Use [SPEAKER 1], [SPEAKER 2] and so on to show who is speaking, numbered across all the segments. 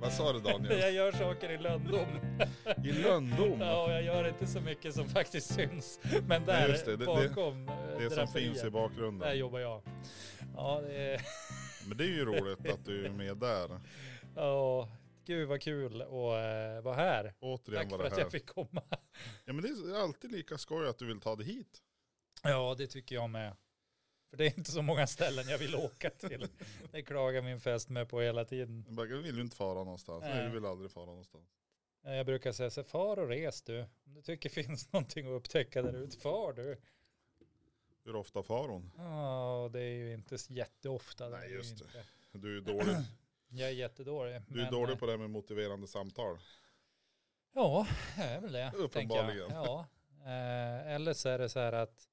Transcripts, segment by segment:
[SPEAKER 1] Vad sa du Daniel?
[SPEAKER 2] Jag gör saker i lönndom.
[SPEAKER 1] I Lönndom?
[SPEAKER 2] Ja, och jag gör inte så mycket som faktiskt syns. Men
[SPEAKER 1] Nej,
[SPEAKER 2] där
[SPEAKER 1] just det. Det- det-
[SPEAKER 2] bakom eh,
[SPEAKER 1] Det som
[SPEAKER 2] draperiet,
[SPEAKER 1] finns i
[SPEAKER 2] där
[SPEAKER 1] bakgrunden.
[SPEAKER 2] jobbar jag. Ja, det är,
[SPEAKER 1] Men det är ju roligt att du är med där.
[SPEAKER 2] ja, gud vad kul att eh, vara här.
[SPEAKER 1] Återigen
[SPEAKER 2] Tack
[SPEAKER 1] var det
[SPEAKER 2] för att
[SPEAKER 1] här.
[SPEAKER 2] jag fick komma.
[SPEAKER 1] Ja men det är alltid lika skoj att du vill ta dig hit.
[SPEAKER 2] Ja, det tycker jag med. För det är inte så många ställen jag vill åka till. Det klagar min fest med på hela tiden.
[SPEAKER 1] Jag bara, "Jag vill ju inte fara någonstans. Nej
[SPEAKER 2] Nej.
[SPEAKER 1] du vill aldrig fara någonstans.
[SPEAKER 2] Eh, Jag brukar säga så här, far och res du. Om du tycker finns någonting att upptäcka där ute, far du.
[SPEAKER 1] Hur ofta far hon?
[SPEAKER 2] Ja, och det är ju inte så jätteofta. det
[SPEAKER 1] Nej,
[SPEAKER 2] är ju
[SPEAKER 1] just det.
[SPEAKER 2] inte.
[SPEAKER 1] Du är dålig,
[SPEAKER 2] Jag är jättedålig.
[SPEAKER 1] du är
[SPEAKER 2] men,
[SPEAKER 1] dålig
[SPEAKER 2] eh,
[SPEAKER 1] på det här med motiverande samtal.
[SPEAKER 2] Ja, det är väl det. tänker jag.
[SPEAKER 1] Uppenbarligen.
[SPEAKER 2] Ja. Eh, Eller så är det så här att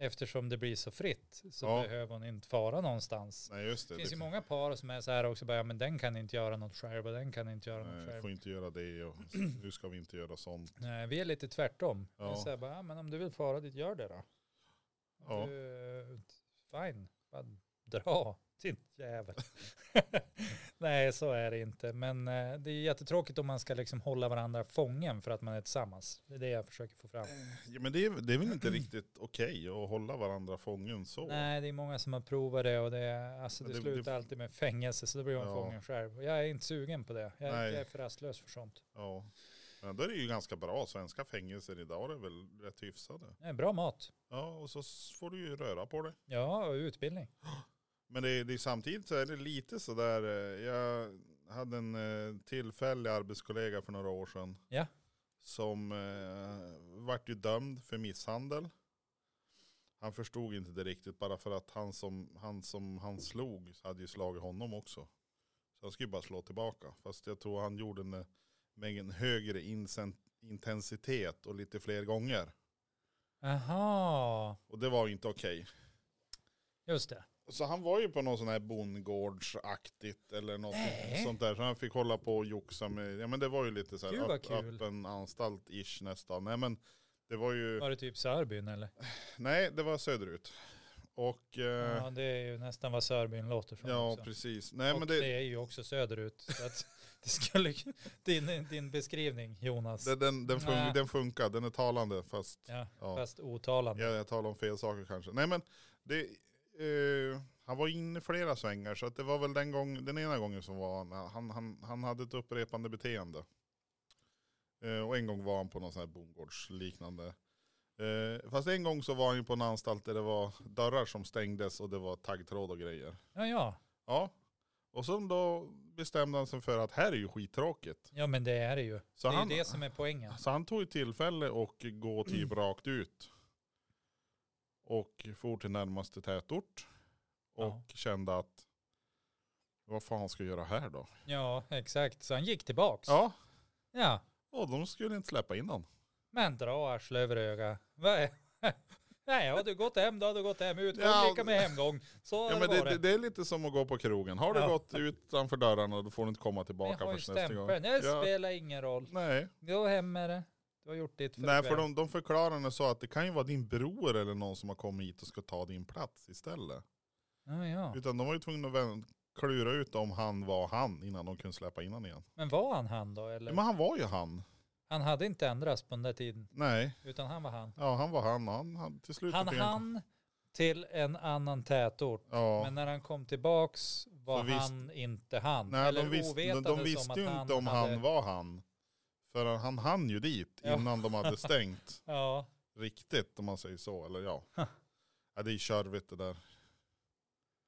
[SPEAKER 2] eftersom det blir så fritt så
[SPEAKER 1] Ja.
[SPEAKER 2] behöver hon inte fara någonstans.
[SPEAKER 1] Nej just det.
[SPEAKER 2] Det finns
[SPEAKER 1] det
[SPEAKER 2] ju många par som är så här också, bara, ja, men den kan inte göra något själv och den kan inte göra något
[SPEAKER 1] Nej,
[SPEAKER 2] själv.
[SPEAKER 1] får inte göra det och nu ska vi inte göra sånt.
[SPEAKER 2] Nej, vi är lite tvärtom. Vi
[SPEAKER 1] Ja.
[SPEAKER 2] är så här, bara, ja, men om du vill fara dit, gör det då.
[SPEAKER 1] Ja.
[SPEAKER 2] Du, fine, bara dra din jävel. Nej, så är det inte. Men eh, det är jättetråkigt om man ska liksom hålla varandra fången för att man är tillsammans. Det är det jag försöker få fram.
[SPEAKER 1] Ja, men det är, det är väl inte riktigt okej att hålla varandra fången så.
[SPEAKER 2] Nej, det är många som har provat det och det, är- alltså,
[SPEAKER 1] Men
[SPEAKER 2] det,
[SPEAKER 1] det-
[SPEAKER 2] slutar
[SPEAKER 1] det-
[SPEAKER 2] alltid med fängelse så då blir man
[SPEAKER 1] Ja.
[SPEAKER 2] fången själv. Och Jag är inte sugen på det. Jag,
[SPEAKER 1] Nej.
[SPEAKER 2] jag är för rastlös för sånt.
[SPEAKER 1] Ja. Men då är det ju ganska bra. Svenska fängelser idag är väl rätt hyfsade.
[SPEAKER 2] Nej, bra mat.
[SPEAKER 1] Ja, och så s- får du ju röra på det.
[SPEAKER 2] Ja, och utbildning.
[SPEAKER 1] Men det är, det är samtidigt så är det lite sådär. eh, Jag hade en eh, tillfällig arbetskollega för några år sedan.
[SPEAKER 2] Ja.
[SPEAKER 1] Som eh, vart ju dömd för misshandel. Han förstod inte det riktigt bara för att han som han, som han slog hade ju slagit honom också. Så han skulle ju bara slå tillbaka. Fast jag tror han gjorde det med en högre incen- intensitet och lite fler gånger.
[SPEAKER 2] Aha,
[SPEAKER 1] Och det var ju inte okej.
[SPEAKER 2] just det.
[SPEAKER 1] Så han var ju på någon sån här bondgårdsaktigt eller något
[SPEAKER 2] Nej.
[SPEAKER 1] sånt där. Så han fick hålla på och joxa med, ja men det var ju lite så här
[SPEAKER 2] Gud, vad
[SPEAKER 1] öpp,
[SPEAKER 2] kul.
[SPEAKER 1] öppen anstalt-ish nästan. Nej men det var ju,
[SPEAKER 2] Var det typ Sörbyn eller?
[SPEAKER 1] nej det var söderut. Och eh,
[SPEAKER 2] Ja, det är ju nästan vad Sörbyn låter som.
[SPEAKER 1] ja
[SPEAKER 2] också.
[SPEAKER 1] precis. Nej
[SPEAKER 2] och
[SPEAKER 1] men
[SPEAKER 2] det...
[SPEAKER 1] det,
[SPEAKER 2] är ju också söderut. Så att det skulle, din, din beskrivning Jonas,
[SPEAKER 1] det, den, den, fun,
[SPEAKER 2] Nej.
[SPEAKER 1] den funkar, den är talande fast
[SPEAKER 2] ja,
[SPEAKER 1] ja.
[SPEAKER 2] fast otalande.
[SPEAKER 1] Ja, jag talar om fel saker kanske. Nej men det, eh, han var inne flera svängar så att det var väl den, gång, den ena gången som var han, han, han, han hade ett upprepande beteende. Eh, och en gång var han på någon sån här bondgårdsliknande. Eh, fast en gång så var han ju på en anstalt där det var dörrar som stängdes och det var taggtråd och grejer.
[SPEAKER 2] Ja, ja.
[SPEAKER 1] Ja. Och så då bestämde han sig för att här är ju skittråkigt.
[SPEAKER 2] ja, men det är det ju.
[SPEAKER 1] Så
[SPEAKER 2] det är
[SPEAKER 1] han,
[SPEAKER 2] ju det som är poängen.
[SPEAKER 1] så han tog ju tillfälle och gå
[SPEAKER 2] Mm.
[SPEAKER 1] typ rakt ut. Och for till närmaste tätort. Och
[SPEAKER 2] Ja.
[SPEAKER 1] kände att vad fan ska jag göra här då?
[SPEAKER 2] Ja, exakt. Så han gick tillbaks.
[SPEAKER 1] Ja,
[SPEAKER 2] Ja,
[SPEAKER 1] och de skulle inte släppa in honom.
[SPEAKER 2] men dra arsle över öga. Vad är- Nej, har du gått hem då har du gått hem. Utgång
[SPEAKER 1] Ja.
[SPEAKER 2] lika med hemgång. Så har
[SPEAKER 1] Ja,
[SPEAKER 2] det
[SPEAKER 1] men det,
[SPEAKER 2] varit.
[SPEAKER 1] det, det är lite som att gå på krogen. Har du
[SPEAKER 2] Ja.
[SPEAKER 1] gått utanför dörrarna då får du inte komma
[SPEAKER 2] Jag
[SPEAKER 1] tillbaka
[SPEAKER 2] har
[SPEAKER 1] förrän
[SPEAKER 2] ju
[SPEAKER 1] nästa gång.
[SPEAKER 2] stämpeln. Det
[SPEAKER 1] Ja.
[SPEAKER 2] spelar ingen roll.
[SPEAKER 1] Nej,
[SPEAKER 2] Gå hem med det. Du har gjort ditt för
[SPEAKER 1] Nej
[SPEAKER 2] ikväll.
[SPEAKER 1] för de, de förklarade så att det kan ju vara din bror eller någon som har kommit hit och ska ta din plats istället.
[SPEAKER 2] Ja, ja.
[SPEAKER 1] Utan de var ju tvungna att vän- klura ut om han var han innan de kunde släppa in honom igen.
[SPEAKER 2] Men var han han då? Eller?
[SPEAKER 1] Ja, men han var ju han.
[SPEAKER 2] Han hade inte ändrats på den där tiden,
[SPEAKER 1] Nej,
[SPEAKER 2] utan han var han.
[SPEAKER 1] ja han var han. Han, han till slut.
[SPEAKER 2] Han
[SPEAKER 1] fick en-
[SPEAKER 2] hann till en annan tätort,
[SPEAKER 1] Ja.
[SPEAKER 2] men när han kom tillbaks var
[SPEAKER 1] Så visst-
[SPEAKER 2] han inte han.
[SPEAKER 1] Nej,
[SPEAKER 2] Eller
[SPEAKER 1] de, visste- de,
[SPEAKER 2] ovetande
[SPEAKER 1] de visste
[SPEAKER 2] som att
[SPEAKER 1] ju inte om
[SPEAKER 2] hade,
[SPEAKER 1] han var han. För han hann ju dit
[SPEAKER 2] Ja.
[SPEAKER 1] innan de hade stängt
[SPEAKER 2] Ja,
[SPEAKER 1] riktigt om man säger så. Eller ja. ja det är körvigt det där.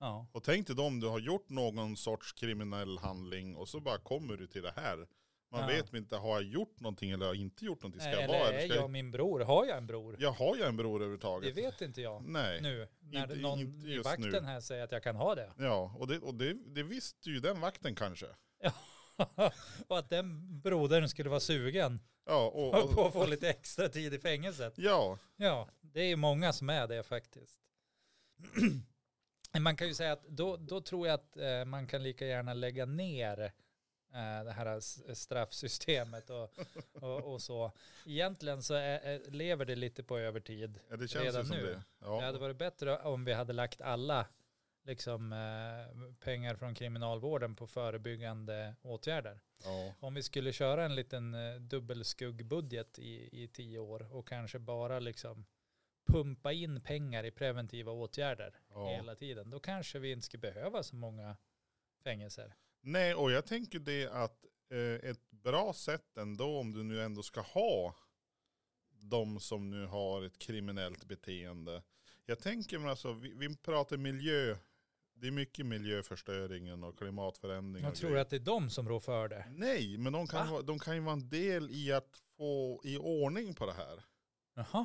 [SPEAKER 2] ja.
[SPEAKER 1] Och tänk dig då om du har gjort någon sorts kriminell handling och så bara kommer du till det här. Man
[SPEAKER 2] Ja.
[SPEAKER 1] vet inte, har jag gjort någonting eller har jag inte gjort någonting? Ska
[SPEAKER 2] Nej,
[SPEAKER 1] jag
[SPEAKER 2] eller
[SPEAKER 1] vara
[SPEAKER 2] är
[SPEAKER 1] eller ska
[SPEAKER 2] jag
[SPEAKER 1] jag...
[SPEAKER 2] min bror? Har jag en bror?
[SPEAKER 1] Ja, har jag en bror
[SPEAKER 2] det
[SPEAKER 1] överhuvudtaget?
[SPEAKER 2] vet inte jag
[SPEAKER 1] Nej.
[SPEAKER 2] nu, när
[SPEAKER 1] Inte-
[SPEAKER 2] någon
[SPEAKER 1] inte
[SPEAKER 2] i
[SPEAKER 1] just
[SPEAKER 2] vakten
[SPEAKER 1] nu.
[SPEAKER 2] här säger att jag kan ha det.
[SPEAKER 1] Ja, och, det, och det, det visste ju den vakten kanske.
[SPEAKER 2] och att den brodern skulle vara sugen
[SPEAKER 1] Ja, och, och,
[SPEAKER 2] på att få lite extra tid i fängelset.
[SPEAKER 1] ja,
[SPEAKER 2] Ja, det är många som är det faktiskt. Men man kan ju säga att då, då tror jag att eh, man kan lika gärna lägga ner eh, det här s- straffsystemet och, och, och så. Egentligen så är, är, lever det lite på övertid.
[SPEAKER 1] ja, det känns
[SPEAKER 2] Redan
[SPEAKER 1] ju som
[SPEAKER 2] nu.
[SPEAKER 1] det.
[SPEAKER 2] Det hade
[SPEAKER 1] Ja.
[SPEAKER 2] varit bättre om vi hade lagt alla liksom, eh, pengar från kriminalvården på förebyggande åtgärder.
[SPEAKER 1] Ja.
[SPEAKER 2] Om vi skulle köra en liten eh, dubbelskuggbudget i, i tio år och kanske bara liksom pumpa in pengar i preventiva åtgärder
[SPEAKER 1] ja.
[SPEAKER 2] hela tiden, då kanske vi inte skulle behöva så många fängelser.
[SPEAKER 1] Nej, och jag tänker det att eh, ett bra sätt ändå, om du nu ändå ska ha de som nu har ett kriminellt beteende. Jag tänker men alltså, vi, vi pratar miljö. Det är mycket miljöförstöringen och klimatförändringar.
[SPEAKER 2] Jag
[SPEAKER 1] och
[SPEAKER 2] tror
[SPEAKER 1] grejer.
[SPEAKER 2] att det är de som rår för det.
[SPEAKER 1] Nej, men de kan,
[SPEAKER 2] Va?
[SPEAKER 1] vara- de kan ju vara en del i att få i ordning på det här.
[SPEAKER 2] Jaha.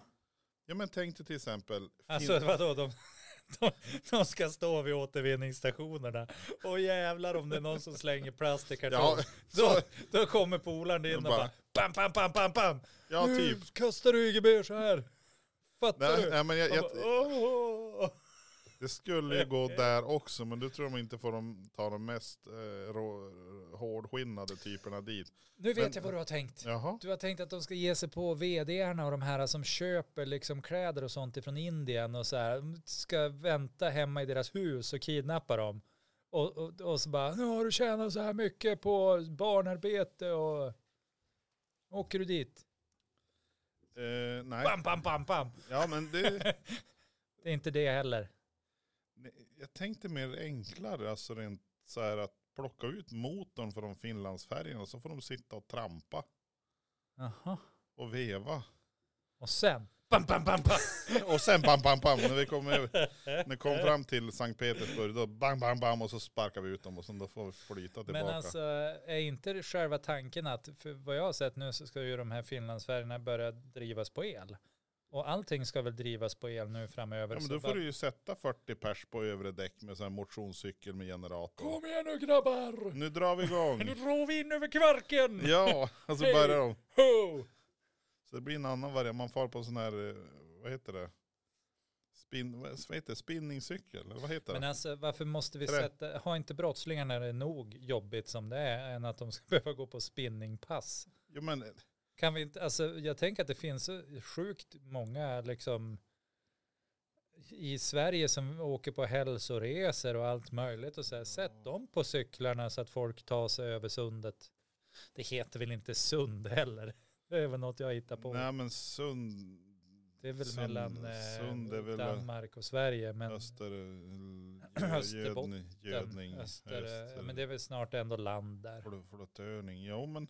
[SPEAKER 1] Ja men tänk dig till exempel.
[SPEAKER 2] Alltså vadå, de, de, de ska stå vid återvinningsstationerna. Och jävlar om det är någon som slänger plast i kartong.
[SPEAKER 1] ja,
[SPEAKER 2] Då, då kommer polaren in och
[SPEAKER 1] De bara-
[SPEAKER 2] bara pam, pam, pam, pam, pam.
[SPEAKER 1] ja
[SPEAKER 2] nu
[SPEAKER 1] typ.
[SPEAKER 2] kastar du YGB så här. Fattar
[SPEAKER 1] Nej,
[SPEAKER 2] du?
[SPEAKER 1] nej, men jag,
[SPEAKER 2] Man
[SPEAKER 1] jag,
[SPEAKER 2] bara, "Åh."
[SPEAKER 1] det skulle ju
[SPEAKER 2] Eh.
[SPEAKER 1] gå där också men du tror de inte får de, ta de mest eh, rå, hårdskinnade typerna dit.
[SPEAKER 2] Nu vet
[SPEAKER 1] Men-
[SPEAKER 2] jag vad du har tänkt.
[SPEAKER 1] Jaha.
[SPEAKER 2] Du har tänkt att de ska ge sig på vdarna och de här som köper liksom kläder och sånt ifrån Indien och så här. De ska vänta hemma i deras hus och kidnappa dem. Och, och, och så bara, nu har du tjänat så här mycket på barnarbete och åker du dit.
[SPEAKER 1] Eh, nej.
[SPEAKER 2] Bam, bam, bam, bam.
[SPEAKER 1] Ja men det,
[SPEAKER 2] Det är inte det heller.
[SPEAKER 1] nej, jag tänkte mer enklare, alltså rent så här att plocka ut motorn från Finlandsfärjan och så får de sitta och trampa
[SPEAKER 2] Jaha.
[SPEAKER 1] och veva.
[SPEAKER 2] Och sen, bam, bam, bam, bam.
[SPEAKER 1] Och sen bam, bam, bam, när vi kom, över, när vi
[SPEAKER 2] Eh.
[SPEAKER 1] kom fram till Sankt Petersburg, då bam, bam, bam och så sparkar vi ut dem och sen då får vi flyta tillbaka.
[SPEAKER 2] Men alltså, är inte det själva tanken att, för vad jag har sett nu så ska ju de här Finlandsfärjorna börja drivas på el. Och allting ska väl drivas på el nu framöver.
[SPEAKER 1] ja, men
[SPEAKER 2] så
[SPEAKER 1] då
[SPEAKER 2] bara-
[SPEAKER 1] får du ju sätta 40 pers på övre däck med sån här motionscykel med generator.
[SPEAKER 2] Kom igen nu grabbar!
[SPEAKER 1] Nu drar vi
[SPEAKER 2] Nu
[SPEAKER 1] igång.
[SPEAKER 2] rår vi in över kvarken!
[SPEAKER 1] Ja, och så
[SPEAKER 2] Hej.
[SPEAKER 1] börjar de.
[SPEAKER 2] Ho!
[SPEAKER 1] Så det blir en annan variant. Man far på en sån här, eh, vad heter det? Spin, vad vad heter det? Spinningcykel? Eller vad heter
[SPEAKER 2] Men
[SPEAKER 1] det?
[SPEAKER 2] alltså varför måste vi
[SPEAKER 1] Trä.
[SPEAKER 2] sätta, har inte brottslingarna det nog jobbigt som det är än att de ska behöva gå på spinningpass?
[SPEAKER 1] Jo, men,
[SPEAKER 2] Kan vi inte, alltså jag tänker att det finns så sjukt många liksom i Sverige som åker på hälsoresor och allt möjligt och så här, sätt dem på cyklarna så att folk tar sig över sundet. Det heter väl inte sund heller? Det är väl något jag hittar på.
[SPEAKER 1] nej, men sund,
[SPEAKER 2] det är väl
[SPEAKER 1] sund-
[SPEAKER 2] mellan eh,
[SPEAKER 1] sund är väl-
[SPEAKER 2] Danmark och Sverige. Men,
[SPEAKER 1] öster,
[SPEAKER 2] Österbotten,
[SPEAKER 1] gödning, gödning,
[SPEAKER 2] öster, eh, men det är väl snart ändå land där.
[SPEAKER 1] Fl- Flörtörning, jo men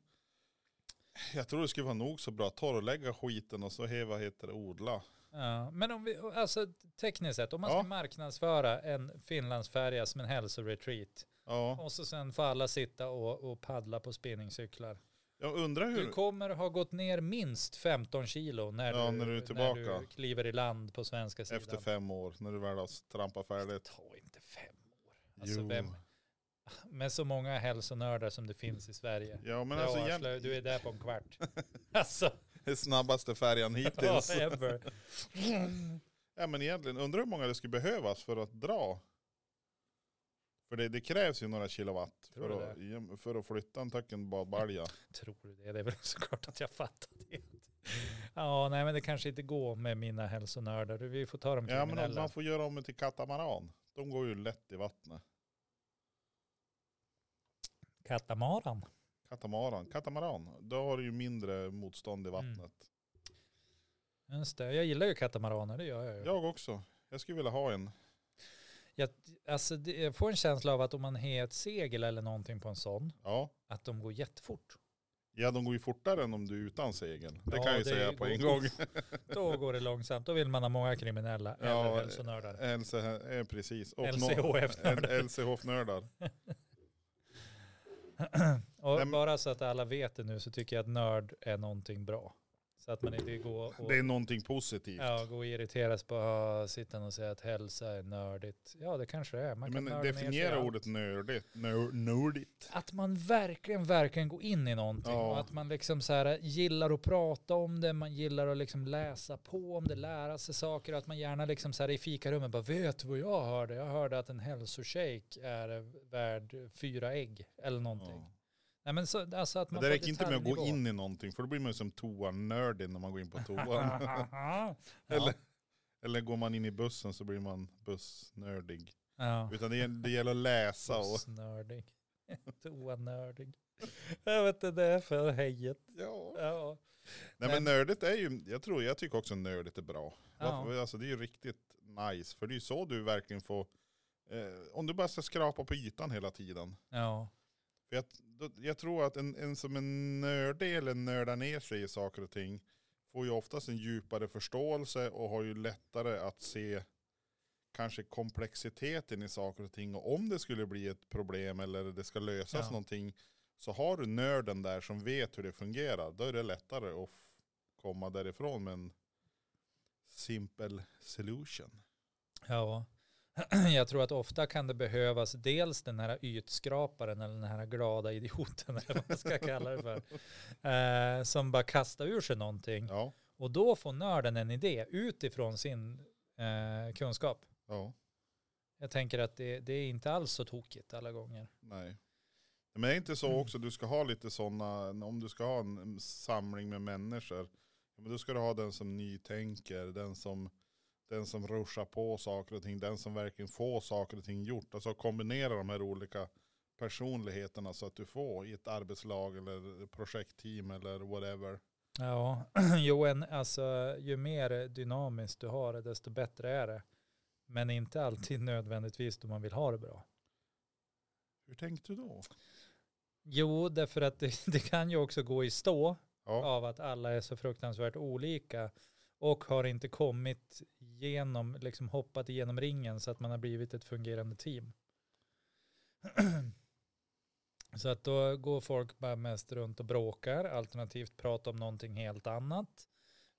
[SPEAKER 1] jag tror det skulle vara nog så bra. Torrlägga skiten och så heva heter det odla.
[SPEAKER 2] Ja, men om vi, alltså tekniskt sett, om man ska
[SPEAKER 1] Ja.
[SPEAKER 2] marknadsföra en Finlandsfärja som en hälsoretreat
[SPEAKER 1] Ja,
[SPEAKER 2] och så sen får alla sitta och, och paddla på spinningcyklar.
[SPEAKER 1] jag undrar
[SPEAKER 2] Du
[SPEAKER 1] hur.
[SPEAKER 2] kommer ha gått ner minst 15 kilo när,
[SPEAKER 1] Ja, när
[SPEAKER 2] du,
[SPEAKER 1] du är
[SPEAKER 2] när du
[SPEAKER 1] tillbaka.
[SPEAKER 2] kliver i land på svenska sidan.
[SPEAKER 1] Efter fem år, när du väl har trampat färdigt.
[SPEAKER 2] Ta inte fem år. Alltså
[SPEAKER 1] Jo.
[SPEAKER 2] vem, med så många hälsonördar som det finns i Sverige.
[SPEAKER 1] Ja men
[SPEAKER 2] Jag
[SPEAKER 1] alltså
[SPEAKER 2] avslöjar,
[SPEAKER 1] jäm-
[SPEAKER 2] du är där på en kvart. alltså,
[SPEAKER 1] det snabbaste färjan hittills.
[SPEAKER 2] whatever.
[SPEAKER 1] Ja men egentligen, undrar hur många det skulle behövas för att dra. För det, det krävs ju några kilowatt
[SPEAKER 2] Tror
[SPEAKER 1] för
[SPEAKER 2] du
[SPEAKER 1] att, jäm- för att flytta en töcken badbalja.
[SPEAKER 2] Tror du det? Det är väl såklart att jag fattar det. Ja, nej men det kanske inte går med mina hälsonördar. Vi får ta dem
[SPEAKER 1] Ja men om
[SPEAKER 2] kriminella.
[SPEAKER 1] man får göra om det till katamaran. De går ju lätt i vattnet.
[SPEAKER 2] Katamaran.
[SPEAKER 1] Katamaran, katamaran. Då har du ju mindre
[SPEAKER 2] Mm.
[SPEAKER 1] motstånd i vattnet.
[SPEAKER 2] Just det. Jag gillar ju katamaraner, det gör jag ju.
[SPEAKER 1] Jag också. Jag skulle vilja ha en.
[SPEAKER 2] Jag, alltså, det- jag får en känsla av att om man har ett segel eller någonting på en sån,
[SPEAKER 1] Ja.
[SPEAKER 2] att de går jättefort.
[SPEAKER 1] Ja, de går ju fortare än om du är utan segel. Det
[SPEAKER 2] Ja,
[SPEAKER 1] kan jag ju
[SPEAKER 2] det
[SPEAKER 1] säga
[SPEAKER 2] går-
[SPEAKER 1] på en gång.
[SPEAKER 2] Då går det långsamt. Då vill man ha många kriminella
[SPEAKER 1] Ja, eh,
[SPEAKER 2] eller hälsonördar.
[SPEAKER 1] LC, eh, precis. Och
[SPEAKER 2] LCHF-nördar.
[SPEAKER 1] LCHF-nördar.
[SPEAKER 2] Och
[SPEAKER 1] Nej, men-
[SPEAKER 2] bara så att alla vet det nu så tycker jag att nörd är någonting bra. Så att man inte går och...
[SPEAKER 1] Det är någonting positivt.
[SPEAKER 2] Ja, gå och irriteras på att sitta och säga att hälsa är nördigt. Ja, det kanske det är. Man kan
[SPEAKER 1] Men
[SPEAKER 2] nörda ner sig i
[SPEAKER 1] definiera
[SPEAKER 2] allt.
[SPEAKER 1] ordet nördigt. Nör, nördigt.
[SPEAKER 2] Att man verkligen, verkligen går in i någonting
[SPEAKER 1] Ja.
[SPEAKER 2] och att man liksom så här gillar att prata om det, man gillar att liksom läsa på om det, lära sig saker och att man gärna liksom så här i fikarummet bara vet du vad jag hörde? Jag hörde att en hälsoshake är värd fyra ägg eller någonting.
[SPEAKER 1] Ja.
[SPEAKER 2] Nej, men så, alltså att
[SPEAKER 1] Men
[SPEAKER 2] man
[SPEAKER 1] Det
[SPEAKER 2] på
[SPEAKER 1] räcker inte med att gå
[SPEAKER 2] detaljnivå-
[SPEAKER 1] in i någonting för då blir man ju som toanördig när man går in på toan.
[SPEAKER 2] ja.
[SPEAKER 1] Eller- Eller går man in i bussen så blir man bussnördig.
[SPEAKER 2] Ja.
[SPEAKER 1] Utan det, det gäller att läsa och...
[SPEAKER 2] Snördig. Toanördig. Jag vet inte, det är för hejet.
[SPEAKER 1] Ja.
[SPEAKER 2] Ja.
[SPEAKER 1] Nej men nördigt är ju, jag tror, jag tycker också nördigt är bra.
[SPEAKER 2] Ja.
[SPEAKER 1] Varför, alltså det är ju riktigt nice, för det är ju så du verkligen får, eh, om du bara ska skrapa på ytan hela tiden.
[SPEAKER 2] ja.
[SPEAKER 1] För jag, då, jag tror att en, en som är nördig eller nördar ner sig i saker och ting får ju oftast en djupare förståelse och har ju lättare att se kanske komplexiteten i saker och ting. Och om det skulle bli ett problem eller det ska lösas
[SPEAKER 2] Ja.
[SPEAKER 1] någonting så har du nörden där som vet hur det fungerar. Då är det lättare att f- komma därifrån med en simpel solution.
[SPEAKER 2] Ja, jag tror att ofta kan det behövas dels den här ytskraparen eller den här glada idioten eller vad man ska kalla det för. Eh, som bara kastar ur sig någonting.
[SPEAKER 1] Ja,
[SPEAKER 2] Och då får nörden en idé utifrån sin eh, kunskap.
[SPEAKER 1] ja,
[SPEAKER 2] Jag tänker att det, det är inte alls så tokigt alla gånger.
[SPEAKER 1] nej. Men det är inte så
[SPEAKER 2] Mm.
[SPEAKER 1] också, du ska ha lite sådana, om du ska ha en en samling med människor, ja, men då ska du ha den som nytänker, den som, den som ruschar på saker och ting, den som verkligen får saker och ting gjort. Alltså kombinera de här olika personligheterna så att du får i ett arbetslag eller projektteam eller whatever.
[SPEAKER 2] Ja, jo, en, alltså, ju mer dynamiskt du har det, desto bättre är det. Men inte alltid nödvändigtvis då man vill ha det bra.
[SPEAKER 1] Hur tänkte du då?
[SPEAKER 2] Jo, därför att det, det kan ju också gå i stå.
[SPEAKER 1] Ja,
[SPEAKER 2] av att alla är så fruktansvärt olika och har inte kommit genom, liksom hoppat igenom ringen så att man har blivit ett fungerande team. så att då går folk bara mest runt och bråkar, alternativt pratar om någonting helt annat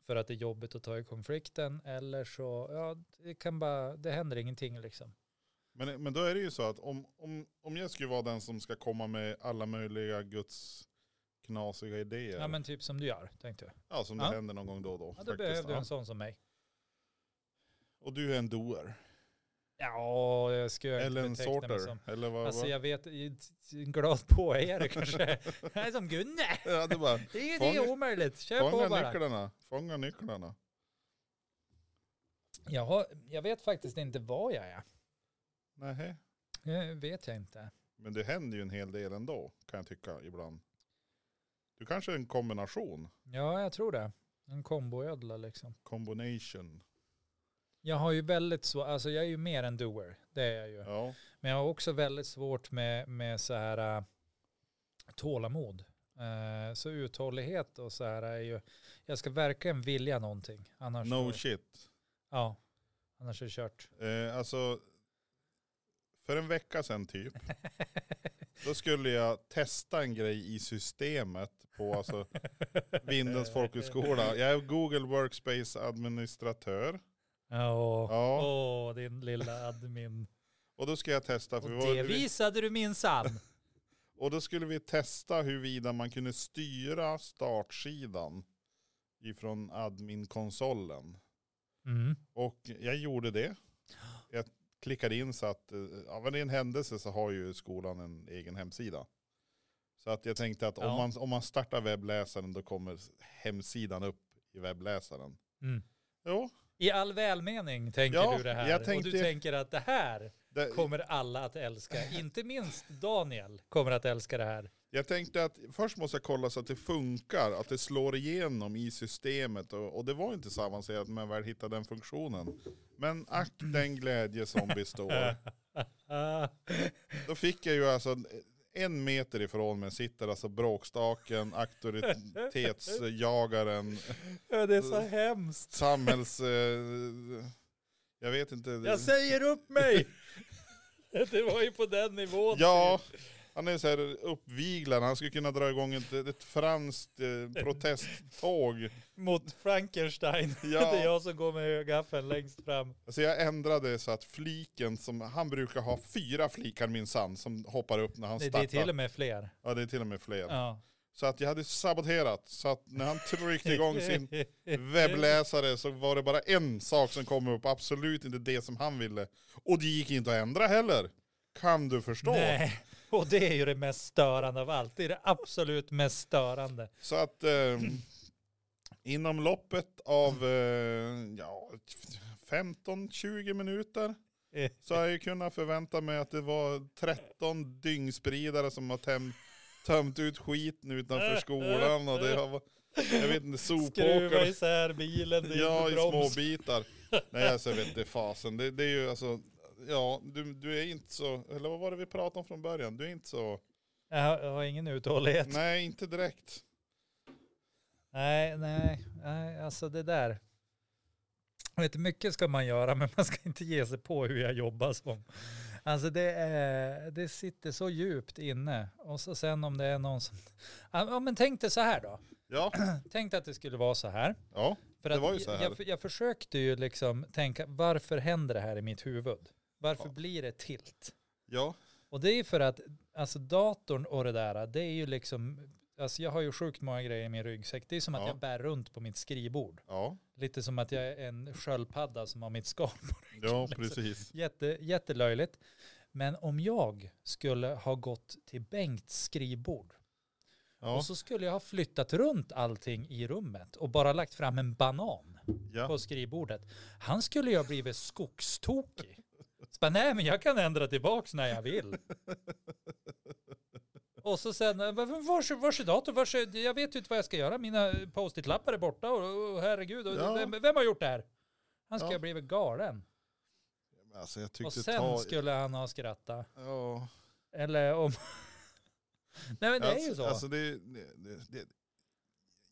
[SPEAKER 2] för att det är jobbigt att ta i konflikten eller så, ja, det kan bara, det händer ingenting liksom.
[SPEAKER 1] men, men då är det ju så att om, om, om jag skulle vara den som ska komma med alla möjliga Guds knasiga idéer,
[SPEAKER 2] Ja men typ som du gör, tänkte jag.
[SPEAKER 1] ja, som det
[SPEAKER 2] Ja.
[SPEAKER 1] händer någon gång då och då.
[SPEAKER 2] Ja, då
[SPEAKER 1] faktiskt.
[SPEAKER 2] behöver du
[SPEAKER 1] Ja.
[SPEAKER 2] en sån som mig.
[SPEAKER 1] Och du är en doer.
[SPEAKER 2] Ja, jag skulle jag inte
[SPEAKER 1] Eller en
[SPEAKER 2] beteckna mig
[SPEAKER 1] sorter.
[SPEAKER 2] som.
[SPEAKER 1] Eller vad,
[SPEAKER 2] Alltså
[SPEAKER 1] vad?
[SPEAKER 2] jag vet, glad påhejare kanske. Jag är som Gunne.
[SPEAKER 1] Ja, det bara,
[SPEAKER 2] Det är, det är
[SPEAKER 1] Fånga-
[SPEAKER 2] omöjligt, kör på
[SPEAKER 1] fånga
[SPEAKER 2] bara.
[SPEAKER 1] nycklarna, fånga nycklarna.
[SPEAKER 2] Jag, har, jag vet faktiskt inte vad jag är.
[SPEAKER 1] Nähä.
[SPEAKER 2] Det vet jag inte.
[SPEAKER 1] Men det händer ju en hel del ändå, kan jag tycka ibland. Du kanske är en kombination,
[SPEAKER 2] Ja, jag tror det. En komboödla liksom.
[SPEAKER 1] combination.
[SPEAKER 2] Jag har ju väldigt så, alltså jag är ju mer en doer. Det är jag ju.
[SPEAKER 1] Ja,
[SPEAKER 2] Men jag har också väldigt svårt med, med så här äh, tålamod. Eh, så uthållighet och så här är ju, jag ska verkligen vilja någonting. Annars,
[SPEAKER 1] no
[SPEAKER 2] så,
[SPEAKER 1] shit.
[SPEAKER 2] ja, annars är det kört.
[SPEAKER 1] Eh, alltså, för en vecka sedan typ, då skulle jag testa en grej i systemet på alltså, Vindens folkhögskola. Jag är Google Workspace administratör.
[SPEAKER 2] Ja, åh,
[SPEAKER 1] Ja.
[SPEAKER 2] åh, din lilla admin.
[SPEAKER 1] Och då ska jag testa.
[SPEAKER 2] Och
[SPEAKER 1] För vi var-
[SPEAKER 2] det visade du minsann.
[SPEAKER 1] Och då skulle vi testa huruvida man kunde styra startsidan ifrån adminkonsolen.
[SPEAKER 2] Mm.
[SPEAKER 1] Och jag gjorde det. Jag klickade in så att, eh, av en händelse så har ju skolan en egen hemsida. Så att jag tänkte att om,
[SPEAKER 2] Ja.
[SPEAKER 1] man, om man startar webbläsaren då kommer hemsidan upp i webbläsaren.
[SPEAKER 2] Mm.
[SPEAKER 1] Jo,
[SPEAKER 2] I all välmening tänker
[SPEAKER 1] Ja,
[SPEAKER 2] du det här.
[SPEAKER 1] jag
[SPEAKER 2] Och
[SPEAKER 1] tänkte-
[SPEAKER 2] du tänker att det här
[SPEAKER 1] det,
[SPEAKER 2] kommer alla att älska. Inte minst Daniel kommer att älska det här.
[SPEAKER 1] Jag tänkte att först måste jag kolla så att det funkar, att det slår igenom i systemet. Och, och det var inte så avancerat när jag väl hittade den funktionen. Men ack den glädje som består.
[SPEAKER 2] Ah,
[SPEAKER 1] Då fick jag ju alltså en meter ifrån mig sitter alltså bråkstaken, auktoritetsjagaren,
[SPEAKER 2] det är så hemskt.
[SPEAKER 1] samhälls... Eh, jag vet inte.
[SPEAKER 2] Jag säger upp mig. Det var ju på den nivån.
[SPEAKER 1] Ja, han är så här uppviglad. Han skulle kunna dra igång ett, ett franskt eh, protesttåg.
[SPEAKER 2] Mot Frankenstein.
[SPEAKER 1] Ja.
[SPEAKER 2] Det är jag som går med högaffeln längst fram.
[SPEAKER 1] Alltså jag ändrade så att fliken som, han brukar ha fyra flikar minsann som hoppar upp när han
[SPEAKER 2] Nej, det
[SPEAKER 1] startar.
[SPEAKER 2] är till och med fler.
[SPEAKER 1] Ja det är till och med fler.
[SPEAKER 2] Ja.
[SPEAKER 1] Så att jag hade saboterat, så att när han tryckte igång sin webbläsare så var det bara en sak som kom upp, absolut inte det som han ville. Och det gick inte att ändra heller. Kan du förstå?
[SPEAKER 2] Nej, och det är ju det mest störande av allt. Det är det absolut mest störande.
[SPEAKER 1] Så att ehm, inom loppet av eh, ja, 15-20 minuter så har jag ju kunnat förvänta mig att det var 13 dyngspridare som har töm, tömt ut skiten utanför skolan och det har varit, jag vet inte,
[SPEAKER 3] Skruva
[SPEAKER 1] sopåkare.
[SPEAKER 3] isär bilen, det är
[SPEAKER 1] Ja,
[SPEAKER 3] ja,
[SPEAKER 1] i
[SPEAKER 3] inte broms.
[SPEAKER 1] små bitar. Nej, alltså jag vet inte fasen. Det, det är ju alltså, ja, du, du är inte så, eller vad var det vi pratade om från början? Du är inte så,
[SPEAKER 2] Jag har, jag har ingen uthållighet. Nej.
[SPEAKER 1] nej inte direkt.
[SPEAKER 2] nej, nej, alltså det där. Jag Vet, mycket ska man göra, men man ska inte ge sig på hur jag jobbar som. Alltså det, är, det sitter så djupt inne. Och så sen om det är någon som... Ja, men tänk dig så här då.
[SPEAKER 1] Ja,
[SPEAKER 2] Tänk dig att det skulle vara så här.
[SPEAKER 1] ja,
[SPEAKER 2] För
[SPEAKER 1] Det
[SPEAKER 2] att
[SPEAKER 1] var ju så här.
[SPEAKER 2] Jag, jag försökte ju liksom tänka, varför händer det här i mitt huvud? Varför
[SPEAKER 1] Ja.
[SPEAKER 2] blir det tilt?
[SPEAKER 1] ja,
[SPEAKER 2] Och det är ju för att alltså datorn och det där, det är ju liksom, alltså jag har ju sjukt många grejer i min ryggsäck. Det är som att
[SPEAKER 1] Ja.
[SPEAKER 2] jag bär runt på mitt skrivbord.
[SPEAKER 1] ja,
[SPEAKER 2] Lite som att jag är en sköldpadda som har mitt skal.
[SPEAKER 1] ja precis.
[SPEAKER 2] Jätte, jättelöjligt. Men om jag skulle ha gått till Bengts skrivbord
[SPEAKER 1] Ja,
[SPEAKER 2] och så skulle jag ha flyttat runt allting i rummet och bara lagt fram en banan
[SPEAKER 1] ja,
[SPEAKER 2] på skrivbordet. Han skulle ju ha blivit skogstokig. Så bara, nej men jag kan ändra tillbaks när jag vill. Och så sen, eh, "Men vars vars är datorn? Vars är, jag vet ju inte vad jag ska göra. Mina eh, post-it-lappar är borta och, och herregud, och,
[SPEAKER 1] Ja.
[SPEAKER 2] vem, vem har gjort det här? Han skulle
[SPEAKER 1] Ja.
[SPEAKER 2] ha blivit galen.
[SPEAKER 1] alltså jag
[SPEAKER 2] Och
[SPEAKER 1] tyckte
[SPEAKER 2] sen
[SPEAKER 1] ta,
[SPEAKER 2] skulle han ha skrattat.
[SPEAKER 1] ja.
[SPEAKER 2] Eller om... nej men det är
[SPEAKER 1] alltså,
[SPEAKER 2] ju så.
[SPEAKER 1] Alltså det, det, det, det,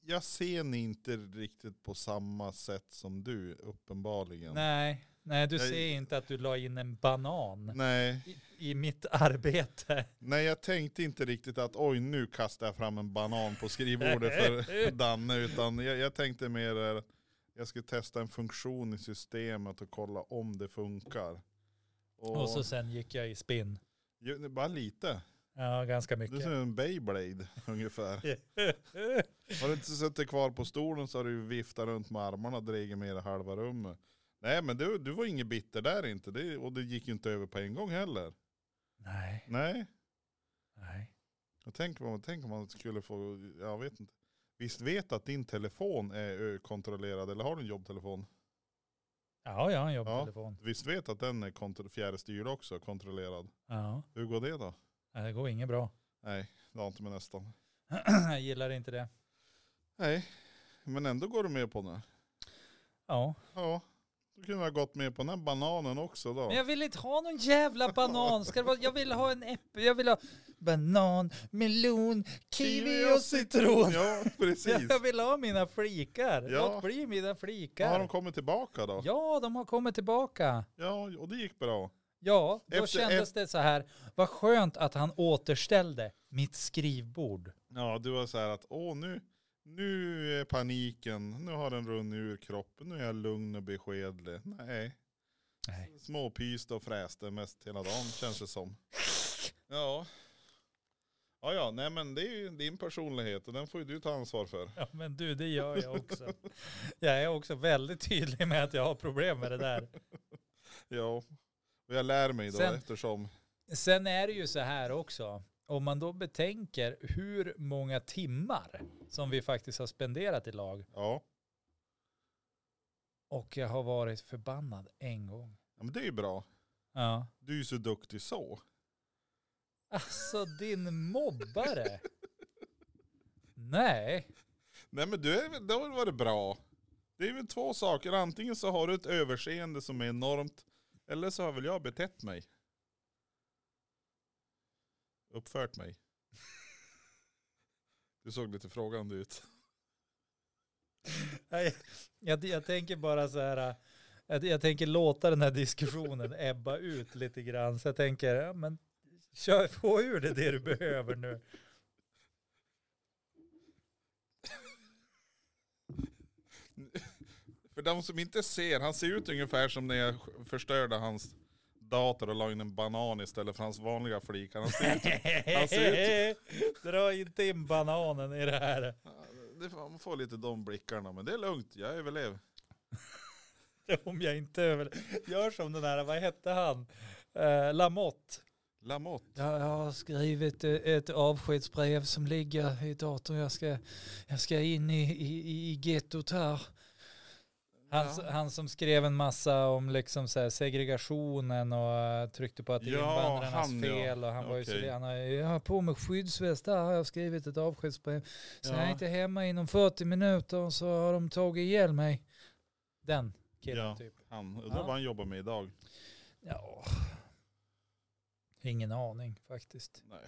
[SPEAKER 1] jag ser ni inte riktigt på samma sätt som du, uppenbarligen.
[SPEAKER 2] nej, nej, du
[SPEAKER 1] Jag-
[SPEAKER 2] ser inte att du la in en banan
[SPEAKER 1] Nej,
[SPEAKER 2] i, i mitt arbete.
[SPEAKER 1] nej, jag tänkte inte riktigt att oj nu kastar jag fram en banan på skrivbordet för Danne, utan jag, jag tänkte mer eh, jag skulle testa en funktion i systemet och kolla om det funkar. Och,
[SPEAKER 2] Och så sen gick jag i spinn.
[SPEAKER 1] ju, bara lite.
[SPEAKER 2] Ja, ganska
[SPEAKER 1] Det är
[SPEAKER 2] mycket.
[SPEAKER 1] som en Beyblade ungefär. Har du inte suttit kvar på stolen så har du ju viftat runt med armarna och dragit med dig halva rummet. Nej men du, du var ingen bitter där inte. Det, och det gick ju inte över på en gång heller.
[SPEAKER 2] nej,
[SPEAKER 1] Nej.
[SPEAKER 2] nej.
[SPEAKER 1] Jag tänker om, tänk om man skulle få, jag vet inte. Visst vet att din telefon är eh, kontrollerad, eller har du en jobbtelefon?
[SPEAKER 2] Ja, jag har en jobbtelefon.
[SPEAKER 1] Visst vet att den är kontro- fjärrstyrd också, kontrollerad?
[SPEAKER 2] Ja.
[SPEAKER 1] Hur går det då?
[SPEAKER 2] ja, det går inget bra.
[SPEAKER 1] Nej, det har inte med nästan.
[SPEAKER 2] jag gillar inte det.
[SPEAKER 1] Nej, men ändå går du med på det.
[SPEAKER 2] Ja.
[SPEAKER 1] Ja, då kunde jag ha gått med på den här bananen också då.
[SPEAKER 2] Men jag vill inte ha någon jävla banan. Ska det vara, jag vill ha en äpple. Jag vill ha banan, melon, kiwi och citron.
[SPEAKER 1] Ja, precis.
[SPEAKER 2] Jag vill ha mina flikar.
[SPEAKER 1] Ja.
[SPEAKER 2] Låt bli mina
[SPEAKER 1] Har
[SPEAKER 2] flikar.
[SPEAKER 1] de kommit tillbaka då? Ja,
[SPEAKER 2] Ja, de har kommit tillbaka.
[SPEAKER 1] och det gick bra.
[SPEAKER 2] Ja, då
[SPEAKER 1] Efter-
[SPEAKER 2] kändes det så här. Vad skönt att han återställde mitt skrivbord.
[SPEAKER 1] Ja, du var så här att åh nu, nu är paniken, nu har den runnit ur kroppen, nu är jag lugn och beskedlig. Nej,
[SPEAKER 2] Nej.
[SPEAKER 1] småpyste och fräste mest hela dagen känns det som. Ja. Ja, ja, nej men det är ju din personlighet och den får ju du ta ansvar för.
[SPEAKER 2] Ja men du, det gör jag också. Jag är också väldigt tydlig med att jag har problem med det där.
[SPEAKER 1] Ja, och jag lär mig då
[SPEAKER 2] Sen-
[SPEAKER 1] eftersom.
[SPEAKER 2] Sen är det ju så här också, om man då betänker hur många timmar som vi faktiskt har spenderat i lag
[SPEAKER 1] Ja,
[SPEAKER 2] och jag har varit förbannad en gång.
[SPEAKER 1] Ja, men det är ju bra.
[SPEAKER 2] Ja.
[SPEAKER 1] Du är ju så duktig så.
[SPEAKER 2] Alltså din mobbare. Nej,
[SPEAKER 1] Nej men du är, väl- det har väl varit bra. Det är väl två saker. Antingen så har du ett överseende som är enormt. Eller så har väl jag betett mig. Uppfört mig. Du såg lite frågande ut.
[SPEAKER 2] Nej, jag, jag tänker bara så här. Jag, jag tänker låta den här diskussionen ebba ut lite grann. Så jag tänker, ja, men kör, få ur det det du behöver nu.
[SPEAKER 1] För de som inte ser, han ser ut ungefär som när jag sk- förstörde hans dator och la in en banan istället för hans vanliga flikar. Han ser ut, han ser ut,
[SPEAKER 2] Dra inte in bananen i det här.
[SPEAKER 1] det, får- man får lite de blickarna, men det är lugnt, jag överlever.
[SPEAKER 2] Om jag inte över... Gör som den här, vad hette han? Eh, Lamotte.
[SPEAKER 1] Lamotte.
[SPEAKER 2] Jag, jag har skrivit eh, ett avskedsbrev som ligger i datorn. Jag ska, jag ska in i, i, i gettot här. Han,
[SPEAKER 1] Ja.
[SPEAKER 2] s- han som skrev en massa om liksom så här segregationen och eh, tryckte på att det är
[SPEAKER 1] Ja,
[SPEAKER 2] invandrarnas
[SPEAKER 1] han, ja.
[SPEAKER 2] fel. Och han var ju så
[SPEAKER 1] Okej.
[SPEAKER 2] han har ju, jag har på mig skyddsväst, där har jag skrivit ett avskedsbrev. Så jag är
[SPEAKER 1] Ja.
[SPEAKER 2] inte hemma inom 40 minuter och så har de tagit ihjäl mig. Den killen
[SPEAKER 1] Ja.
[SPEAKER 2] typ.
[SPEAKER 1] Han, undrar
[SPEAKER 2] Ja.
[SPEAKER 1] vad han jobbar med idag.
[SPEAKER 2] Ja. Ingen aning faktiskt.
[SPEAKER 1] Nej,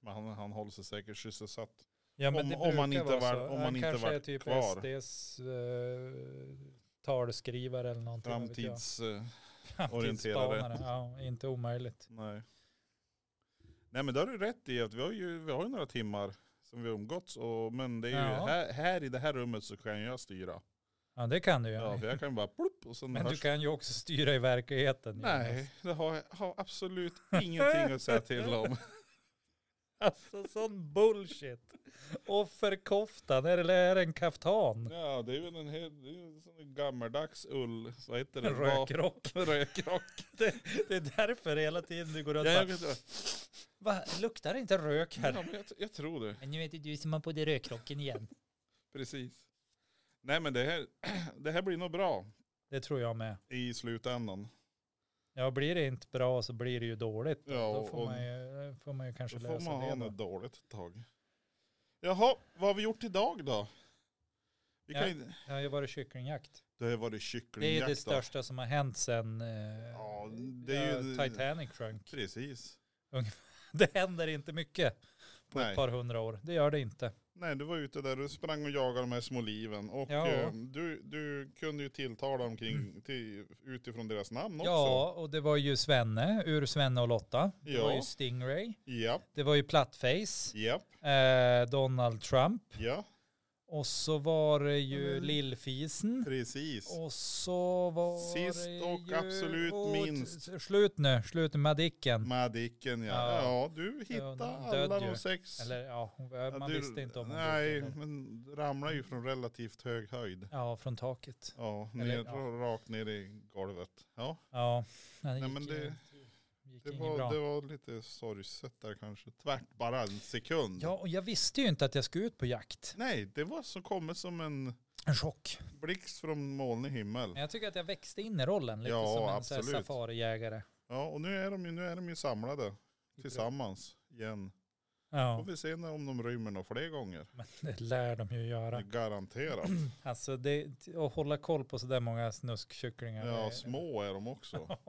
[SPEAKER 1] men han, han håller sig säkert sysselsatt.
[SPEAKER 2] Ja,
[SPEAKER 1] Om-
[SPEAKER 2] det
[SPEAKER 1] om han
[SPEAKER 2] brukar
[SPEAKER 1] inte
[SPEAKER 2] vara
[SPEAKER 1] var-
[SPEAKER 2] så.
[SPEAKER 1] om
[SPEAKER 2] Han
[SPEAKER 1] han inte
[SPEAKER 2] kanske är
[SPEAKER 1] varit
[SPEAKER 2] typ
[SPEAKER 1] kvar.
[SPEAKER 2] SDs eh, talskrivare eller någonting. vad vet jag.
[SPEAKER 1] Framtids... eh, orienterare.
[SPEAKER 2] Framtidsspanare, Ja, inte omöjligt.
[SPEAKER 1] Nej. Nej men där har du rätt i att vi har ju, vi har ju några timmar som vi har umgåtts. Och, men det är ju
[SPEAKER 2] Ja.
[SPEAKER 1] här, här i det här rummet så kan jag styra.
[SPEAKER 2] Ja, det kan du ju.
[SPEAKER 1] Ja, för jag kan ju bara plupp och sen
[SPEAKER 2] Men du
[SPEAKER 1] hörs
[SPEAKER 2] kan ju också styra i verkligheten.
[SPEAKER 1] Nej, det har jag har absolut ingenting att säga till om.
[SPEAKER 2] Alltså sån bullshit. Offerkoftan, eller är det en kaftan?
[SPEAKER 1] Ja, det är väl en, hel, det är ju en sån gammaldags ull, vad heter det?
[SPEAKER 2] En rökrock.
[SPEAKER 1] Va- Rökrock.
[SPEAKER 2] Det, det är därför hela tiden du går
[SPEAKER 1] Ja,
[SPEAKER 2] runt
[SPEAKER 1] jag,
[SPEAKER 2] och
[SPEAKER 1] vet, inte.
[SPEAKER 2] bara, Va, luktar det inte rök
[SPEAKER 1] ja,
[SPEAKER 2] här?
[SPEAKER 1] men jag, jag tror det,
[SPEAKER 2] Men nu är det du som har på dig rökrocken igen.
[SPEAKER 1] precis. Nej men det här, det här blir nog bra
[SPEAKER 2] Det tror jag med.
[SPEAKER 1] i slutändan.
[SPEAKER 2] Ja, blir det inte bra så blir det ju dåligt.
[SPEAKER 1] Ja,
[SPEAKER 2] då
[SPEAKER 1] och-
[SPEAKER 2] får man ju, får man ju kanske
[SPEAKER 1] Då får
[SPEAKER 2] lösa
[SPEAKER 1] man ha
[SPEAKER 2] det.
[SPEAKER 1] något
[SPEAKER 2] Då.
[SPEAKER 1] dåligt ett tag. Jaha, vad har vi gjort idag då? Vi
[SPEAKER 2] Ja.
[SPEAKER 1] kan ju,
[SPEAKER 2] Det har ju varit kycklingjakt.
[SPEAKER 1] det har varit
[SPEAKER 2] Det är ju
[SPEAKER 1] kycklingjakt.
[SPEAKER 2] det
[SPEAKER 1] då.
[SPEAKER 2] största som har hänt sedan eh,
[SPEAKER 1] Ja, det är ju-
[SPEAKER 2] eh, Titanic sjönk.
[SPEAKER 1] Precis.
[SPEAKER 2] Det händer inte mycket på
[SPEAKER 1] Nej.
[SPEAKER 2] ett par hundra år. Det gör det inte.
[SPEAKER 1] Nej, du var ute där och sprang och jagade de här små liven. Och
[SPEAKER 2] Ja. Mm.
[SPEAKER 1] eh, du, du kunde ju tilltala dem kring, till, utifrån deras namn också.
[SPEAKER 2] Ja, och det var ju Svenne ur Svenne och Lotta. Det
[SPEAKER 1] Ja.
[SPEAKER 2] var ju Stingray.
[SPEAKER 1] Ja.
[SPEAKER 2] Det var ju Plattface.
[SPEAKER 1] Ja.
[SPEAKER 2] Eh, Donald Trump.
[SPEAKER 1] Ja.
[SPEAKER 2] Och så var det ju
[SPEAKER 1] Mm.
[SPEAKER 2] Lillfisen.
[SPEAKER 1] Precis.
[SPEAKER 2] Och så var
[SPEAKER 1] Sist
[SPEAKER 2] det
[SPEAKER 1] och
[SPEAKER 2] ju...
[SPEAKER 1] absolut
[SPEAKER 2] och t-
[SPEAKER 1] minst.
[SPEAKER 2] t- Slut nu, slut med Madicken.
[SPEAKER 1] Madicken ja.
[SPEAKER 2] Ja.
[SPEAKER 1] ja. du hittade
[SPEAKER 2] hon död
[SPEAKER 1] alla
[SPEAKER 2] ju.
[SPEAKER 1] de sex.
[SPEAKER 2] Eller ja, hon-
[SPEAKER 1] Ja,
[SPEAKER 2] man
[SPEAKER 1] du-
[SPEAKER 2] visste inte om hon
[SPEAKER 1] Nej,
[SPEAKER 2] dog eller- Mm.
[SPEAKER 1] men ramlar ju från relativt hög höjd.
[SPEAKER 2] Ja, från taket.
[SPEAKER 1] Ja, ner,
[SPEAKER 2] Eller,
[SPEAKER 1] rakt ner i golvet. Ja,
[SPEAKER 2] Ja, det
[SPEAKER 1] Nej,
[SPEAKER 2] gick,
[SPEAKER 1] men
[SPEAKER 2] ju-
[SPEAKER 1] det-
[SPEAKER 2] gick
[SPEAKER 1] det
[SPEAKER 2] inget
[SPEAKER 1] var,
[SPEAKER 2] bra.
[SPEAKER 1] det var lite sorgset där kanske. Tvärt bara en sekund.
[SPEAKER 2] Ja, och jag visste ju inte att jag skulle ut på jakt.
[SPEAKER 1] Nej, det var som kommit som en
[SPEAKER 2] En chock.
[SPEAKER 1] blixt från molnig himmel.
[SPEAKER 2] Men jag tycker att jag växte in i rollen lite
[SPEAKER 1] Ja,
[SPEAKER 2] som en så här
[SPEAKER 1] absolut.
[SPEAKER 2] safarijägare.
[SPEAKER 1] Ja, och nu är de ju, nu är de ju samlade tillsammans igen.
[SPEAKER 2] Ja,
[SPEAKER 1] Får vi se när, om de rymmer några fler gånger.
[SPEAKER 2] men det lär de ju
[SPEAKER 1] Det är
[SPEAKER 2] göra.
[SPEAKER 1] Garanterat.
[SPEAKER 2] Alltså det, att hålla koll på sådär många snuskkycklingar.
[SPEAKER 1] Ja,
[SPEAKER 2] det-
[SPEAKER 1] små är de också.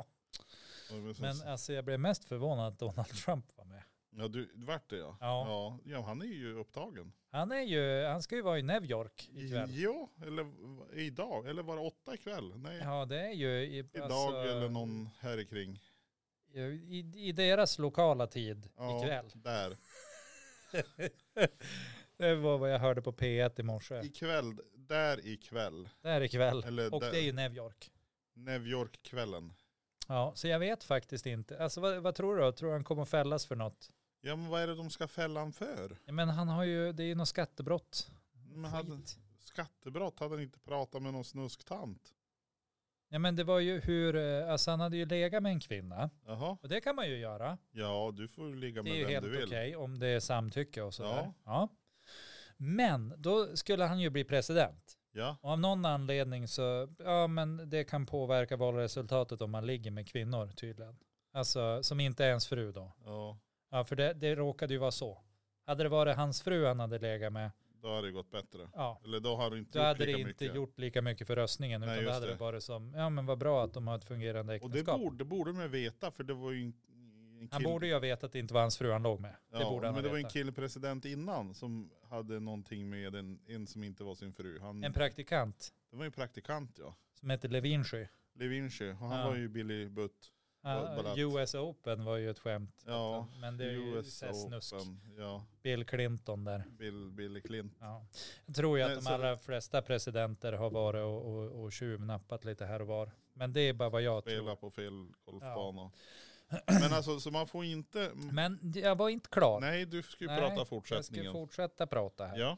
[SPEAKER 1] Och det är så-
[SPEAKER 2] Men alltså jag blev mest förvånad att Donald Trump var med.
[SPEAKER 1] Ja, du, vart det ja.
[SPEAKER 2] Ja.
[SPEAKER 1] ja. Ja, han är ju upptagen.
[SPEAKER 2] Han, är ju, han ska ju vara i New York ikväll.
[SPEAKER 1] Ja, eller v- idag, eller var det åtta ikväll? Nej,
[SPEAKER 2] Ja, det är ju i,
[SPEAKER 1] idag
[SPEAKER 2] alltså,
[SPEAKER 1] eller någon här ikring.
[SPEAKER 2] Eh, i, i deras lokala tid
[SPEAKER 1] Ja,
[SPEAKER 2] ikväll.
[SPEAKER 1] Där.
[SPEAKER 2] Det var vad jag hörde på P1 i morse.
[SPEAKER 1] Ikväll, där ikväll.
[SPEAKER 2] Där ikväll.
[SPEAKER 1] Eller
[SPEAKER 2] Och
[SPEAKER 1] Eh, där,
[SPEAKER 2] det är ju New York.
[SPEAKER 1] New York-kvällen.
[SPEAKER 2] Ja, så jag vet faktiskt inte. Alltså vad, vad tror du? då? Tror du han kommer fällas för något?
[SPEAKER 1] Ja, men vad är det de ska fälla han för?
[SPEAKER 2] Ja, Men han har ju, det är ju något skattebrott.
[SPEAKER 1] Men hade,
[SPEAKER 2] Skit.
[SPEAKER 1] skattebrott, hade han inte pratat med någon snusktant?
[SPEAKER 2] Ja men det var ju hur, eh, alltså han hade ju legat med en kvinna.
[SPEAKER 1] Jaha,
[SPEAKER 2] Och det kan man ju göra.
[SPEAKER 1] ja du får ju ligga
[SPEAKER 2] Det är ju
[SPEAKER 1] med vem
[SPEAKER 2] helt
[SPEAKER 1] du
[SPEAKER 2] okej
[SPEAKER 1] vill.
[SPEAKER 2] om det är samtycke och sådär. Ja.
[SPEAKER 1] Ja.
[SPEAKER 2] Men då skulle han ju bli president.
[SPEAKER 1] Ja,
[SPEAKER 2] Och av någon anledning så, ja men det kan påverka valresultatet om man ligger med kvinnor tydligen. Alltså som inte är ens fru då.
[SPEAKER 1] ja,
[SPEAKER 2] Ja för det, det råkade ju vara så. Hade det varit hans fru han hade legat med,
[SPEAKER 1] då hade det gått bättre.
[SPEAKER 2] ja.
[SPEAKER 1] Eller då har du inte
[SPEAKER 2] Då
[SPEAKER 1] gjort
[SPEAKER 2] hade det
[SPEAKER 1] lika
[SPEAKER 2] inte
[SPEAKER 1] mycket.
[SPEAKER 2] gjort lika mycket för röstningen
[SPEAKER 1] Nej,
[SPEAKER 2] utan då
[SPEAKER 1] just
[SPEAKER 2] hade det.
[SPEAKER 1] det.
[SPEAKER 2] varit som, ja men vad bra att de har ett fungerande
[SPEAKER 1] Och det
[SPEAKER 2] äktenskap.
[SPEAKER 1] borde, det borde man veta, för det var ju en, en
[SPEAKER 2] Han
[SPEAKER 1] kill-
[SPEAKER 2] borde ju ha vetat att det inte var hans fru han låg med.
[SPEAKER 1] Ja,
[SPEAKER 2] det borde han
[SPEAKER 1] men
[SPEAKER 2] ha
[SPEAKER 1] det var en
[SPEAKER 2] vetat.
[SPEAKER 1] killpresident innan som hade någonting med en, en som inte var sin fru. Han,
[SPEAKER 2] En praktikant
[SPEAKER 1] det var ju en praktikant ja.
[SPEAKER 2] som hette Levinsky.
[SPEAKER 1] Levinsky, och han
[SPEAKER 2] Ja.
[SPEAKER 1] var ju Billy Butt.
[SPEAKER 2] Ja,
[SPEAKER 1] Ballett.
[SPEAKER 2] US Open var ju ett skämt.
[SPEAKER 1] Ja,
[SPEAKER 2] Men det är ju
[SPEAKER 1] US
[SPEAKER 2] så här snusk.
[SPEAKER 1] Open. Ja,
[SPEAKER 2] Bill Clinton där.
[SPEAKER 1] Bill, Billy Clinton.
[SPEAKER 2] Ja. Jag tror ju
[SPEAKER 1] Nej,
[SPEAKER 2] att de
[SPEAKER 1] så-
[SPEAKER 2] allra flesta presidenter har varit och, och, och tjuvnappat lite här och var. Men det är bara vad jag
[SPEAKER 1] Spela
[SPEAKER 2] tror.
[SPEAKER 1] på fel golfbana. Men alltså, så man får inte...
[SPEAKER 2] Men jag var inte klar.
[SPEAKER 1] Nej, du ska ju
[SPEAKER 2] Nej,
[SPEAKER 1] prata
[SPEAKER 2] jag ska
[SPEAKER 1] fortsättningen.
[SPEAKER 2] fortsätta prata här.
[SPEAKER 1] Ja,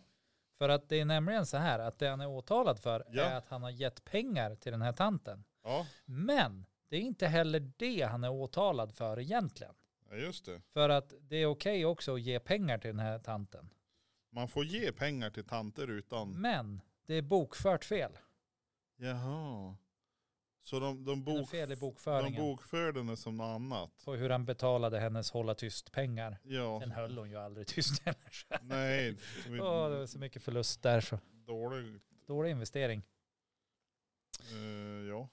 [SPEAKER 2] För att det är nämligen så här att det han är åtalad för
[SPEAKER 1] Ja.
[SPEAKER 2] är att han har gett pengar till den här tanten.
[SPEAKER 1] ja,
[SPEAKER 2] Men det är inte heller det han är åtalad för egentligen.
[SPEAKER 1] ja, just det.
[SPEAKER 2] För att det är okej också att ge pengar till den här tanten.
[SPEAKER 1] Mm. Man får ge pengar till tanter utan...
[SPEAKER 2] Men det är bokfört fel.
[SPEAKER 1] Jaha. Så de, de,
[SPEAKER 2] Det är
[SPEAKER 1] bok,
[SPEAKER 2] något fel i
[SPEAKER 1] de
[SPEAKER 2] bokföringen
[SPEAKER 1] bokförde henne som något annat?
[SPEAKER 2] på hur han betalade hennes hålla tyst-pengar.
[SPEAKER 1] Ja.
[SPEAKER 2] Den höll hon ju aldrig tyst heller. så.
[SPEAKER 1] Nej, det
[SPEAKER 2] Åh, det
[SPEAKER 1] var
[SPEAKER 2] var så mycket förlust där så.
[SPEAKER 1] dåligt.
[SPEAKER 2] Dålig investering.
[SPEAKER 1] Eh, ja.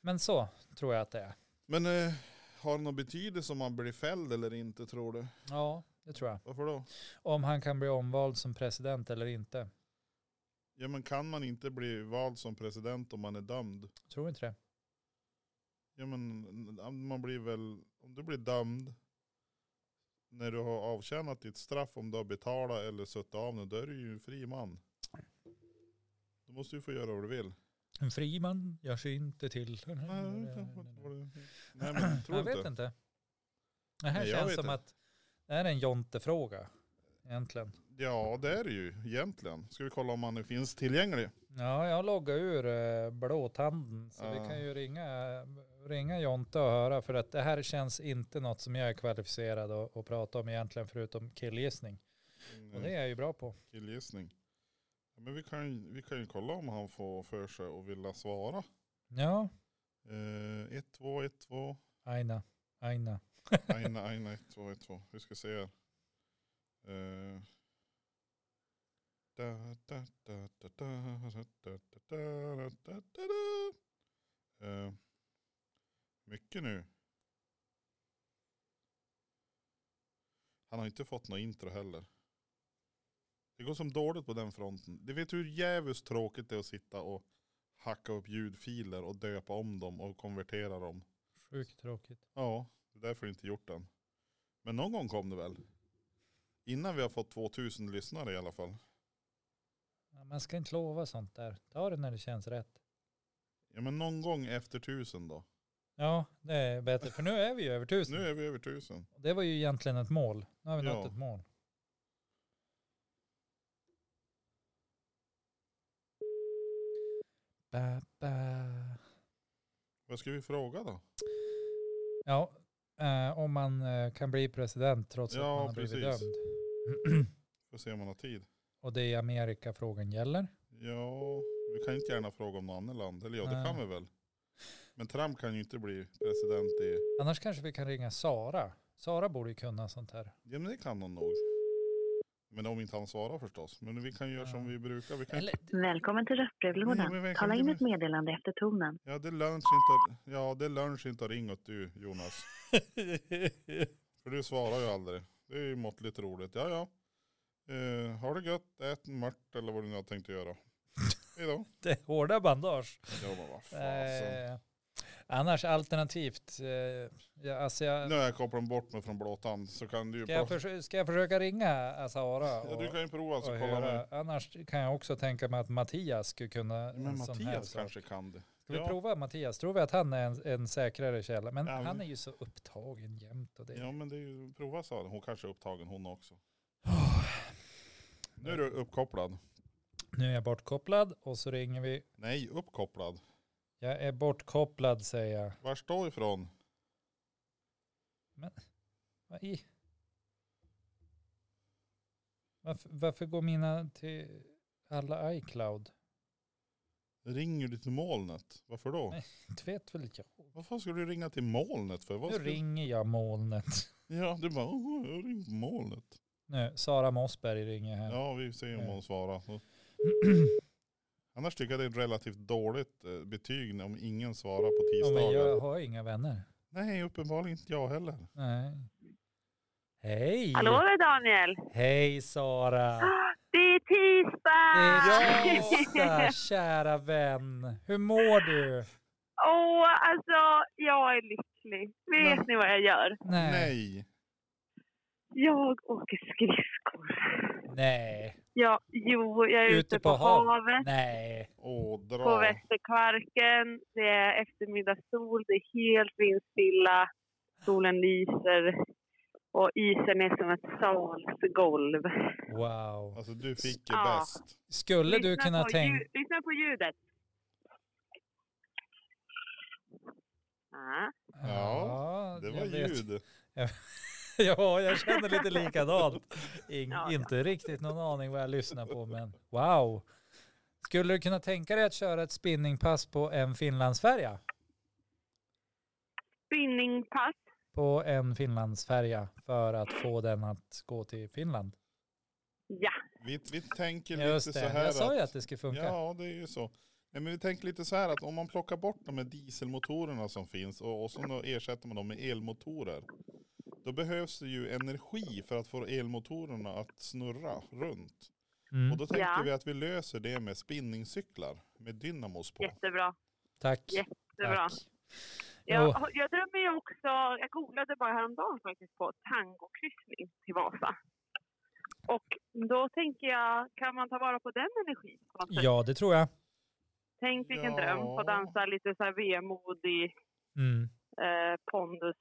[SPEAKER 2] Men så tror jag att det är.
[SPEAKER 1] Men eh, har det någon betydelse om man blir fälld eller inte tror du?
[SPEAKER 2] Ja, det tror jag.
[SPEAKER 1] Varför då?
[SPEAKER 2] Om han kan bli omvald som president eller inte.
[SPEAKER 1] Ja men kan man inte bli vald som president om man är dömd?
[SPEAKER 2] Tror inte det.
[SPEAKER 1] Ja men n- man blir väl, om du blir dömd när du har avtjänat ditt straff, om du har betalat eller suttit av nu, då är du ju en fri man. Då måste du få göra vad du vill.
[SPEAKER 2] En fri man gör sig inte till.
[SPEAKER 1] Nej, jag vet inte vad det- Nej men tror
[SPEAKER 2] Mm. jag
[SPEAKER 1] du
[SPEAKER 2] vet
[SPEAKER 1] inte.
[SPEAKER 2] inte. Det här
[SPEAKER 1] Nej, jag
[SPEAKER 2] känns
[SPEAKER 1] vet
[SPEAKER 2] som
[SPEAKER 1] inte.
[SPEAKER 2] att det här är en Jonte-fråga. Egentligen.
[SPEAKER 1] Ja det är det ju egentligen. Ska vi kolla om han nu finns tillgänglig?
[SPEAKER 2] Ja, jag loggar ur eh, blåtanden. Så vi
[SPEAKER 1] Ja.
[SPEAKER 2] kan ju ringa, ringa Jonte och höra. För att det här känns inte något som jag är kvalificerad att, att prata om egentligen. Förutom killgissning. Och
[SPEAKER 1] Mm.
[SPEAKER 2] det är jag ju bra på.
[SPEAKER 1] Killgissning. Ja, Men vi kan, ju- vi kan ju kolla om han får för sig och vilja svara.
[SPEAKER 2] Ja,
[SPEAKER 1] Eh, 1, 2, 1, 2.
[SPEAKER 2] Aina. Aina.
[SPEAKER 1] Aina, aina, 1, 2, 1, 2. Vi ska se här. Eh. Da, da, da, da, da, da, da, da, da, da, da, da. Eh, Mycket nu. Han har inte fått något intro heller. Det går som dåligt på den fronten. Du vet hur jävligt tråkigt det är att sitta och hacka upp ljudfiler och döpa om dem och konvertera dem.
[SPEAKER 2] Sjukt tråkigt.
[SPEAKER 1] Ja, det är därför jag inte gjort den. Men någon gång kom det väl? Innan vi har fått 2000 lyssnare i alla fall.
[SPEAKER 2] Ja, Man ska inte lova sånt där. Ta det när det känns rätt.
[SPEAKER 1] Ja men någon gång efter 1000 då.
[SPEAKER 2] Ja, det är bättre. För nu är vi ju över tusen.
[SPEAKER 1] Nu är vi över 1000.
[SPEAKER 2] Det var ju egentligen ett mål. Nu har vi
[SPEAKER 1] Ja.
[SPEAKER 2] nått ett mål. Ba, ba.
[SPEAKER 1] Vad ska vi fråga då?
[SPEAKER 2] Ja, eh, om man eh, kan bli president trots
[SPEAKER 1] Ja,
[SPEAKER 2] att man har blivit
[SPEAKER 1] precis.
[SPEAKER 2] dömd.
[SPEAKER 1] Får se om man har tid.
[SPEAKER 2] Och det är i Amerika frågan gäller.
[SPEAKER 1] Ja, vi kan inte gärna fråga om något annat land. Eller ja, det
[SPEAKER 2] Nej.
[SPEAKER 1] kan vi väl. Men Trump kan ju inte bli president i...
[SPEAKER 2] Annars kanske vi kan ringa Sara. Sara borde ju kunna sånt här.
[SPEAKER 1] Ja men det kan han nog. Men om inte han svarar förstås. Men vi kan göra som vi brukar. Vi kan...
[SPEAKER 2] Eller,
[SPEAKER 3] Välkommen till
[SPEAKER 1] Nej, men
[SPEAKER 3] röstbrevlådan.
[SPEAKER 1] välkommen
[SPEAKER 3] Tala
[SPEAKER 1] till
[SPEAKER 3] in ett
[SPEAKER 1] mig.
[SPEAKER 3] meddelande efter tonen.
[SPEAKER 1] Ja det är lunch inte... Ja det är lunch inte har ringt du Jonas. För du svarar ju aldrig. Det är ju måttligt roligt. Ja, ja. Eh, har det gött, ät en mört eller vad du nu har tänkt att göra. Hejdå.
[SPEAKER 2] det är hårda bandage.
[SPEAKER 1] Ja, men vad fasen.
[SPEAKER 2] Eh, annars alternativt. Eh, ja, alltså jag,
[SPEAKER 1] Nu har jag kopplat bort mig från blåtand så kan du ju...
[SPEAKER 2] Ska jag,
[SPEAKER 1] prova-
[SPEAKER 2] försö- ska jag försöka ringa Sara
[SPEAKER 1] Ja,
[SPEAKER 2] och,
[SPEAKER 1] du kan ju prova så
[SPEAKER 2] och
[SPEAKER 1] kolla
[SPEAKER 2] höra?
[SPEAKER 1] med.
[SPEAKER 2] Annars kan jag också tänka mig att Mattias skulle kunna
[SPEAKER 1] Men
[SPEAKER 2] en sån här
[SPEAKER 1] Mattias
[SPEAKER 2] sak.
[SPEAKER 1] kanske kan det.
[SPEAKER 2] Ska vi
[SPEAKER 1] Ja.
[SPEAKER 2] prova Mattias? Tror vi att han är en, en säkrare källa? Men
[SPEAKER 1] Ja, men-
[SPEAKER 2] han är ju så upptagen jämt och det.
[SPEAKER 1] Ja men det är ju, prova sa han. Hon kanske är upptagen hon också.
[SPEAKER 2] Åh,
[SPEAKER 1] Nu är du uppkopplad.
[SPEAKER 2] Nu är jag bortkopplad och så ringer vi.
[SPEAKER 1] Nej, uppkopplad.
[SPEAKER 2] Jag är bortkopplad säger jag.
[SPEAKER 1] Var står ifrån?
[SPEAKER 2] Vad i? Varför, varför går mina till alla iCloud?
[SPEAKER 1] Ringer du till molnet? Varför då?
[SPEAKER 2] Nej. Inte vet väl jag.
[SPEAKER 1] Varför ska du ringa till molnet för? Vad
[SPEAKER 2] Nu
[SPEAKER 1] ska-
[SPEAKER 2] ringer jag molnet.
[SPEAKER 1] Ja, du bara, "Åh, jag ringer molnet.
[SPEAKER 2] Nu, Sara Mossberg ringer här.
[SPEAKER 1] Ja, vi ser om
[SPEAKER 2] Ja.
[SPEAKER 1] hon svarar. Så- Annars tycker jag det är ett relativt dåligt eh, betyg om ingen svarar på
[SPEAKER 2] Ja, men
[SPEAKER 1] tisdagar.
[SPEAKER 2] jag har inga vänner.
[SPEAKER 1] Nej, uppenbarligen inte jag heller.
[SPEAKER 2] Nej. Hej!
[SPEAKER 3] Hallå det är Daniel!
[SPEAKER 2] Hej Sara!
[SPEAKER 3] Det är
[SPEAKER 2] Det
[SPEAKER 3] tisdag!
[SPEAKER 2] är tisdag, kära vän. Hur mår du?
[SPEAKER 3] Åh, alltså jag är lycklig. Vet
[SPEAKER 1] Men-
[SPEAKER 3] ni vad jag gör?
[SPEAKER 2] Nej.
[SPEAKER 1] Nej.
[SPEAKER 3] Jag åker skridskor.
[SPEAKER 2] Nej.
[SPEAKER 3] Ja, jo, jag är ute, på,
[SPEAKER 2] hav-
[SPEAKER 3] havet,
[SPEAKER 2] Nej.
[SPEAKER 1] Åh,
[SPEAKER 3] på
[SPEAKER 1] dra.
[SPEAKER 3] Västerkvarken. Det är eftermiddagssol, det är helt vindstilla. Solen lyser och isen är som ett salsgolv.
[SPEAKER 2] Wow.
[SPEAKER 1] Alltså du fick ju
[SPEAKER 3] Ja.
[SPEAKER 1] bäst.
[SPEAKER 2] Skulle du
[SPEAKER 3] Lyssna
[SPEAKER 2] kunna
[SPEAKER 3] på
[SPEAKER 2] tänka...
[SPEAKER 3] ljud- Lyssna på ljudet. Ah.
[SPEAKER 1] Ja, Det
[SPEAKER 2] jag
[SPEAKER 1] var
[SPEAKER 2] vet.
[SPEAKER 1] ljud.
[SPEAKER 2] Ja, jag känner lite likadant. In,
[SPEAKER 3] Ja, ja.
[SPEAKER 2] Inte riktigt någon aning vad jag lyssnar på, men wow. Skulle du kunna tänka dig att köra ett spinningpass på en Finlandsfärja?
[SPEAKER 3] Spinningpass.
[SPEAKER 2] På en Finlandsfärja för att få den att gå till Finland.
[SPEAKER 3] Ja,
[SPEAKER 1] Vi, vi tänker
[SPEAKER 2] Just
[SPEAKER 1] lite så
[SPEAKER 2] det,
[SPEAKER 1] här
[SPEAKER 2] jag sa ju
[SPEAKER 1] att-
[SPEAKER 2] att det skulle funka.
[SPEAKER 1] Ja, det är ju så. Nej, men vi tänker lite så här att om man plockar bort de här dieselmotorerna som finns och, och så då ersätter man dem med elmotorer. Då behövs det ju energi för att få elmotorerna att snurra runt. Och
[SPEAKER 2] Mm,
[SPEAKER 1] då tänker
[SPEAKER 3] Ja.
[SPEAKER 1] vi att vi löser det med spinningcyklar med dynamos på.
[SPEAKER 3] jättebra.
[SPEAKER 2] tack.
[SPEAKER 3] Yes, Det är bra.
[SPEAKER 2] tack. Jo.
[SPEAKER 3] Jag, jag drömmer ju också, jag googlade bara häromdagen faktiskt på tangokryssning till Vasa. Och då tänker jag, kan man ta vara på den energin på något sätt?
[SPEAKER 2] Ja, det tror jag.
[SPEAKER 3] Tänk vilken
[SPEAKER 1] Ja.
[SPEAKER 3] dröm, få dansa lite så här vemodig
[SPEAKER 2] Mm.
[SPEAKER 3] eh, pondus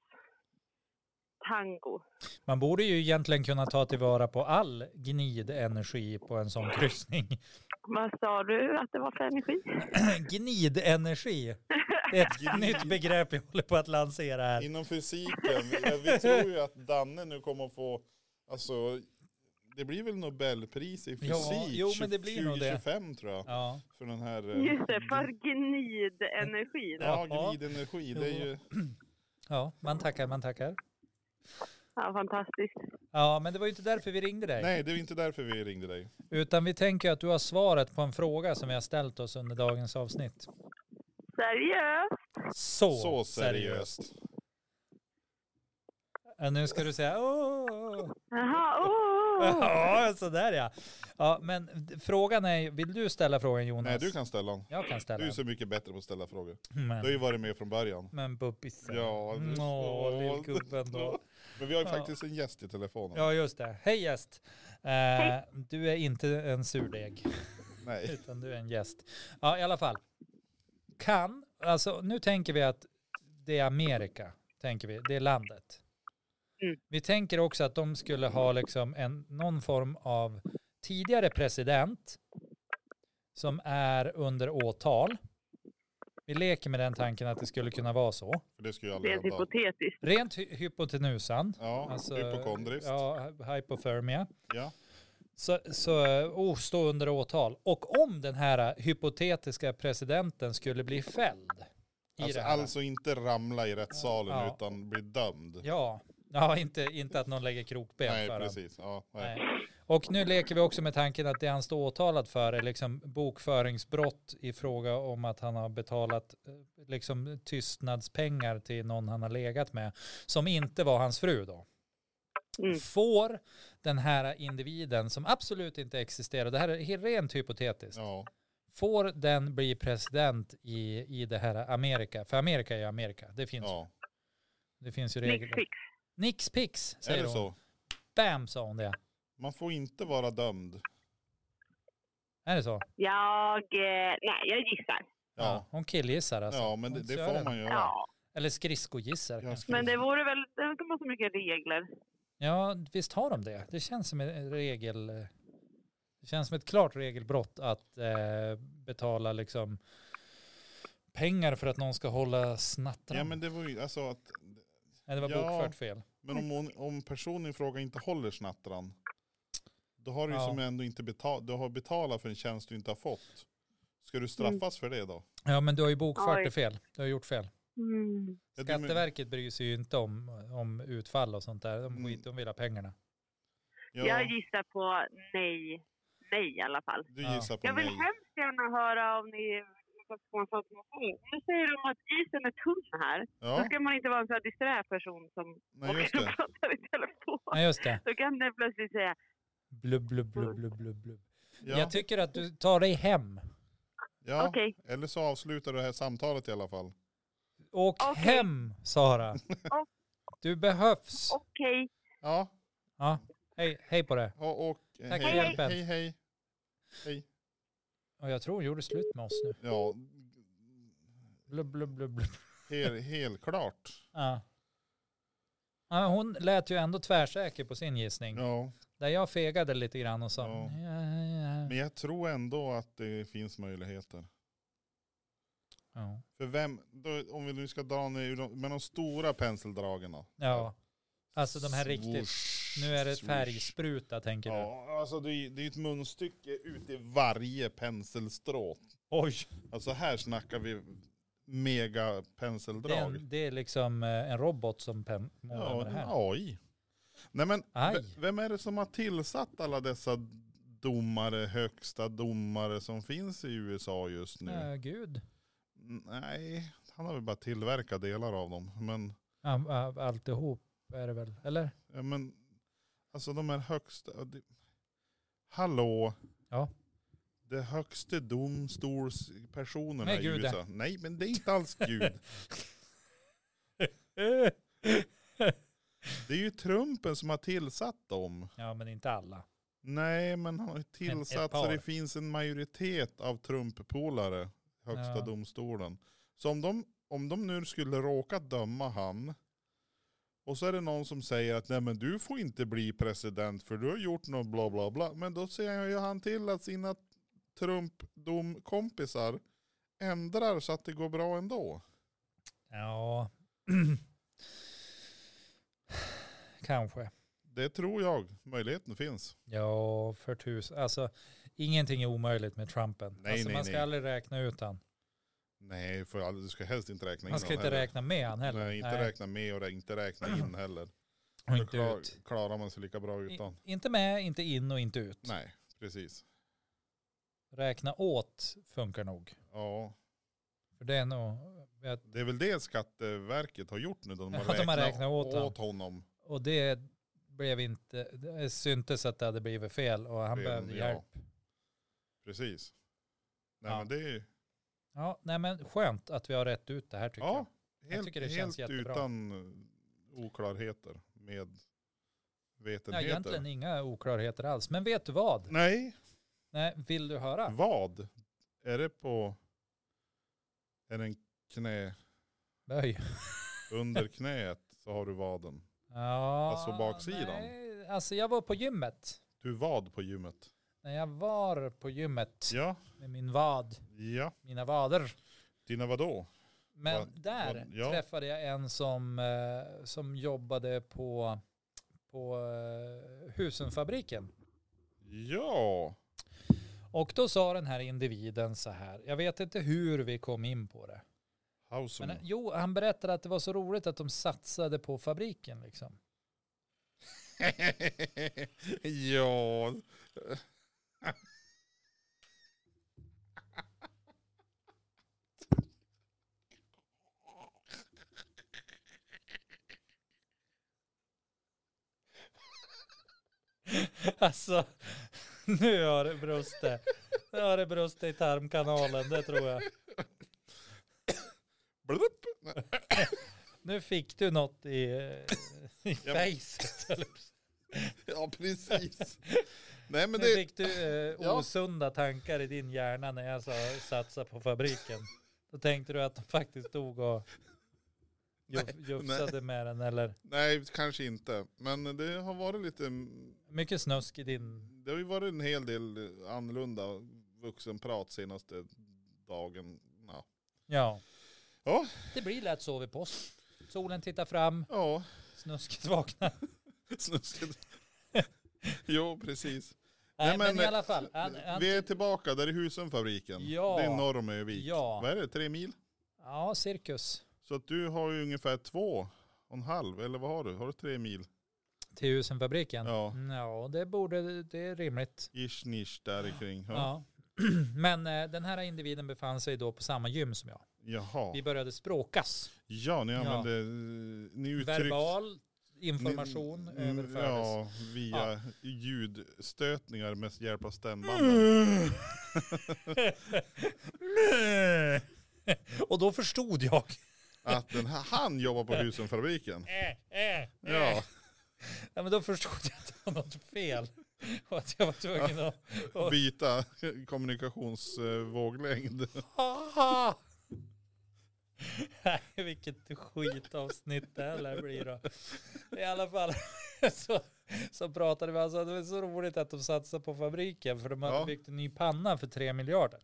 [SPEAKER 3] tango.
[SPEAKER 2] Man borde ju egentligen kunna ta tillvara på all gnidenergi på en sån kryssning.
[SPEAKER 3] Vad sa du att det var för energi?
[SPEAKER 2] Gnidenergi. Det är ett
[SPEAKER 1] Gnid.
[SPEAKER 2] nytt begrepp jag håller på att lansera här.
[SPEAKER 1] Inom fysiken, vi, vi tror ju att Danne nu kommer att få, alltså det blir väl Nobelpris i fysik
[SPEAKER 2] Ja, jo, men det blir nog det.
[SPEAKER 1] 2025 tror jag.
[SPEAKER 2] Ja.
[SPEAKER 1] För den här eh,
[SPEAKER 3] Just det, för gnidenergin.
[SPEAKER 1] ja,
[SPEAKER 2] Ja.
[SPEAKER 1] gridenergi. Det är ju,
[SPEAKER 2] ja, man tackar, man tackar.
[SPEAKER 3] Ja, fantastiskt.
[SPEAKER 2] Ja, men det var ju inte därför vi ringde dig.
[SPEAKER 1] nej, det är inte därför vi ringde dig.
[SPEAKER 2] Utan vi tänker att du har svaret på en fråga som vi har ställt oss under dagens avsnitt.
[SPEAKER 3] Seriöst?
[SPEAKER 2] Så,
[SPEAKER 1] Så seriöst.
[SPEAKER 2] Ja, nu ska du säga åh.
[SPEAKER 3] Jaha, oh, åh!
[SPEAKER 2] Ja, sådär ja. ja. Men d- frågan är, vill du ställa frågan Jonas?
[SPEAKER 1] Nej, du kan ställa den.
[SPEAKER 2] Jag kan ställa
[SPEAKER 1] Du är
[SPEAKER 2] den. Mm,
[SPEAKER 1] så mycket bättre på att ställa frågor. Du har ju
[SPEAKER 2] Men,
[SPEAKER 1] varit med från början.
[SPEAKER 2] men bubbisen.
[SPEAKER 1] Ja, du är
[SPEAKER 2] Mm. Nå,
[SPEAKER 1] så-
[SPEAKER 2] lillgubben då.
[SPEAKER 1] Men vi har ju
[SPEAKER 2] Ja.
[SPEAKER 1] faktiskt en gäst i telefonen.
[SPEAKER 2] Ja, just det. Hej gäst! Eh, Du är inte en surdeg,
[SPEAKER 1] Nej.
[SPEAKER 2] utan du är en gäst. Ja, i alla fall. Kan, alltså nu tänker vi att det är Amerika, tänker vi. Det är landet.
[SPEAKER 3] Mm.
[SPEAKER 2] Vi tänker också att de skulle ha liksom en, någon form av tidigare president som är under åtal. Vi leker med den tanken att det skulle kunna vara så.
[SPEAKER 1] För det skulle ju
[SPEAKER 3] Det
[SPEAKER 1] aldrig
[SPEAKER 3] är
[SPEAKER 1] hända.
[SPEAKER 3] hypotetiskt.
[SPEAKER 2] Rent hy- hypotenusan.
[SPEAKER 1] Ja,
[SPEAKER 2] Alltså,
[SPEAKER 1] hypokondriskt. Ja.
[SPEAKER 2] Ja, hy- hypothermia. Så, så eh, oh, stå under åtal. Och om den här hypotetiska presidenten skulle bli fälld i
[SPEAKER 1] Alltså,
[SPEAKER 2] det här.
[SPEAKER 1] alltså inte ramla i rättssalen
[SPEAKER 2] Ja.
[SPEAKER 1] utan bli dömd.
[SPEAKER 2] Ja, ja inte, inte att någon lägger krokben
[SPEAKER 1] nej,
[SPEAKER 2] för honom.
[SPEAKER 1] precis. Ja, nej.
[SPEAKER 2] Nej. Och nu leker vi också med tanken att det han står åtalad för är liksom bokföringsbrott i fråga om att han har betalat eh, liksom tystnadspengar till någon han har legat med som inte var hans fru då.
[SPEAKER 3] Mm.
[SPEAKER 2] Får den här individen som absolut inte existerar, det här är he- rent hypotetiskt,
[SPEAKER 1] Ja.
[SPEAKER 2] får den bli president i, i det här Amerika? För Amerika är ju Amerika, det finns,
[SPEAKER 1] Ja.
[SPEAKER 2] det finns ju regler.
[SPEAKER 3] Nix fix.
[SPEAKER 2] Nix pix,
[SPEAKER 1] Är
[SPEAKER 2] säger
[SPEAKER 1] det
[SPEAKER 2] hon.
[SPEAKER 1] så?
[SPEAKER 2] Bam, sa hon det.
[SPEAKER 1] Man får inte vara dömd.
[SPEAKER 2] Är det så?
[SPEAKER 3] Jag... eh, Nej, jag gissar.
[SPEAKER 1] Ja,
[SPEAKER 2] Hon killgissar alltså.
[SPEAKER 1] ja men det, det
[SPEAKER 2] Kör den.
[SPEAKER 1] får man göra.
[SPEAKER 3] Ja.
[SPEAKER 2] Eller skridskogissar
[SPEAKER 1] Ja,
[SPEAKER 2] kanske.
[SPEAKER 3] Men det vore väl... De har så mycket regler.
[SPEAKER 2] Ja, visst har de det. Det känns som en regel... eh, Det känns som ett klart regelbrott att eh, betala liksom pengar för att någon ska hålla snattarna.
[SPEAKER 1] Ja, men det var ju alltså att
[SPEAKER 2] Nej, det var
[SPEAKER 1] ja.
[SPEAKER 2] bokfört fel.
[SPEAKER 1] Men om, hon, om personen i fråga inte håller snattran, då har du ju
[SPEAKER 2] Ja.
[SPEAKER 1] som ändå inte betalat, du har betalat för en tjänst du inte har fått. Ska du straffas för
[SPEAKER 3] Mm.
[SPEAKER 1] det då?
[SPEAKER 2] Ja, men du har ju bokfört
[SPEAKER 3] Oj.
[SPEAKER 2] det fel. Du har gjort fel.
[SPEAKER 3] Mm.
[SPEAKER 1] Ja, du men-
[SPEAKER 2] Skatteverket bryr sig ju inte om, om utfall och sånt där. De
[SPEAKER 1] Mm.
[SPEAKER 2] skiter de vill ha pengarna.
[SPEAKER 3] Jag
[SPEAKER 1] Ja,
[SPEAKER 3] gissar på nej. Nej i alla fall.
[SPEAKER 1] du
[SPEAKER 2] Ja.
[SPEAKER 1] gissar på
[SPEAKER 3] Jag vill
[SPEAKER 1] nej.
[SPEAKER 3] hemskt gärna höra om ni... Nu säger de att isen är tunn här. Då
[SPEAKER 1] Ja,
[SPEAKER 3] ska man inte vara en så här disträ person som
[SPEAKER 1] nej just
[SPEAKER 3] åker och
[SPEAKER 1] det.
[SPEAKER 3] pratar i telefon.
[SPEAKER 2] Nej, just det.
[SPEAKER 3] Då kan den plötsligt säga
[SPEAKER 2] Blub, blub, blub, blub, blub, blub.
[SPEAKER 1] Ja,
[SPEAKER 2] Jag tycker att du tar dig hem.
[SPEAKER 1] ja.
[SPEAKER 3] okej.
[SPEAKER 1] Eller så avslutar du det här samtalet i alla fall.
[SPEAKER 2] Åk
[SPEAKER 3] Okej.
[SPEAKER 2] hem, Sara.
[SPEAKER 3] Ja.
[SPEAKER 2] Du behövs.
[SPEAKER 3] Okej.
[SPEAKER 1] Ja,
[SPEAKER 2] Ja, hej, hej på det.
[SPEAKER 1] och, och hej,
[SPEAKER 2] Tack för hjälpen.
[SPEAKER 1] hej, hej. Hej.
[SPEAKER 2] Och jag tror hon gjorde slut med oss nu.
[SPEAKER 1] Ja,
[SPEAKER 2] Blub, blub, blub, blub.
[SPEAKER 1] hel, helt klart.
[SPEAKER 2] Ja. Ja, men hon lät ju ändå tvärsäker på sin gissning.
[SPEAKER 1] Ja,
[SPEAKER 2] Där jag fegade lite grann och sa
[SPEAKER 1] Ja.
[SPEAKER 2] ja. Ja, ja.
[SPEAKER 1] men jag tror ändå att det finns möjligheter.
[SPEAKER 2] Ja.
[SPEAKER 1] För vem, då, om vi nu ska dra ner ur de, med de stora penseldragen då.
[SPEAKER 2] ja. Alltså de här riktigt,
[SPEAKER 1] Swoosh,
[SPEAKER 2] nu är det
[SPEAKER 1] swoosh.
[SPEAKER 2] färgspruta tänker du.
[SPEAKER 1] Ja, alltså det är, det är ett munstycke ut i varje penselstrå.
[SPEAKER 2] Oj,
[SPEAKER 1] Alltså här snackar vi mega
[SPEAKER 2] det är,
[SPEAKER 1] penseldrag.
[SPEAKER 2] en, det är liksom eh, en robot som pen- målar
[SPEAKER 1] Ja,
[SPEAKER 2] med det
[SPEAKER 1] en
[SPEAKER 2] här.
[SPEAKER 1] AI. Nej men,
[SPEAKER 2] Aj.
[SPEAKER 1] v- vem är det som har tillsatt alla dessa domare, högsta domare som finns i USA just nu?
[SPEAKER 2] Ja, gud.
[SPEAKER 1] Nej, han har väl bara tillverkat delar av dem. Men,
[SPEAKER 2] Ja, ja, Alltihop är det väl, eller?
[SPEAKER 1] ja, men alltså de är högsta... Det, hallå?
[SPEAKER 2] Ja.
[SPEAKER 1] Det högste domstolspersonerna
[SPEAKER 2] Nej,
[SPEAKER 1] i
[SPEAKER 2] Gud, det.
[SPEAKER 1] USA. Nej, men det är inte alls Gud. Eh. Det är ju Trumpen som har tillsatt dem.
[SPEAKER 2] Ja, men inte alla.
[SPEAKER 1] Nej, men han har ju
[SPEAKER 2] ett
[SPEAKER 1] tillsatt
[SPEAKER 2] par.
[SPEAKER 1] så det finns en majoritet av Trump-polare, högsta
[SPEAKER 2] Ja.
[SPEAKER 1] domstolen. Så om de, om de nu skulle råka döma han, och så är det någon som säger att nej men du får inte bli president för du har gjort något bla bla bla. Men då ser ju han till att sina Trump-domkompisar ändrar så att det går bra ändå.
[SPEAKER 2] Ja. Kanske.
[SPEAKER 1] Det tror jag. Möjligheten finns.
[SPEAKER 2] Ja, för tusen. Alltså, ingenting är omöjligt med Trumpen.
[SPEAKER 1] Nej,
[SPEAKER 2] alltså,
[SPEAKER 1] nej,
[SPEAKER 2] man ska
[SPEAKER 1] nej.
[SPEAKER 2] aldrig räkna ut han.
[SPEAKER 1] Nej, för all- du ska helst inte räkna in
[SPEAKER 2] Man ska
[SPEAKER 1] honom
[SPEAKER 2] inte
[SPEAKER 1] heller.
[SPEAKER 2] räkna med han heller.
[SPEAKER 1] Nej, inte räkna med och rä- inte räkna in heller.
[SPEAKER 2] Och
[SPEAKER 1] Då
[SPEAKER 2] inte
[SPEAKER 1] klar-
[SPEAKER 2] ut.
[SPEAKER 1] klarar man sig lika bra utan.
[SPEAKER 2] I, inte med, inte in och inte ut.
[SPEAKER 1] Nej, precis.
[SPEAKER 2] Räkna åt funkar nog.
[SPEAKER 1] Ja,
[SPEAKER 2] För det är nog,
[SPEAKER 1] det är väl det Skatteverket har gjort nu. då De har,
[SPEAKER 2] Ja, de har räknat åt han.
[SPEAKER 1] honom.
[SPEAKER 2] och det blev inte, det syntes att det hade blivit fel och han
[SPEAKER 1] redan,
[SPEAKER 2] behövde
[SPEAKER 1] ja.
[SPEAKER 2] hjälp.
[SPEAKER 1] Precis. Nej,
[SPEAKER 2] Ja.
[SPEAKER 1] men det är ju,
[SPEAKER 2] Ja, nej men skönt att vi har rätt ut det här tycker
[SPEAKER 1] ja,
[SPEAKER 2] jag.
[SPEAKER 1] helt,
[SPEAKER 2] tycker det
[SPEAKER 1] helt
[SPEAKER 2] känns jättebra.
[SPEAKER 1] utan eh, oklarheter med
[SPEAKER 2] Ja,
[SPEAKER 1] vetenheter.
[SPEAKER 2] egentligen inga oklarheter alls. Men vet du vad?
[SPEAKER 1] Nej,
[SPEAKER 2] Nej, vill du
[SPEAKER 1] Mm.
[SPEAKER 2] höra?
[SPEAKER 1] vad? Är det på, är det en knä,
[SPEAKER 2] Böj.
[SPEAKER 1] under knät så har du vaden.
[SPEAKER 2] Ja,
[SPEAKER 1] Alltså baksidan.
[SPEAKER 2] Nej, alltså jag var på gymmet.
[SPEAKER 1] Du vad på gymmet.
[SPEAKER 2] När jag var på gymmet
[SPEAKER 1] Ja,
[SPEAKER 2] med min vad,
[SPEAKER 1] ja.
[SPEAKER 2] mina vader.
[SPEAKER 1] Dina vadå?
[SPEAKER 2] Men
[SPEAKER 1] Vad-
[SPEAKER 2] där
[SPEAKER 1] vad- ja.
[SPEAKER 2] träffade jag en som, eh, som jobbade på, på eh, Husenfabriken.
[SPEAKER 1] Ja,
[SPEAKER 2] Och då sa den här individen så här, jag vet inte hur vi kom in på det.
[SPEAKER 1] Hausum.
[SPEAKER 2] Men, eh, jo, han berättade att det var så roligt att de satsade på fabriken liksom.
[SPEAKER 1] ja.
[SPEAKER 2] Alltså, nu har det brustit. Nu har det brustit i tarmkanalen, det tror jag.
[SPEAKER 1] Blup.
[SPEAKER 2] Nu fick du något i, eh, i
[SPEAKER 1] Ja.
[SPEAKER 2] facet. eller?
[SPEAKER 1] Ja, precis. Nej, men
[SPEAKER 2] nu
[SPEAKER 1] det...
[SPEAKER 2] fick du eh,
[SPEAKER 1] Ja.
[SPEAKER 2] osunda tankar i din hjärna när jag sa satsa på fabriken. Då tänkte du att de faktiskt stod och juf- jufsade med den eller?
[SPEAKER 1] Nej, kanske inte. Men det har varit lite...
[SPEAKER 2] Mycket snusk i din...
[SPEAKER 1] Det har ju varit en hel del annorlunda vuxenprat senaste dagen. Ja,
[SPEAKER 2] Ja.
[SPEAKER 1] Ja.
[SPEAKER 2] Det blir lätt så vid påsk. Solen tittar fram,
[SPEAKER 1] ja
[SPEAKER 2] snusket vaknar.
[SPEAKER 1] snuskigt. jo, precis.
[SPEAKER 2] Nej,
[SPEAKER 1] Nej,
[SPEAKER 2] men,
[SPEAKER 1] men,
[SPEAKER 2] i alla fall. Han, han,
[SPEAKER 1] Vi är tillbaka, där är Husumfabriken.
[SPEAKER 2] Ja.
[SPEAKER 1] Det är norr om Övik.
[SPEAKER 2] Ja.
[SPEAKER 1] Vad är det, tre mil?
[SPEAKER 2] Ja, cirkus.
[SPEAKER 1] Så att du har ju ungefär två och en halv, eller vad har du? Har du tre mil?
[SPEAKER 2] Till husenfabriken. Mm,
[SPEAKER 1] Ja.
[SPEAKER 2] ja, det borde, det är rimligt.
[SPEAKER 1] Ish, nisch, där kring. Ja.
[SPEAKER 2] Ja. Men eh, den här individen befann sig då på samma gym som jag. Vi
[SPEAKER 1] Jaha.
[SPEAKER 2] började språkas.
[SPEAKER 1] Ja, ni
[SPEAKER 2] Ja.
[SPEAKER 1] använder, eh, ni uttrycks...
[SPEAKER 2] Verbal
[SPEAKER 1] ni-
[SPEAKER 2] information
[SPEAKER 1] mm,
[SPEAKER 2] överfördes.
[SPEAKER 1] Ja, via
[SPEAKER 2] Ja.
[SPEAKER 1] ljudstötningar med hjälp av
[SPEAKER 2] Mm.
[SPEAKER 1] stämbanden.
[SPEAKER 2] Och då förstod jag.
[SPEAKER 1] Att den här, han jobbar på Husumfabriken.
[SPEAKER 2] Eh, Ja.
[SPEAKER 1] Ja.
[SPEAKER 2] men då förstod jag att det var något fel. Och att jag var tvungen att...
[SPEAKER 1] Byta kommunikationsvåglängd.
[SPEAKER 2] Haha! Nej, vilket skitavsnitt det här lär bli då. I alla fall så, så pratade vi alltså, det var så roligt att de satsar på fabriken för de hade
[SPEAKER 1] Ja.
[SPEAKER 2] byggt en ny panna för 3 miljarder.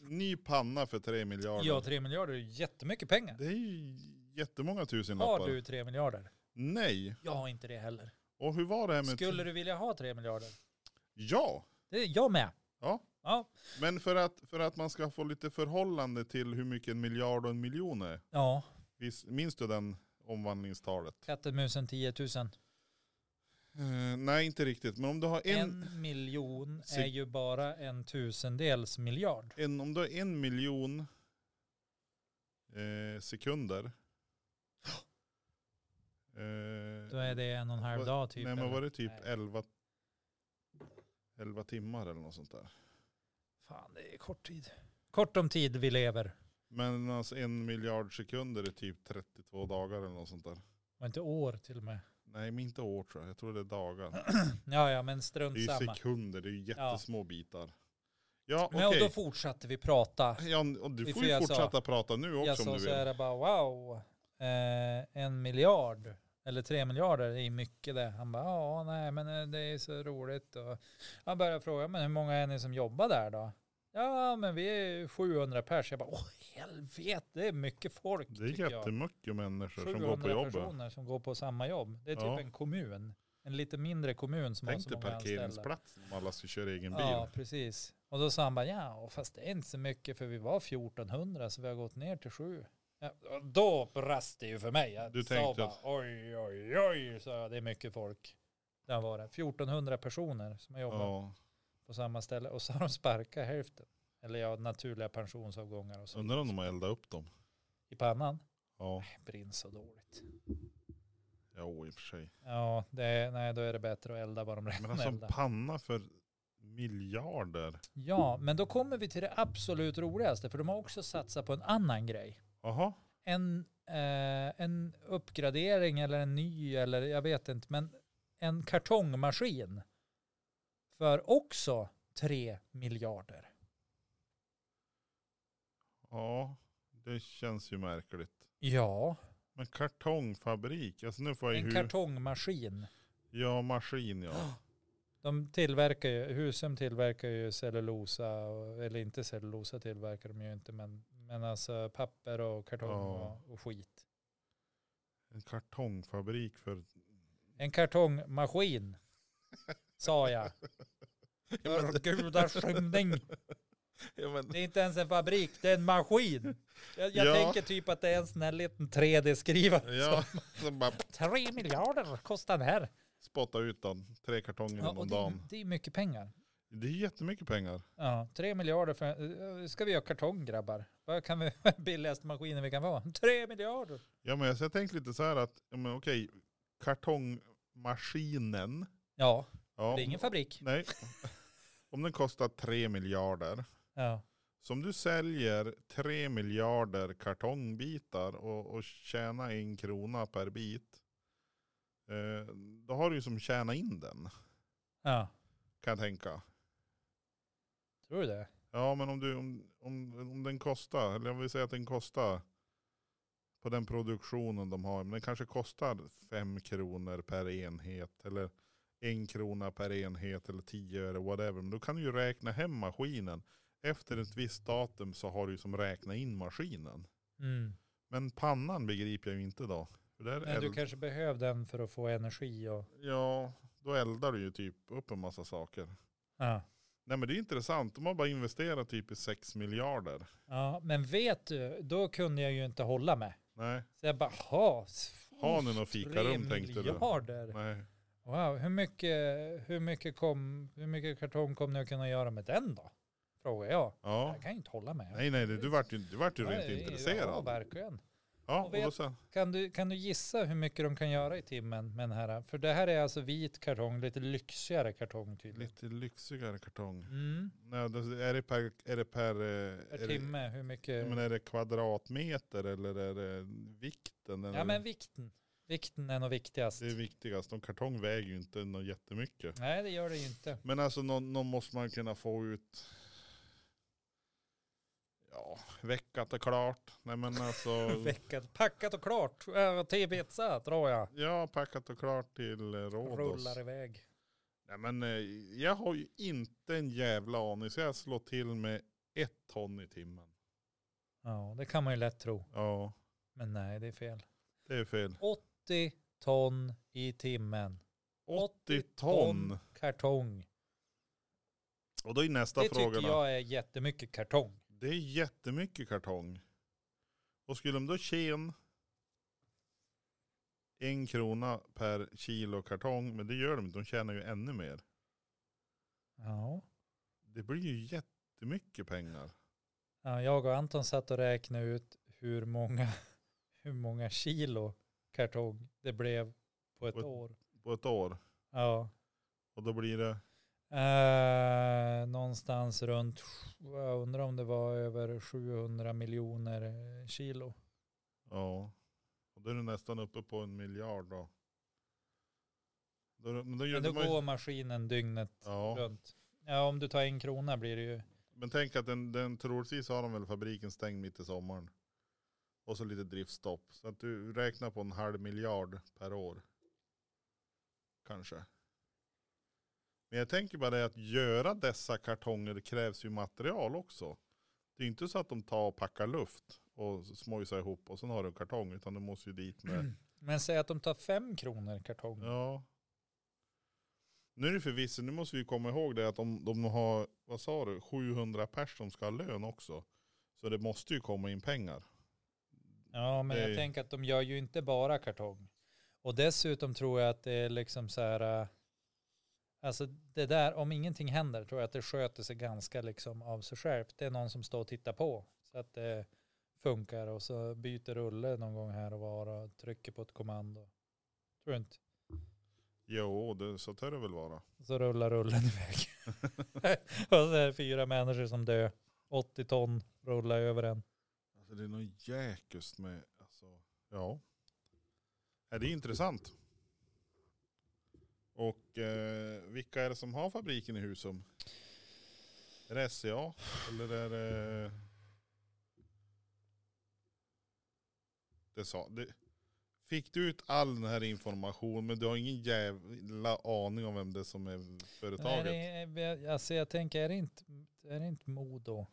[SPEAKER 1] Ny panna för tre miljarder.
[SPEAKER 2] Ja, 3 miljarder är ju jättemycket pengar.
[SPEAKER 1] Det är ju jättemånga
[SPEAKER 2] Har
[SPEAKER 1] tusenlappar.
[SPEAKER 2] du 3 miljarder?
[SPEAKER 1] Nej.
[SPEAKER 2] Jag har inte det heller.
[SPEAKER 1] Och hur var det här med...
[SPEAKER 2] Skulle du vilja ha tre miljarder?
[SPEAKER 1] Ja.
[SPEAKER 2] Det är jag med.
[SPEAKER 1] Ja.
[SPEAKER 2] Ja.
[SPEAKER 1] Men för att, för att man ska få lite förhållande till hur mycket en miljard och en miljon är.
[SPEAKER 2] Ja,
[SPEAKER 1] Vis- Minns du den omvandlingstalet?
[SPEAKER 2] katten, musen, 10 000.
[SPEAKER 1] Eh, nej, inte riktigt. Men om du har en, en...
[SPEAKER 2] En miljon
[SPEAKER 1] Se-
[SPEAKER 2] är ju bara en tusendels miljard.
[SPEAKER 1] om du har en miljon eh, sekunder. Eh,
[SPEAKER 2] Då är det en och en halv
[SPEAKER 1] Vad-
[SPEAKER 2] dag typ.
[SPEAKER 1] nej, men
[SPEAKER 2] eller?
[SPEAKER 1] var det typ
[SPEAKER 2] Nej.
[SPEAKER 1] 11, 11 timmar eller något sånt där?
[SPEAKER 2] Fan, det är kort tid. Kort om tid vi lever.
[SPEAKER 1] Men alltså en miljard sekunder är typ 32 dagar eller något sånt där.
[SPEAKER 2] Och inte år till och med.
[SPEAKER 1] Nej, men inte år tror jag. Jag tror det är dagar.
[SPEAKER 2] Ja, ja, men
[SPEAKER 1] Det
[SPEAKER 2] strunt
[SPEAKER 1] är ju
[SPEAKER 2] samma.
[SPEAKER 1] sekunder, det är ju jättesmå bitar. Ja,
[SPEAKER 2] Men och
[SPEAKER 1] okej.
[SPEAKER 2] då fortsatte vi prata.
[SPEAKER 1] Ja, och du
[SPEAKER 2] Vi
[SPEAKER 1] får
[SPEAKER 2] får
[SPEAKER 1] ju
[SPEAKER 2] göra så.
[SPEAKER 1] fortsätta prata nu
[SPEAKER 2] Jag
[SPEAKER 1] också om
[SPEAKER 2] sa
[SPEAKER 1] du
[SPEAKER 2] så
[SPEAKER 1] vill.
[SPEAKER 2] här bara wow, eh, en miljard eller tre miljarder det är mycket det. Han bara ja, nej men eh, det är så roligt. Och han började fråga men hur många är ni som jobbar där då? Ja men vi är 700 pers. Jag bara åh helvete det är mycket folk.
[SPEAKER 1] Det är
[SPEAKER 2] tycker jag.
[SPEAKER 1] jättemycket människor som
[SPEAKER 2] 700
[SPEAKER 1] går på jobbet.
[SPEAKER 2] personer som går på samma jobb. Det är typ
[SPEAKER 1] Ja.
[SPEAKER 2] en kommun. En lite mindre kommun som har
[SPEAKER 1] Tänk
[SPEAKER 2] så
[SPEAKER 1] dig
[SPEAKER 2] många anställda.
[SPEAKER 1] parkeringsplatsen om alla ska köra egen bil.
[SPEAKER 2] Ja, precis. Och då sa han bara, ja, fast det är inte så mycket för vi var 1400 så vi har gått ner till sju. Ja, och då brast det ju för mig. Jag
[SPEAKER 1] Du
[SPEAKER 2] sa
[SPEAKER 1] tänkte
[SPEAKER 2] bara, oj, oj, oj, sa jag, det är mycket folk. Där var det. 1400 personer som har jobbat
[SPEAKER 1] Ja.
[SPEAKER 2] på samma ställe och så har de sparkat hälften. Eller ja, naturliga pensionsavgångar och så
[SPEAKER 1] Undrar om de har eldat upp dem.
[SPEAKER 2] i pannan.
[SPEAKER 1] Ja,
[SPEAKER 2] Brinn så dåligt.
[SPEAKER 1] jo i och för sig.
[SPEAKER 2] Ja, det är, nej, då är det bättre att elda vad de
[SPEAKER 1] Men
[SPEAKER 2] redan
[SPEAKER 1] alltså en
[SPEAKER 2] eldar.
[SPEAKER 1] panna för miljarder.
[SPEAKER 2] Ja, men då kommer vi till det absolut roligaste, för de har också satsat på en annan grej.
[SPEAKER 1] Jaha,
[SPEAKER 2] en, eh, en uppgradering eller en ny eller jag vet inte, men en kartongmaskin för också 3 miljarder.
[SPEAKER 1] ja det känns ju märkligt.
[SPEAKER 2] Ja,
[SPEAKER 1] Men kartongfabrik, alltså nu får jag ju
[SPEAKER 2] en
[SPEAKER 1] hur...
[SPEAKER 2] kartongmaskin.
[SPEAKER 1] Ja, maskin ja.
[SPEAKER 2] De tillverkar ju, Husum tillverkar ju cellulosa, och, eller inte cellulosa tillverkar de ju inte, men, men alltså papper och kartong
[SPEAKER 1] Ja.
[SPEAKER 2] och, och skit.
[SPEAKER 1] En kartongfabrik för...
[SPEAKER 2] En kartongmaskin, sa jag. För gudars skymning.
[SPEAKER 1] Ja, men...
[SPEAKER 2] Det är inte ens en fabrik, det är en maskin. Jag, jag
[SPEAKER 1] Ja.
[SPEAKER 2] tänker typ att det är en sån här liten 3D-skrivare.
[SPEAKER 1] Ja, så bara
[SPEAKER 2] Tre miljarder kostar den här.
[SPEAKER 1] spotta ut den. Tre kartonger
[SPEAKER 2] Ja, och
[SPEAKER 1] om
[SPEAKER 2] det, är-
[SPEAKER 1] dagen.
[SPEAKER 2] det är mycket pengar.
[SPEAKER 1] Det är jättemycket pengar.
[SPEAKER 2] Ja, tre miljarder för... eh, Ska vi göra kartong grabbar? Vad kan vi... Billigaste maskinen vi kan vara? Tre miljarder!
[SPEAKER 1] Ja, men jag, så jag tänkte lite så här att, ja, men okej, kartongmaskinen.
[SPEAKER 2] Ja,
[SPEAKER 1] Ja,
[SPEAKER 2] det är ingen fabrik.
[SPEAKER 1] Nej. Om den kostar tre miljarder.
[SPEAKER 2] Ja.
[SPEAKER 1] Så om du säljer tre miljarder kartongbitar och, och tjänar en krona per bit. Eh, då har du ju som tjäna in den,
[SPEAKER 2] ja,
[SPEAKER 1] kan jag tänka.
[SPEAKER 2] tror du det?
[SPEAKER 1] Ja, men om, du, om, om, om den kostar, eller om vi säger att den kostar på den produktionen de har, men den kanske kostar fem kronor per enhet eller en krona per enhet eller tio öre whatever. Men då kan du ju räkna hem maskinen. Efter ett visst datum så har du ju som räkna in maskinen.
[SPEAKER 2] Mm.
[SPEAKER 1] Men pannan begriper jag ju inte då. För där
[SPEAKER 2] Men du
[SPEAKER 1] eld,
[SPEAKER 2] kanske behöver den för att få energi och...
[SPEAKER 1] Ja, då eldar du ju typ upp en massa saker.
[SPEAKER 2] Ja.
[SPEAKER 1] Nej men det är intressant, de har bara investerat typ i sex miljarder.
[SPEAKER 2] ja, men vet du, då kunde jag ju inte hålla mig.
[SPEAKER 1] Nej,
[SPEAKER 2] Så jag bara, ha,
[SPEAKER 1] har ni något fikarum
[SPEAKER 2] Tre
[SPEAKER 1] tänkte du?
[SPEAKER 2] miljarder.
[SPEAKER 1] Nej.
[SPEAKER 2] Wow, hur mycket, hur, mycket kom, hur mycket kartong kommer ni att kunna göra med den då? Frågar jag.
[SPEAKER 1] Ja.
[SPEAKER 2] Jag kan ju inte hålla med.
[SPEAKER 1] Nej, nej, det- du vart ju, du vart ju
[SPEAKER 2] Ja,
[SPEAKER 1] rent
[SPEAKER 2] det- Ja,
[SPEAKER 1] intresserad.
[SPEAKER 2] verkligen.
[SPEAKER 1] Ja,
[SPEAKER 2] Och
[SPEAKER 1] och då
[SPEAKER 2] vet-
[SPEAKER 1] sen,
[SPEAKER 2] Kan du, kan du gissa hur mycket de kan göra i timmen med den här? För det här är alltså vit kartong, lite lyxigare kartong tydligen.
[SPEAKER 1] lite lyxigare kartong.
[SPEAKER 2] Mm.
[SPEAKER 1] Nej, då- är det per, är det per, eh,
[SPEAKER 2] Per
[SPEAKER 1] är det,
[SPEAKER 2] timme, hur mycket?
[SPEAKER 1] men är det kvadratmeter eller är det vikten? Eller?
[SPEAKER 2] Ja men vikten. Vikten är nog viktigast.
[SPEAKER 1] Det är viktigast, de kartong väger ju inte något jättemycket.
[SPEAKER 2] Nej det gör det ju inte.
[SPEAKER 1] Men alltså någon, någon måste man kunna få ut, ja, veckat och klart. Nej men alltså,
[SPEAKER 2] Veckat, packat och klart. Äh, till pizza tror jag.
[SPEAKER 1] ja packat och klart till eh, Rhodos.
[SPEAKER 2] Rullar iväg.
[SPEAKER 1] Nej men eh, jag har ju inte en jävla aning så jag slår till med ett ton i timmen.
[SPEAKER 2] Ja det kan man ju lätt tro.
[SPEAKER 1] Ja,
[SPEAKER 2] Men nej det är fel.
[SPEAKER 1] det är fel.
[SPEAKER 2] 80 ton i timmen.
[SPEAKER 1] 80 ton.
[SPEAKER 2] kartong.
[SPEAKER 1] Och då är nästa
[SPEAKER 2] Det
[SPEAKER 1] fråga
[SPEAKER 2] tycker
[SPEAKER 1] då.
[SPEAKER 2] jag är jättemycket kartong.
[SPEAKER 1] Det är jättemycket kartong. Och skulle de då tjäna en krona per kilo kartong, men det gör de inte, de tjänar ju ännu mer.
[SPEAKER 2] Ja.
[SPEAKER 1] Det blir ju jättemycket pengar.
[SPEAKER 2] Ja, jag och Anton satt och räknade ut hur många, hur många kilo kartong det blev på ett
[SPEAKER 1] På ett-
[SPEAKER 2] år.
[SPEAKER 1] På ett år.
[SPEAKER 2] Ja.
[SPEAKER 1] Och då blir det,
[SPEAKER 2] Eh, någonstans runt, jag undrar om det var över 700 miljoner eh, kilo.
[SPEAKER 1] ja. Och då är du nästan uppe på en miljard då. Då, men då gör
[SPEAKER 2] Men då
[SPEAKER 1] man ju-
[SPEAKER 2] går maskinen dygnet
[SPEAKER 1] ja.
[SPEAKER 2] runt. Ja, om du tar en krona blir det ju.
[SPEAKER 1] Men tänk att den, den troligtvis har de väl fabriken stängd mitt i sommaren. Och så lite driftstopp. Så att du räknar på en halv miljard per år. Kanske. Men jag tänker bara det att göra dessa kartonger krävs ju material också. Det är inte så att de tar och packar luft och smojsar ihop och sen har du en kartong. Utan du måste ju dit med.
[SPEAKER 2] Men säg att de tar fem kronor kartong.
[SPEAKER 1] Ja. Nu är det förvisso, nu måste vi komma ihåg det att om de har, vad sa du, 700 pers som ska ha lön också. Så det måste ju komma in pengar.
[SPEAKER 2] Ja, men
[SPEAKER 1] Det är
[SPEAKER 2] jag
[SPEAKER 1] ju-
[SPEAKER 2] tänker att de gör ju inte bara kartong. Och dessutom tror jag att det är liksom så här, äh, alltså det där, om ingenting händer tror jag att det sköter sig ganska liksom av sig självt. Det är någon som står och tittar på så att det funkar och så byter rulle någon gång här och var och trycker på ett kommando. Tror du inte?
[SPEAKER 1] Jo, det, så tör det väl vara.
[SPEAKER 2] Så rullar rullen iväg. och så är det fyra människor som dör. 80 ton rullar över en.
[SPEAKER 1] Alltså det är något jäkust med, alltså, ja. Är det är intressant. Och eh, vilka är det som har fabriken i Husum? Är det SCA? Eller är det... Det sa, det, fick du ut all den här informationen men du har ingen jävla aning om vem det är som är
[SPEAKER 2] Nej,
[SPEAKER 1] företaget?
[SPEAKER 2] det är, alltså jag tänker, är det inte, är det inte Modo?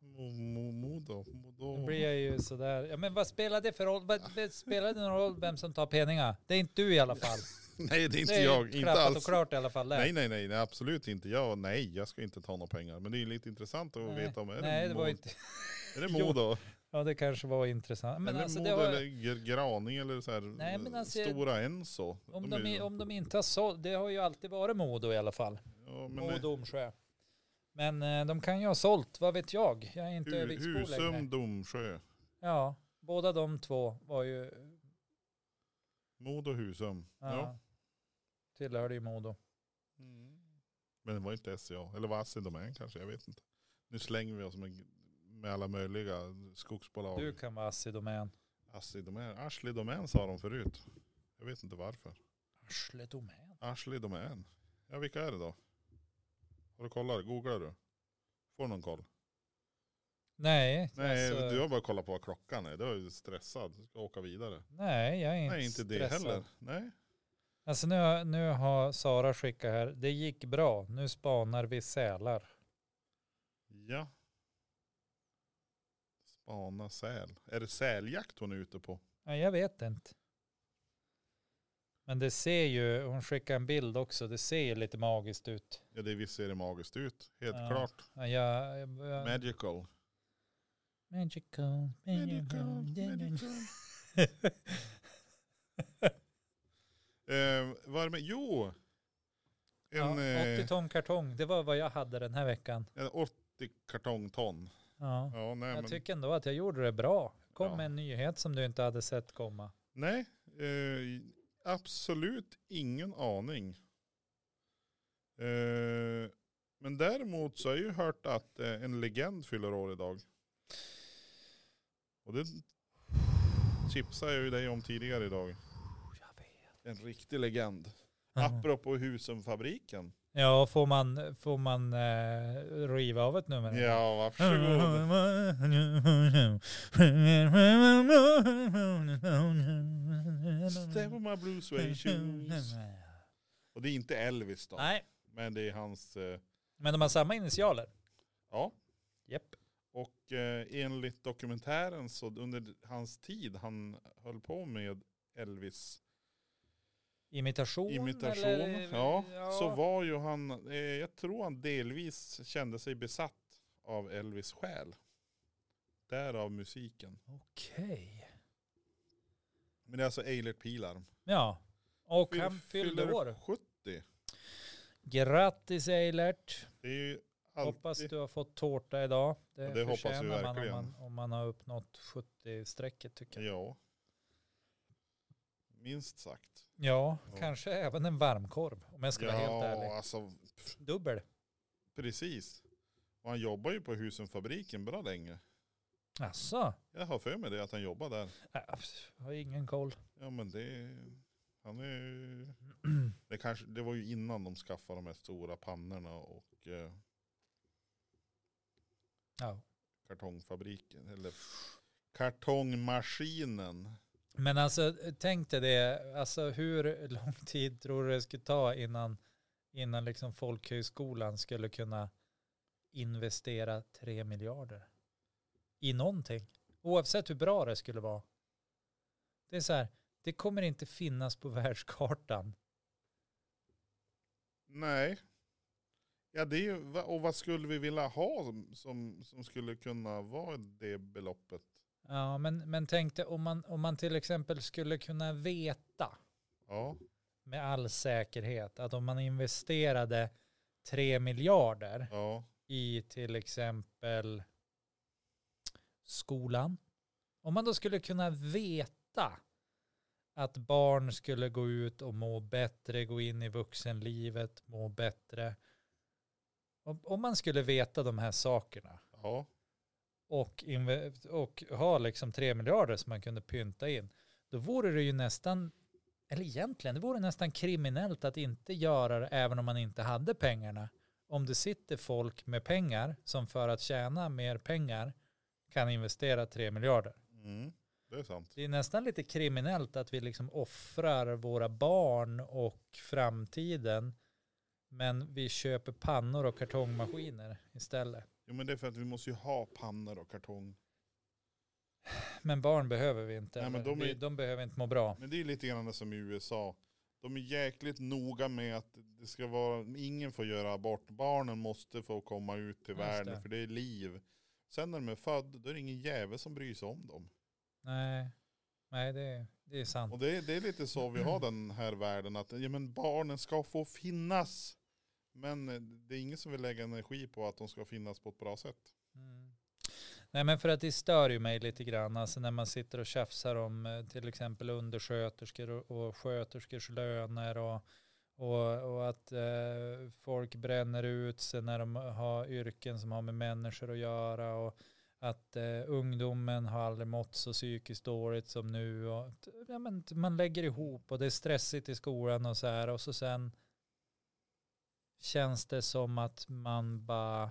[SPEAKER 1] Mo- mo- Modo?
[SPEAKER 2] Då
[SPEAKER 1] Modo?
[SPEAKER 2] blir jag ju sådär, ja men vad spelar det för roll, vad, vad spelar det någon roll vem som tar peningar? Det är inte du i alla fall.
[SPEAKER 1] Nej det är inte
[SPEAKER 2] det är
[SPEAKER 1] jag,
[SPEAKER 2] klappat
[SPEAKER 1] inte alls.
[SPEAKER 2] och klart i alla fall. där.
[SPEAKER 1] Nej, nej, nej, nej, absolut inte. Jag, nej, jag ska inte ta några pengar. Men det är ju lite intressant att
[SPEAKER 2] Nej,
[SPEAKER 1] veta om är
[SPEAKER 2] Nej,
[SPEAKER 1] det,
[SPEAKER 2] det
[SPEAKER 1] Mo-
[SPEAKER 2] var inte,
[SPEAKER 1] är det
[SPEAKER 2] Jo,
[SPEAKER 1] Modo?
[SPEAKER 2] ja det kanske var intressant. Men
[SPEAKER 1] eller
[SPEAKER 2] alltså,
[SPEAKER 1] Modo
[SPEAKER 2] det har,
[SPEAKER 1] eller Gr- Graninge eller så här,
[SPEAKER 2] Nej, men alltså,
[SPEAKER 1] Stora Enso.
[SPEAKER 2] om,
[SPEAKER 1] De är
[SPEAKER 2] de, i-
[SPEAKER 1] ju-
[SPEAKER 2] om de inte har sålt, det har ju alltid varit Modo i alla fall.
[SPEAKER 1] ja, men,
[SPEAKER 2] Modo Domsjö. Men eh, de kan ju ha sålt, vad vet jag? Jag är inte
[SPEAKER 1] Hu-
[SPEAKER 2] Öviksbo längre.
[SPEAKER 1] Husum, Domsjö.
[SPEAKER 2] Ja, båda de två var ju,
[SPEAKER 1] Modo, Husum.
[SPEAKER 2] ja,
[SPEAKER 1] Ja.
[SPEAKER 2] tillhörde ju Modo.
[SPEAKER 1] Men det var inte SCA. Eller var Assi Domän kanske, jag vet inte. Nu slänger vi oss med, med alla möjliga skogsbolag.
[SPEAKER 2] Du kan vara Assi Domän.
[SPEAKER 1] Assi Domän, Arsli Domän sa de förut. Jag vet inte varför.
[SPEAKER 2] Arsle Domän.
[SPEAKER 1] Ashley Domän. Ja vilka är det då? Har du kollat? Googlar du? Får någon koll?
[SPEAKER 2] Nej,
[SPEAKER 1] Nej
[SPEAKER 2] alltså-
[SPEAKER 1] du har bara kollat på vad klockan är. Du är ju stressad. Du ska åka vidare.
[SPEAKER 2] Nej, jag är inte
[SPEAKER 1] Nej inte det
[SPEAKER 2] stressad.
[SPEAKER 1] heller. Nej.
[SPEAKER 2] Alltså nu, har- nu har Sara skickat här, det gick bra, nu spanar vi sälar.
[SPEAKER 1] Ja. Spana säl. Är det säljakt hon är ute på?
[SPEAKER 2] Nej, jag vet inte. Men det ser ju, hon skickar en bild också, det ser ju lite magiskt ut.
[SPEAKER 1] Ja det visst ser det magiskt ut. Helt
[SPEAKER 2] Ja.
[SPEAKER 1] klart.
[SPEAKER 2] Ja, Jag, jag, jag,
[SPEAKER 1] Magical.
[SPEAKER 2] magical,
[SPEAKER 1] Medical,
[SPEAKER 2] magical, magical.
[SPEAKER 1] medical. Eh, vad är det med? Jo.
[SPEAKER 2] Ja,
[SPEAKER 1] En eh,
[SPEAKER 2] 80 ton kartong, det var vad jag hade den här veckan.
[SPEAKER 1] en 80 kartongton.
[SPEAKER 2] Ja.
[SPEAKER 1] Ja, nej,
[SPEAKER 2] Jag
[SPEAKER 1] men,
[SPEAKER 2] tycker ändå att jag gjorde det bra. Kom
[SPEAKER 1] Ja.
[SPEAKER 2] med en nyhet som du inte hade sett komma.
[SPEAKER 1] nej eh, absolut ingen aning. Eh, men däremot så har jag ju hört att eh, en legend fyller år idag. Och det tipsade jag ju dig om tidigare idag.
[SPEAKER 2] Jag vet.
[SPEAKER 1] En riktig legend. Apropå Husumfabriken.
[SPEAKER 2] Ja, får man, får man eh, riva av ett nummer?
[SPEAKER 1] Ja, varsågod. Step on my blue suede shoes. Och det är inte Elvis då.
[SPEAKER 2] Nej,
[SPEAKER 1] Men det är hans, eh,
[SPEAKER 2] men de har samma initialer.
[SPEAKER 1] ja.
[SPEAKER 2] Japp.
[SPEAKER 1] Och eh, enligt dokumentären så under hans tid han höll på med Elvis
[SPEAKER 2] Imitation?
[SPEAKER 1] imitation.
[SPEAKER 2] eller-
[SPEAKER 1] Ja, så var ju han, eh, jag tror han delvis kände sig besatt av Elvis själ. Därav musiken.
[SPEAKER 2] Okej.
[SPEAKER 1] Men det är alltså Eilert Pilarm.
[SPEAKER 2] Ja. Och
[SPEAKER 1] Fyll-
[SPEAKER 2] han fyllde
[SPEAKER 1] fyller
[SPEAKER 2] år.
[SPEAKER 1] 70.
[SPEAKER 2] Grattis Eilert.
[SPEAKER 1] Det är ju alltid,
[SPEAKER 2] Hoppas du har fått tårta idag. Det,
[SPEAKER 1] Ja, det hoppas vi
[SPEAKER 2] förtjänar man om,
[SPEAKER 1] verkligen.
[SPEAKER 2] man om man har uppnått 70-strecket tycker jag.
[SPEAKER 1] Ja. Minst sagt.
[SPEAKER 2] Ja,
[SPEAKER 1] Ja.
[SPEAKER 2] kanske även en varmkorv om jag ska vara helt ärlig.
[SPEAKER 1] alltså
[SPEAKER 2] Dubbel.
[SPEAKER 1] precis. Och han jobbar ju på Husumfabriken bra länge.
[SPEAKER 2] Jaså?
[SPEAKER 1] Jag har för mig det att han jobbar där.
[SPEAKER 2] Alltså, Äh, pff, har ingen koll.
[SPEAKER 1] Ja men det, han är ju- det, kanske, det var ju innan de skaffade de här stora pannorna och eh,
[SPEAKER 2] Ja.
[SPEAKER 1] kartongfabriken. Eller kartongmaskinen.
[SPEAKER 2] Men alltså tänk dig det, alltså hur lång tid tror du det skulle ta innan, innan liksom folkhögskolan skulle kunna investera 3 miljarder i någonting? Oavsett hur bra det skulle vara. Det är så här, det kommer inte finnas på världskartan.
[SPEAKER 1] Nej. Ja, det är ju, va- och vad skulle vi vilja ha som, som, som skulle kunna vara det beloppet?
[SPEAKER 2] Ja, men, men tänk dig om man, om man till exempel skulle kunna veta
[SPEAKER 1] Ja,
[SPEAKER 2] med all säkerhet att om man investerade 3 miljarder
[SPEAKER 1] ja,
[SPEAKER 2] i till exempel skolan. Om man då skulle kunna veta att barn skulle gå ut och må bättre, gå in i vuxenlivet, må bättre. Om, om man skulle veta de här sakerna
[SPEAKER 1] ja.
[SPEAKER 2] och, inve- och ha liksom tre miljarder som man kunde pynta in, då vore det ju nästan, eller egentligen, det vore nästan kriminellt att inte göra det även om man inte hade pengarna. Om det sitter folk med pengar som för att tjäna mer pengar kan investera tre miljarder.
[SPEAKER 1] Mm, det är sant.
[SPEAKER 2] Det är nästan lite kriminellt att vi liksom offrar våra barn och framtiden men vi köper pannor och kartongmaskiner istället.
[SPEAKER 1] Jo, men det är för att vi måste ju ha pannor och kartong.
[SPEAKER 2] Men barn behöver vi inte.
[SPEAKER 1] Nej, men
[SPEAKER 2] eller?
[SPEAKER 1] de är-
[SPEAKER 2] Vi- de behöver inte må bra.
[SPEAKER 1] Men det är ju lite grann som i USA. De är jäkligt noga med att det ska vara, ingen får göra abort. Barnen måste få komma ut till
[SPEAKER 2] Just
[SPEAKER 1] världen
[SPEAKER 2] det.
[SPEAKER 1] för det är liv. Sen när de är födda, då är det ingen jävel som bryr sig om dem.
[SPEAKER 2] Nej, Nej det, är- det är sant.
[SPEAKER 1] Och det är, det är lite så vi har den här världen, att ja, men barnen ska få finnas. Men eh, det är ingen som vill lägga energi på att de ska finnas på ett bra sätt.
[SPEAKER 2] Mm. Nej men för att det stör ju mig lite grann, alltså när man sitter och tjafsar om eh, till exempel undersköterskor och, och sköterskors löner och, och, och att eh, folk bränner ut sig när de har yrken som har med människor att göra och att eh, ungdomen har aldrig mått så psykiskt dåligt som nu. Och, att, ja, men, man lägger ihop och det är stressigt i skolan och så här och så sen känns det som att man bara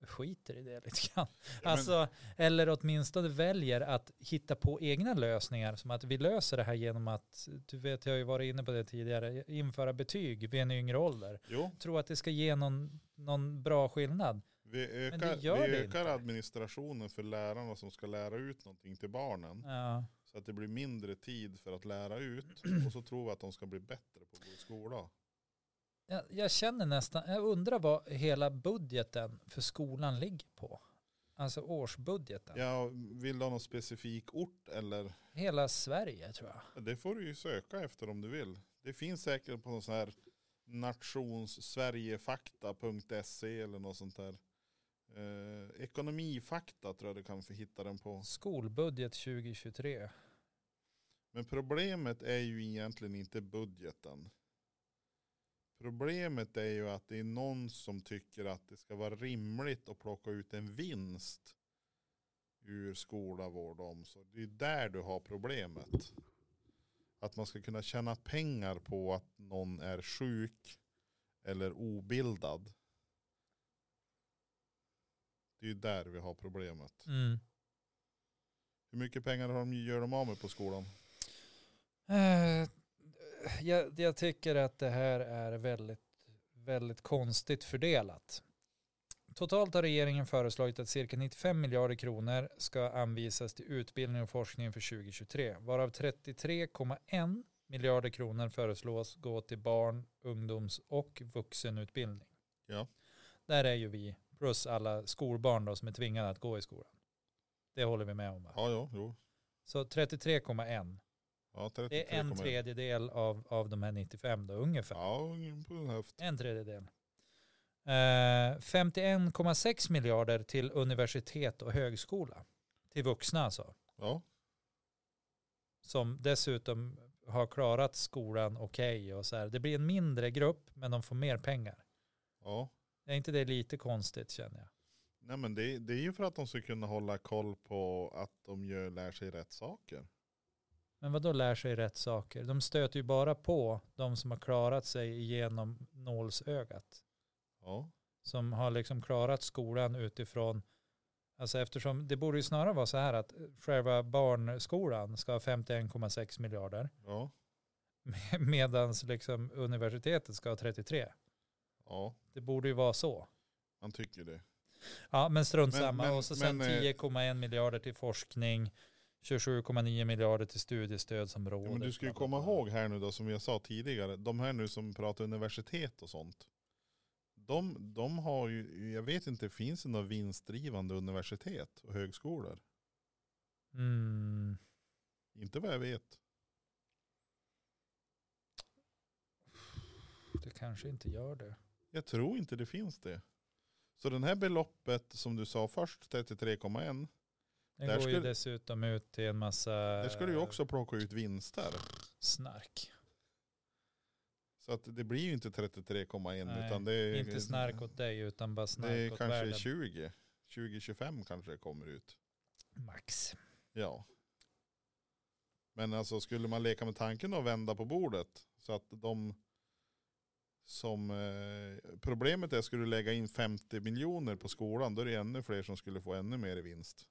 [SPEAKER 2] skiter i det lite grann.
[SPEAKER 1] men-
[SPEAKER 2] Alltså, eller åtminstone väljer att hitta på egna lösningar. Som att vi löser det här genom att, du vet jag har ju varit inne på det tidigare, införa betyg vid en yngre ålder.
[SPEAKER 1] Jo,
[SPEAKER 2] Tro att det ska ge någon, någon bra skillnad.
[SPEAKER 1] vi
[SPEAKER 2] det
[SPEAKER 1] ökar,
[SPEAKER 2] gör
[SPEAKER 1] vi
[SPEAKER 2] det
[SPEAKER 1] ökar
[SPEAKER 2] inte.
[SPEAKER 1] administrationen för lärarna som ska lära ut någonting till barnen.
[SPEAKER 2] Ja.
[SPEAKER 1] Så att det blir mindre tid för att lära ut och så tror vi att de ska bli bättre på att gå i skola.
[SPEAKER 2] Jag, jag känner nästan, jag undrar vad hela budgeten för skolan ligger på. Alltså årsbudgeten.
[SPEAKER 1] Ja, vill du ha någon specifik ort eller?
[SPEAKER 2] Hela Sverige tror jag.
[SPEAKER 1] Det får du ju söka efter om du vill. Det finns säkert på någon sån här nationssverigefakta.se eller något sånt där. Eh, ekonomifakta tror jag du kan få hitta den på.
[SPEAKER 2] Skolbudget 2023.
[SPEAKER 1] Men problemet är ju egentligen inte budgeten. Problemet är ju att det är någon som tycker att det ska vara rimligt att plocka ut en vinst ur skola, vård och omsorg. Det är där du har problemet. Att man ska kunna tjäna pengar på att någon är sjuk eller obildad. Det är ju där vi har problemet.
[SPEAKER 2] Mm.
[SPEAKER 1] Hur mycket pengar har de, gör de av med på skolan?
[SPEAKER 2] Eh, Jag, jag tycker att det här är väldigt, väldigt konstigt fördelat. Totalt har regeringen föreslagit att cirka 95 miljarder kronor ska anvisas till utbildning och forskning för 2023, varav 33,1 miljarder kronor föreslås gå till barn, ungdoms och vuxenutbildning.
[SPEAKER 1] Ja.
[SPEAKER 2] Där är ju vi, plus alla skolbarn då, som är tvingade att gå i skolan. Det håller vi med om. Va?
[SPEAKER 1] Ja, jo, jo.
[SPEAKER 2] Så 33,1.
[SPEAKER 1] Ja,
[SPEAKER 2] Det är en
[SPEAKER 1] 33,1.
[SPEAKER 2] tredjedel av, av de här 95 då, ungefär.
[SPEAKER 1] Ja, på en höft.
[SPEAKER 2] En tredjedel. Eh, 51,6 miljarder till universitet och högskola. Till vuxna alltså.
[SPEAKER 1] Ja,
[SPEAKER 2] Som dessutom har klarat skolan okej och så här. Det blir en mindre grupp men de får mer pengar.
[SPEAKER 1] ja.
[SPEAKER 2] Är inte det lite konstigt känner jag?
[SPEAKER 1] Nej men det, det är ju för att de ska kunna hålla koll på att de gör, lär sig rätt saker.
[SPEAKER 2] Men vad då lär sig rätt saker? De stöter ju bara på de som har klarat sig igenom nålsögat.
[SPEAKER 1] Ja,
[SPEAKER 2] som har liksom klarat skolan utifrån, alltså eftersom det borde ju snarare vara så här att själva barnskolan ska ha 51,6 miljarder
[SPEAKER 1] ja,
[SPEAKER 2] medan liksom universitetet ska ha 33.
[SPEAKER 1] ja.
[SPEAKER 2] Det borde ju vara så.
[SPEAKER 1] Man tycker det.
[SPEAKER 2] Ja men strunt
[SPEAKER 1] Men-
[SPEAKER 2] samma.
[SPEAKER 1] men-
[SPEAKER 2] Och så sen
[SPEAKER 1] men, eh,
[SPEAKER 2] 10,1 miljarder till forskning, 27,9 miljarder till
[SPEAKER 1] Ja,
[SPEAKER 2] studiestödsområdet.
[SPEAKER 1] men du ska ju
[SPEAKER 2] bla, bla,
[SPEAKER 1] komma
[SPEAKER 2] bla.
[SPEAKER 1] ihåg här nu då som jag sa tidigare. De här nu som pratar universitet och sånt. De, de har ju, jag vet inte, finns det några vinstdrivande universitet och högskolor?
[SPEAKER 2] Mm.
[SPEAKER 1] Inte vad jag vet.
[SPEAKER 2] Det kanske inte gör det.
[SPEAKER 1] Jag tror inte det finns det. Så den här beloppet som du sa först, 33,1,
[SPEAKER 2] Den
[SPEAKER 1] Där
[SPEAKER 2] går ju
[SPEAKER 1] skulle-
[SPEAKER 2] dessutom ut till en massa
[SPEAKER 1] där ska du ju också plocka ut vinster.
[SPEAKER 2] snark.
[SPEAKER 1] Så att det blir ju inte 33,1
[SPEAKER 2] Nej,
[SPEAKER 1] utan det är
[SPEAKER 2] Inte snark åt dig utan bara snark
[SPEAKER 1] Det är
[SPEAKER 2] åt
[SPEAKER 1] kanske
[SPEAKER 2] världen.
[SPEAKER 1] 20, 20-25 kanske det kommer ut.
[SPEAKER 2] Max.
[SPEAKER 1] Ja. Men alltså skulle man leka med tanken och vända på bordet så att de som eh, problemet är skulle du lägga in 50 miljoner på skolan då är det ännu fler som skulle få ännu mer i vinst.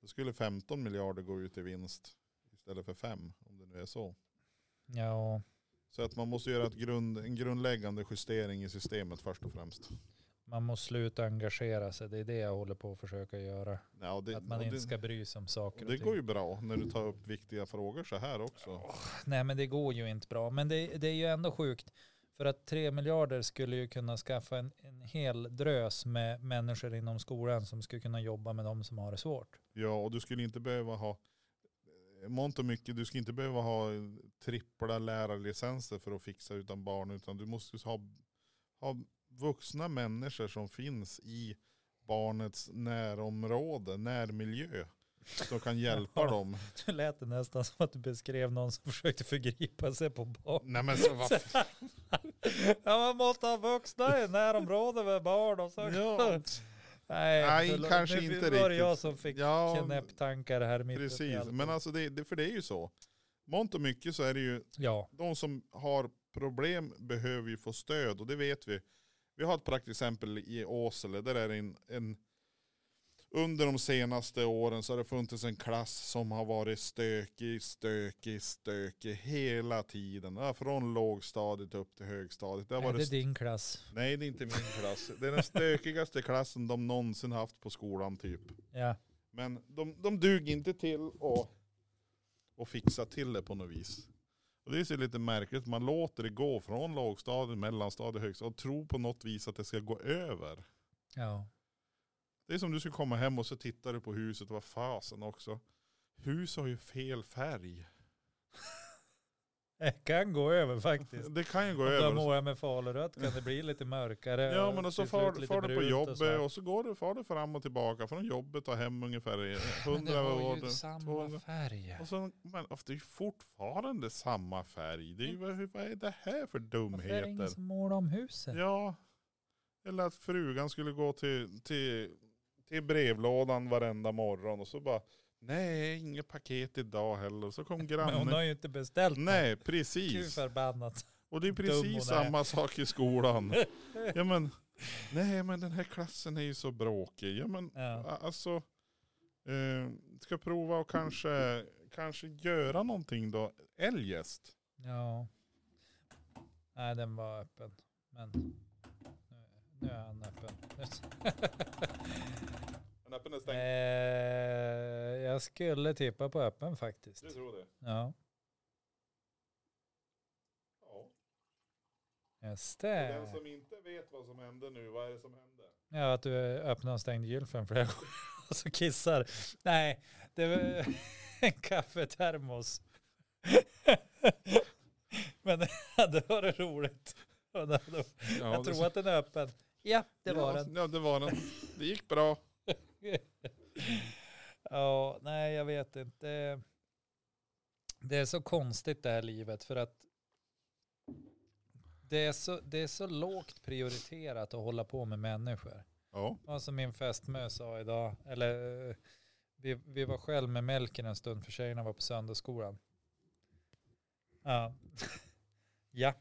[SPEAKER 1] Då skulle 15 miljarder gå ut i vinst istället för 5 om det nu är så.
[SPEAKER 2] Ja,
[SPEAKER 1] Så att man måste göra ett grund, en grundläggande justering i systemet först och främst.
[SPEAKER 2] man måste sluta engagera sig. Det är det jag håller på att försöka göra.
[SPEAKER 1] Ja, det,
[SPEAKER 2] Att man
[SPEAKER 1] och
[SPEAKER 2] inte
[SPEAKER 1] det,
[SPEAKER 2] ska bry sig om saker
[SPEAKER 1] och
[SPEAKER 2] och
[SPEAKER 1] det
[SPEAKER 2] ting.
[SPEAKER 1] går ju bra när du tar upp viktiga frågor så här också.
[SPEAKER 2] Nej, men det går ju inte bra. Men det, det är ju ändå sjukt. För att tre miljarder skulle ju kunna skaffa en, en hel drös med människor inom skolan som skulle kunna jobba med de som har det svårt.
[SPEAKER 1] Ja, och du skulle inte behöva ha mångt och mycket, du skulle inte behöva ha trippla lärarlicenser för att fixa utan barn, utan du måste ha, ha vuxna människor som finns i barnets närområde, närmiljö, som kan hjälpa dem.
[SPEAKER 2] Det lät det nästan som att du beskrev någon som försökte förgripa sig på barn.
[SPEAKER 1] Nej men så vad
[SPEAKER 2] Ja, man måste ha vuxna i närområdet med barn och så.
[SPEAKER 1] ja,
[SPEAKER 2] Nej,
[SPEAKER 1] Nej,
[SPEAKER 2] förlåt.
[SPEAKER 1] kanske
[SPEAKER 2] nu
[SPEAKER 1] inte
[SPEAKER 2] var det
[SPEAKER 1] riktigt.
[SPEAKER 2] jag som fick
[SPEAKER 1] ja,
[SPEAKER 2] knäpptankar här mitt uppe i
[SPEAKER 1] precis.
[SPEAKER 2] allt.
[SPEAKER 1] Men alltså det, det, för det är ju så. Mångt och mycket så är det ju
[SPEAKER 2] Ja,
[SPEAKER 1] de som har problem behöver ju få stöd och det vet vi. Vi har ett praktiskt exempel i Åsele. Där är det en, en, under de senaste åren så har det funnits en klass som har varit stökig, stökig, stökig hela tiden. Ja, Från lågstadiet upp till högstadiet. Det har
[SPEAKER 2] är
[SPEAKER 1] varit
[SPEAKER 2] det din klass?
[SPEAKER 1] Nej, det är inte min klass. Det är den stökigaste klassen de någonsin haft på skolan typ.
[SPEAKER 2] Ja.
[SPEAKER 1] Men de, de duger inte till att, att fixa till det på något vis. Och det är så lite märkligt. Man låter det gå från lågstadiet, mellanstadiet, högstadiet och tror på något vis att det ska gå över.
[SPEAKER 2] ja.
[SPEAKER 1] Det är som du skulle komma hem och så tittar du på huset. Vad fasen också. Hus har ju fel färg.
[SPEAKER 2] Det kan gå över faktiskt.
[SPEAKER 1] Det kan ju gå
[SPEAKER 2] Om du har
[SPEAKER 1] över.
[SPEAKER 2] målat med falurött kan det bli lite mörkare.
[SPEAKER 1] Ja
[SPEAKER 2] och
[SPEAKER 1] men och så
[SPEAKER 2] till
[SPEAKER 1] far,
[SPEAKER 2] slut lite
[SPEAKER 1] far du på
[SPEAKER 2] brunt
[SPEAKER 1] jobbet
[SPEAKER 2] och
[SPEAKER 1] och
[SPEAKER 2] så
[SPEAKER 1] så,
[SPEAKER 2] här.
[SPEAKER 1] går du, far du fram och tillbaka från jobbet och hem ungefär
[SPEAKER 2] Men
[SPEAKER 1] 100
[SPEAKER 2] det har
[SPEAKER 1] år.
[SPEAKER 2] ju samma
[SPEAKER 1] 200.
[SPEAKER 2] färg.
[SPEAKER 1] Och så, men det är ju fortfarande samma färg. Det är ju, vad, vad är det här för
[SPEAKER 2] Varför är det ingen
[SPEAKER 1] dumheter?
[SPEAKER 2] som målar om huset?
[SPEAKER 1] Ja. Eller att frugan skulle gå till, till, till brevlådan varenda morgon och så bara nej, inget paket idag heller. Så kom
[SPEAKER 2] men hon har
[SPEAKER 1] grannen.
[SPEAKER 2] ju inte beställt något.
[SPEAKER 1] Nej,
[SPEAKER 2] Gud
[SPEAKER 1] precis.
[SPEAKER 2] förbannat.
[SPEAKER 1] Och det är
[SPEAKER 2] Dum hon är.
[SPEAKER 1] precis samma sak i skolan. Ja men, nej men den här klassen är ju så bråkig. Ja men
[SPEAKER 2] Ja.
[SPEAKER 1] a- alltså, eh, ska prova och kanske, kanske göra någonting då, eljest.
[SPEAKER 2] Ja. Nej, den var öppen. Men nu, nu är han öppen.
[SPEAKER 1] Men öppen är
[SPEAKER 2] Eh, jag skulle tippa på öppen faktiskt.
[SPEAKER 1] tror det.
[SPEAKER 2] Ja. Just
[SPEAKER 1] Och Den
[SPEAKER 2] det.
[SPEAKER 1] som inte vet vad som hände nu, vad är det som hände?
[SPEAKER 2] Ja, att du öppnar och stängde gylfen flera gånger och så kissar. Nej, det var en kaffetermos. Men det var det roligt. Och det var- Jag tror att den är öppen. Ja, det var den.
[SPEAKER 1] Ja, det var den. Det gick bra.
[SPEAKER 2] Ja, nej jag vet inte. Det är så konstigt det här livet för att det är så, det är så lågt prioriterat att hålla på med människor.
[SPEAKER 1] Ja.
[SPEAKER 2] Ja, som min fästmö sa idag, eller eh, vi, vi var själv med Melken en stund för tjejerna var på söndagsskolan. Ja. ja.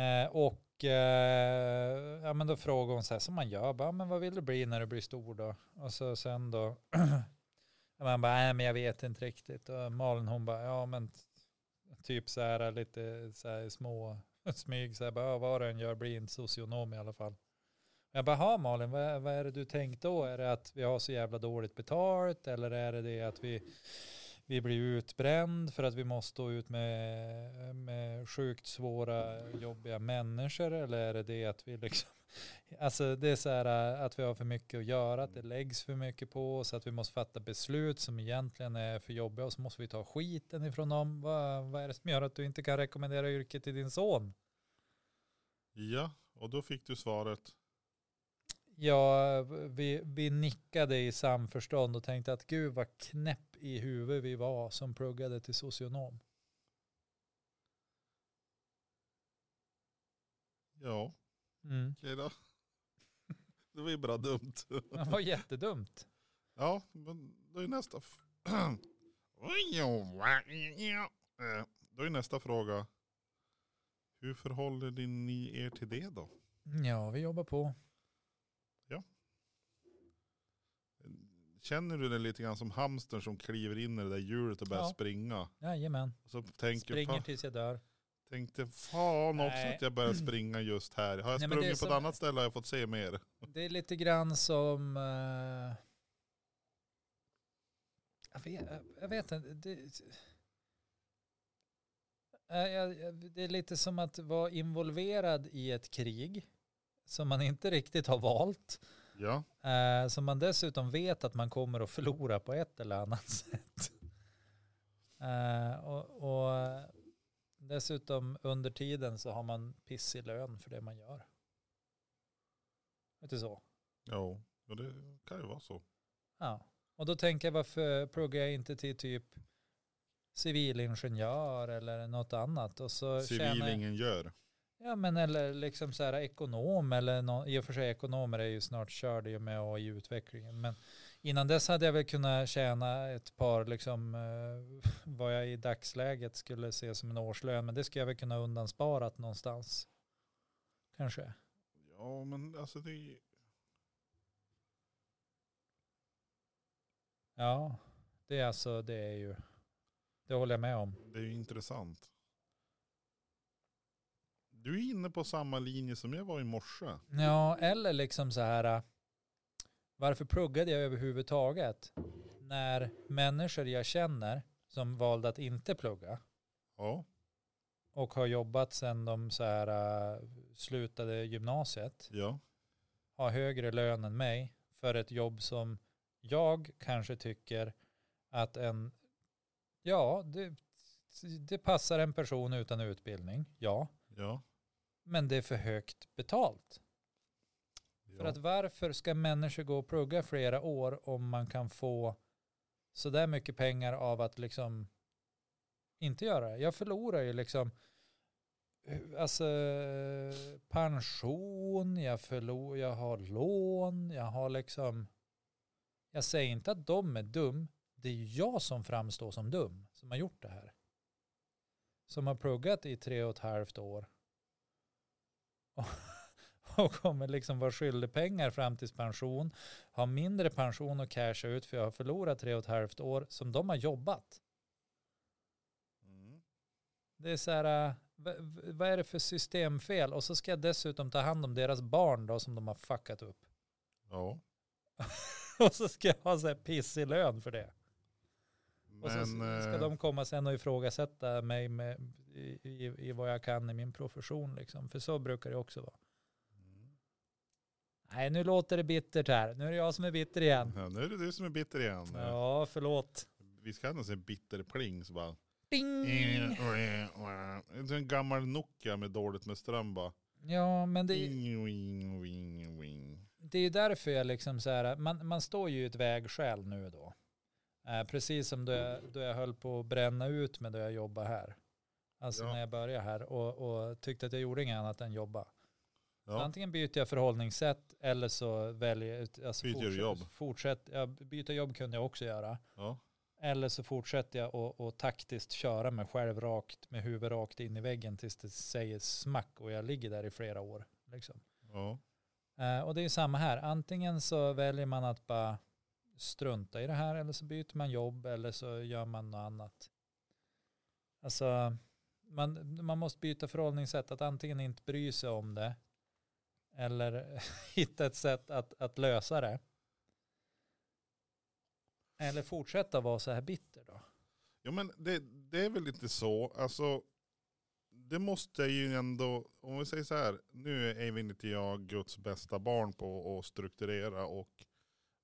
[SPEAKER 2] Eh, och eh, ja, men då frågade hon så här som man gör, bara, men vad vill du bli när du blir stor då? Och så sen då, ja, man bara, nej men jag vet inte riktigt. Och Malin hon bara, ja men t- typ så här lite så här små smyg, så här bara, ja, vad du än gör, bli inte socionom i alla fall. Jag bara, "Ha, Malin, vad, vad är det du tänkt då? Är det att vi har så jävla dåligt betalt eller är det det att vi, vi blir utbränd för att vi måste stå ut med, med sjukt svåra, jobbiga människor eller är det det att vi liksom Alltså det är så här äh, att vi har för mycket att göra, att det läggs för mycket på oss, att vi måste fatta beslut som egentligen är för jobbiga och så måste vi ta skiten ifrån dem. Vad, vad är det som gör att du inte kan rekommendera yrket till din son?
[SPEAKER 1] Ja, och då fick du svaret.
[SPEAKER 2] Ja, vi, vi nickade i samförstånd och tänkte att gud vad knäpp i huvudet vi var som pluggade till socionom.
[SPEAKER 1] Ja,
[SPEAKER 2] Mm.
[SPEAKER 1] okej då. Det var ju bara dumt.
[SPEAKER 2] Det var jättedumt.
[SPEAKER 1] Ja, men då är nästa. f- Eh, Då är nästa fråga. Hur förhåller ni er till det då?
[SPEAKER 2] Ja, vi jobbar på.
[SPEAKER 1] Känner du det lite grann som hamstern som kliver in i det där hjulet och börjar
[SPEAKER 2] Ja.
[SPEAKER 1] springa?
[SPEAKER 2] Jajamän.
[SPEAKER 1] Och så tänker,
[SPEAKER 2] Springer
[SPEAKER 1] fan,
[SPEAKER 2] tills jag dör.
[SPEAKER 1] tänkte fan också
[SPEAKER 2] Nej.
[SPEAKER 1] att jag börjar springa just här. Har jag
[SPEAKER 2] Nej, men det är
[SPEAKER 1] sprungit på ett
[SPEAKER 2] som-
[SPEAKER 1] annat ställe har jag fått se mer.
[SPEAKER 2] Det är lite grann som... eh, jag, vet, jag vet inte. Det, Eh, jag- jag- det är lite som att vara involverad i ett krig som man inte riktigt har valt.
[SPEAKER 1] Ja,
[SPEAKER 2] Eh, som man dessutom vet att man kommer att förlora på ett eller annat sätt. Eh, och, och dessutom under tiden så har man piss i lön för det man gör. Vet du så?
[SPEAKER 1] jo. Ja, det kan ju vara så.
[SPEAKER 2] Ja. Och då tänker jag varför pluggar jag inte till typ civilingenjör eller något annat. Och så tjänar jag-
[SPEAKER 1] Civilingen gör.
[SPEAKER 2] Ja men eller liksom så här ekonom eller nå- i och för sig ekonomer är ju snart körda i och med AI-utvecklingen. Men innan dess hade jag väl kunnat tjäna ett par liksom eh, vad jag i dagsläget skulle se som en årslön. Men det skulle jag väl kunna undansparat någonstans. Kanske.
[SPEAKER 1] Ja, men alltså det är
[SPEAKER 2] Ja, det är alltså det är ju. Det håller jag med om.
[SPEAKER 1] Det är ju intressant. Du är inne på samma linje som jag var i morse.
[SPEAKER 2] Ja, eller liksom så här. eh, Varför pluggade jag överhuvudtaget? När människor jag känner som valde att inte plugga
[SPEAKER 1] Ja,
[SPEAKER 2] och har jobbat sedan de så här, äh, slutade gymnasiet,
[SPEAKER 1] ja,
[SPEAKER 2] har högre lön än mig för ett jobb som jag kanske tycker att en, ja, det, det passar en person utan utbildning, ja,
[SPEAKER 1] ja.
[SPEAKER 2] men det är för högt betalt. För
[SPEAKER 1] ja.
[SPEAKER 2] att varför ska människor gå och plugga flera år om man kan få så där mycket pengar av att liksom inte göra det? Jag förlorar ju liksom eh, alltså pension, jag, förlor, jag har lån, jag har liksom jag säger inte att de är dum, det är ju jag som framstår som dum som har gjort det här. Som har pluggat i tre och ett halvt år och kommer liksom vara skyldig pengar fram till pension, ha mindre pension och casha ut för jag har förlorat tre och ett halvt år som de har jobbat.
[SPEAKER 1] Mm.
[SPEAKER 2] Det är så här, äh, v- v- vad är det för systemfel? Och så ska jag dessutom ta hand om deras barn då som de har fuckat upp.
[SPEAKER 1] ja.
[SPEAKER 2] Och så ska jag ha så här pissig lön för det. Och sen
[SPEAKER 1] Men,
[SPEAKER 2] ska
[SPEAKER 1] eh,
[SPEAKER 2] de komma sen och ifrågasätta mig med, i, i, i vad jag kan i min profession. Liksom. För så brukar det också vara.
[SPEAKER 1] Mm.
[SPEAKER 2] Nej, nu låter det bittert här. Nu är det jag som är bitter igen.
[SPEAKER 1] Ja, nu är det du som är bitter igen.
[SPEAKER 2] Ja, förlåt.
[SPEAKER 1] Vi ska ha en sån bitterpling så bara. Eh,
[SPEAKER 2] Ding!
[SPEAKER 1] En sån gammal Nokia med dåligt med ström bara.
[SPEAKER 2] Ja, men det,
[SPEAKER 1] Wing, wing, wing, wing.
[SPEAKER 2] det är ju därför jag liksom så här, man, man står ju i ett vägskäl nu då. Eh, precis som då jag, då jag höll på att bränna ut med då jag jobbade här. Alltså
[SPEAKER 1] Ja.
[SPEAKER 2] när jag började här och, och tyckte att jag gjorde inget annat än jobba. Så
[SPEAKER 1] Ja.
[SPEAKER 2] Antingen byter jag förhållningssätt eller så väljer jag, alltså
[SPEAKER 1] Byter du
[SPEAKER 2] fortsätt,
[SPEAKER 1] jobb?
[SPEAKER 2] Fortsätt, ja, byta jobb kunde jag också göra.
[SPEAKER 1] ja.
[SPEAKER 2] Eller så fortsätter jag och, och taktiskt köra mig själv rakt med huvudet rakt in i väggen tills det säger smack och jag ligger där i flera år. Liksom.
[SPEAKER 1] ja.
[SPEAKER 2] Eh, och det är ju samma här. Antingen så väljer man att bara strunta i det här eller så byter man jobb eller så gör man något annat. Alltså man, man måste byta förhållningssätt. Att antingen inte bry sig om det eller hitta ett sätt att, att lösa det. Eller fortsätta vara så här bitter då.
[SPEAKER 1] Ja men det, det är väl lite så, alltså det måste jag ju ändå, om vi säger så här, nu är väl inte jag Guds bästa barn på att strukturera och,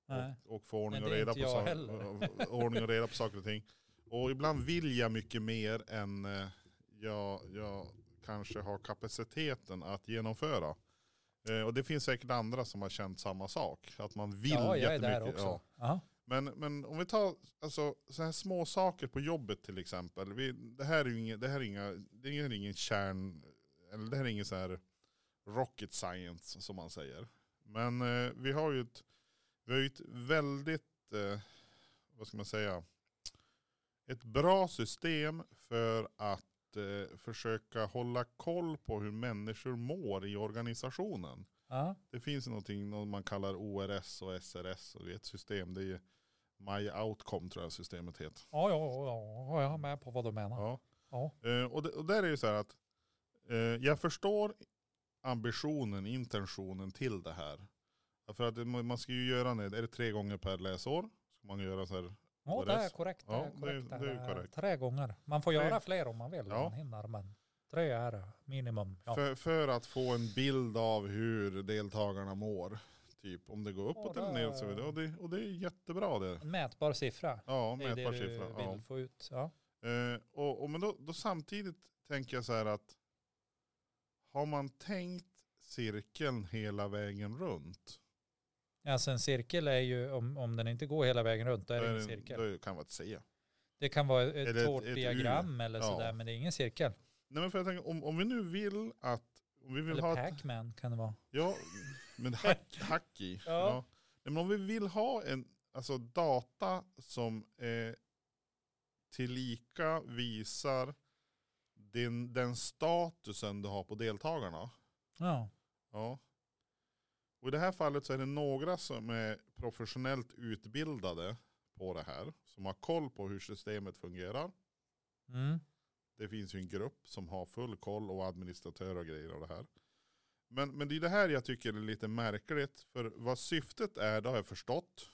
[SPEAKER 2] Nej.
[SPEAKER 1] och, och få ordning
[SPEAKER 2] Men
[SPEAKER 1] och,
[SPEAKER 2] det är
[SPEAKER 1] reda på
[SPEAKER 2] inte jag
[SPEAKER 1] sa-
[SPEAKER 2] heller.
[SPEAKER 1] ordning och reda på saker och ting. Och ibland vill jag mycket mer än eh, jag, jag kanske har kapaciteten att genomföra. Eh, och det finns säkert andra som har känt samma sak, att man vill
[SPEAKER 2] ja, jag är där
[SPEAKER 1] jättemycket.
[SPEAKER 2] också.
[SPEAKER 1] Ja.
[SPEAKER 2] Ja.
[SPEAKER 1] Men, men om vi tar alltså, så här små saker på jobbet till exempel. Vi, det här är ju inga, det här är inga, det är ingen kärn, eller det här är ingen så här rocket science som man säger. Men eh, vi har ju ett, vi har ju ett väldigt, eh, vad ska man säga, ett bra system för att eh, försöka hålla koll på hur människor mår i organisationen.
[SPEAKER 2] Ja.
[SPEAKER 1] Det finns någonting något man kallar ORS och SRS och det är ett system. Det är ju My Outcome tror jag systemet heter.
[SPEAKER 2] Ja, ja, ja, ja, jag är med på vad du menar.
[SPEAKER 1] Ja.
[SPEAKER 2] Ja.
[SPEAKER 1] Eh, och, det, och där är det ju så här att eh, jag förstår ambitionen, intentionen till det här. För att det- man man ska ju göra, det, är det tre gånger per läsår? Ska man göra så här,
[SPEAKER 2] Ja,
[SPEAKER 1] Och
[SPEAKER 2] det
[SPEAKER 1] det-
[SPEAKER 2] är korrekt.
[SPEAKER 1] ja,
[SPEAKER 2] det är korrekt.
[SPEAKER 1] det är- det är korrekt.
[SPEAKER 2] Tre gånger. Man får
[SPEAKER 1] Tre.
[SPEAKER 2] göra fler om man vill, om
[SPEAKER 1] Ja.
[SPEAKER 2] man hinner. Men tre är minimum. Ja.
[SPEAKER 1] för, för att få en bild av hur deltagarna mår. Typ om det går uppåt
[SPEAKER 2] Ja,
[SPEAKER 1] eller
[SPEAKER 2] det-
[SPEAKER 1] ner och så vidare. Och det, och det är jättebra det.
[SPEAKER 2] En mätbar siffra.
[SPEAKER 1] Ja,
[SPEAKER 2] det är det
[SPEAKER 1] mätbar
[SPEAKER 2] du
[SPEAKER 1] siffra.
[SPEAKER 2] vill
[SPEAKER 1] Ja.
[SPEAKER 2] få ut. Ja.
[SPEAKER 1] Eh, och, och men då, då samtidigt tänker jag så här att har man tänkt cirkeln hela vägen runt?
[SPEAKER 2] Alltså en cirkel är ju, om, om den inte går hela vägen runt, då är det ingen cirkel.
[SPEAKER 1] Då kan man inte säga.
[SPEAKER 2] Det kan vara
[SPEAKER 1] Eller
[SPEAKER 2] ett
[SPEAKER 1] ett-
[SPEAKER 2] tårt
[SPEAKER 1] ett U.
[SPEAKER 2] diagram eller
[SPEAKER 1] Ja.
[SPEAKER 2] sådär, men det är ingen cirkel.
[SPEAKER 1] Nej men för jag tänker, om, om vi nu vill att, om vi vill
[SPEAKER 2] Eller
[SPEAKER 1] ha ett,
[SPEAKER 2] Pac-Man kan det vara.
[SPEAKER 1] ja, men hack, hack i.
[SPEAKER 2] Ja.
[SPEAKER 1] Nej, men om vi vill ha en, alltså data som eh, tillika visar din, den statusen du har på deltagarna.
[SPEAKER 2] Ja.
[SPEAKER 1] Ja. Och i det här fallet så är det några som är professionellt utbildade på det här. Som har koll på hur systemet fungerar.
[SPEAKER 2] Mm.
[SPEAKER 1] Det finns ju en grupp som har full koll och administratörer och grejer av det här. Men, men det är det här jag tycker är lite märkligt. För vad syftet är, det har jag förstått.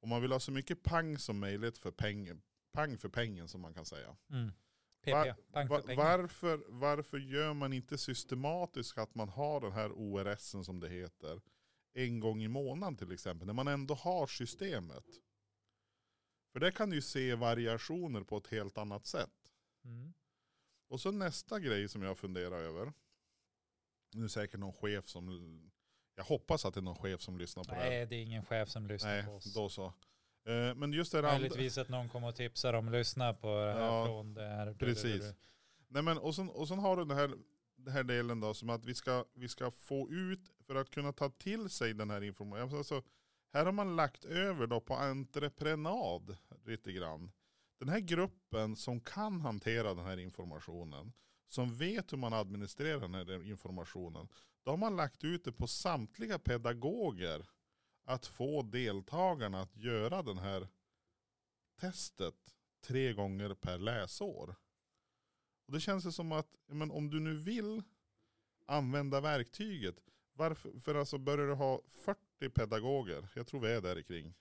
[SPEAKER 1] Och man vill ha så mycket pang som möjligt för pengen. Pang för pengen som man kan säga.
[SPEAKER 2] Mm.
[SPEAKER 1] Var-
[SPEAKER 2] PP, pang för
[SPEAKER 1] Va-
[SPEAKER 2] pengar.
[SPEAKER 1] varför, varför gör man inte systematiskt att man har den här ORS en som det heter en gång i månaden till exempel, när man ändå har systemet? För där kan du ju se variationer på ett helt annat sätt.
[SPEAKER 2] Mm.
[SPEAKER 1] Och så nästa grej som jag funderar över. Nu är det säkert någon chef som, jag hoppas att det är någon chef som lyssnar på det här.
[SPEAKER 2] Nej, det är ingen chef som lyssnar
[SPEAKER 1] Nej,
[SPEAKER 2] på oss.
[SPEAKER 1] då så. Eh, Men just det här andra-
[SPEAKER 2] Möjligtvis att någon kommer och tipsar om lyssna på det här
[SPEAKER 1] Ja,
[SPEAKER 2] från det här.
[SPEAKER 1] precis. Nej men och sen, och sen har du den här, den här delen då som att vi ska, vi ska få ut för att kunna ta till sig den här informationen. Alltså, här har man lagt över då på entreprenad lite grann. Den här gruppen som kan hantera den här informationen, som vet hur man administrerar den här informationen, då har man lagt ut det på samtliga pedagoger att få deltagarna att göra den här testet tre gånger per läsår. Och det känns det som att ja, men om du nu vill använda verktyget, varför, för alltså börjar du ha 40 pedagoger, jag tror vi är där i kring.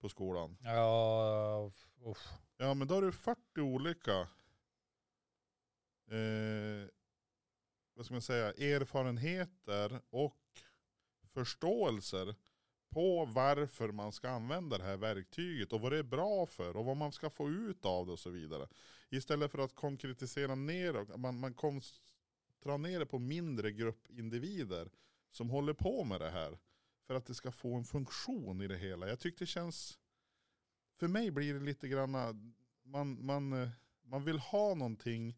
[SPEAKER 1] på skolan.
[SPEAKER 2] Ja, uff.
[SPEAKER 1] Ja men då har du 40 olika eh, vad ska man säga, erfarenheter och förståelser på varför man ska använda det här verktyget och vad det är bra för och vad man ska få ut av det och så vidare. Istället för att konkretisera ner och man, man koncentrerar ner det på mindre grupp individer som håller på med det här. För att det ska få en funktion i det hela. Jag tycker det känns, för mig blir det lite granna, man, man, eh, man vill ha någonting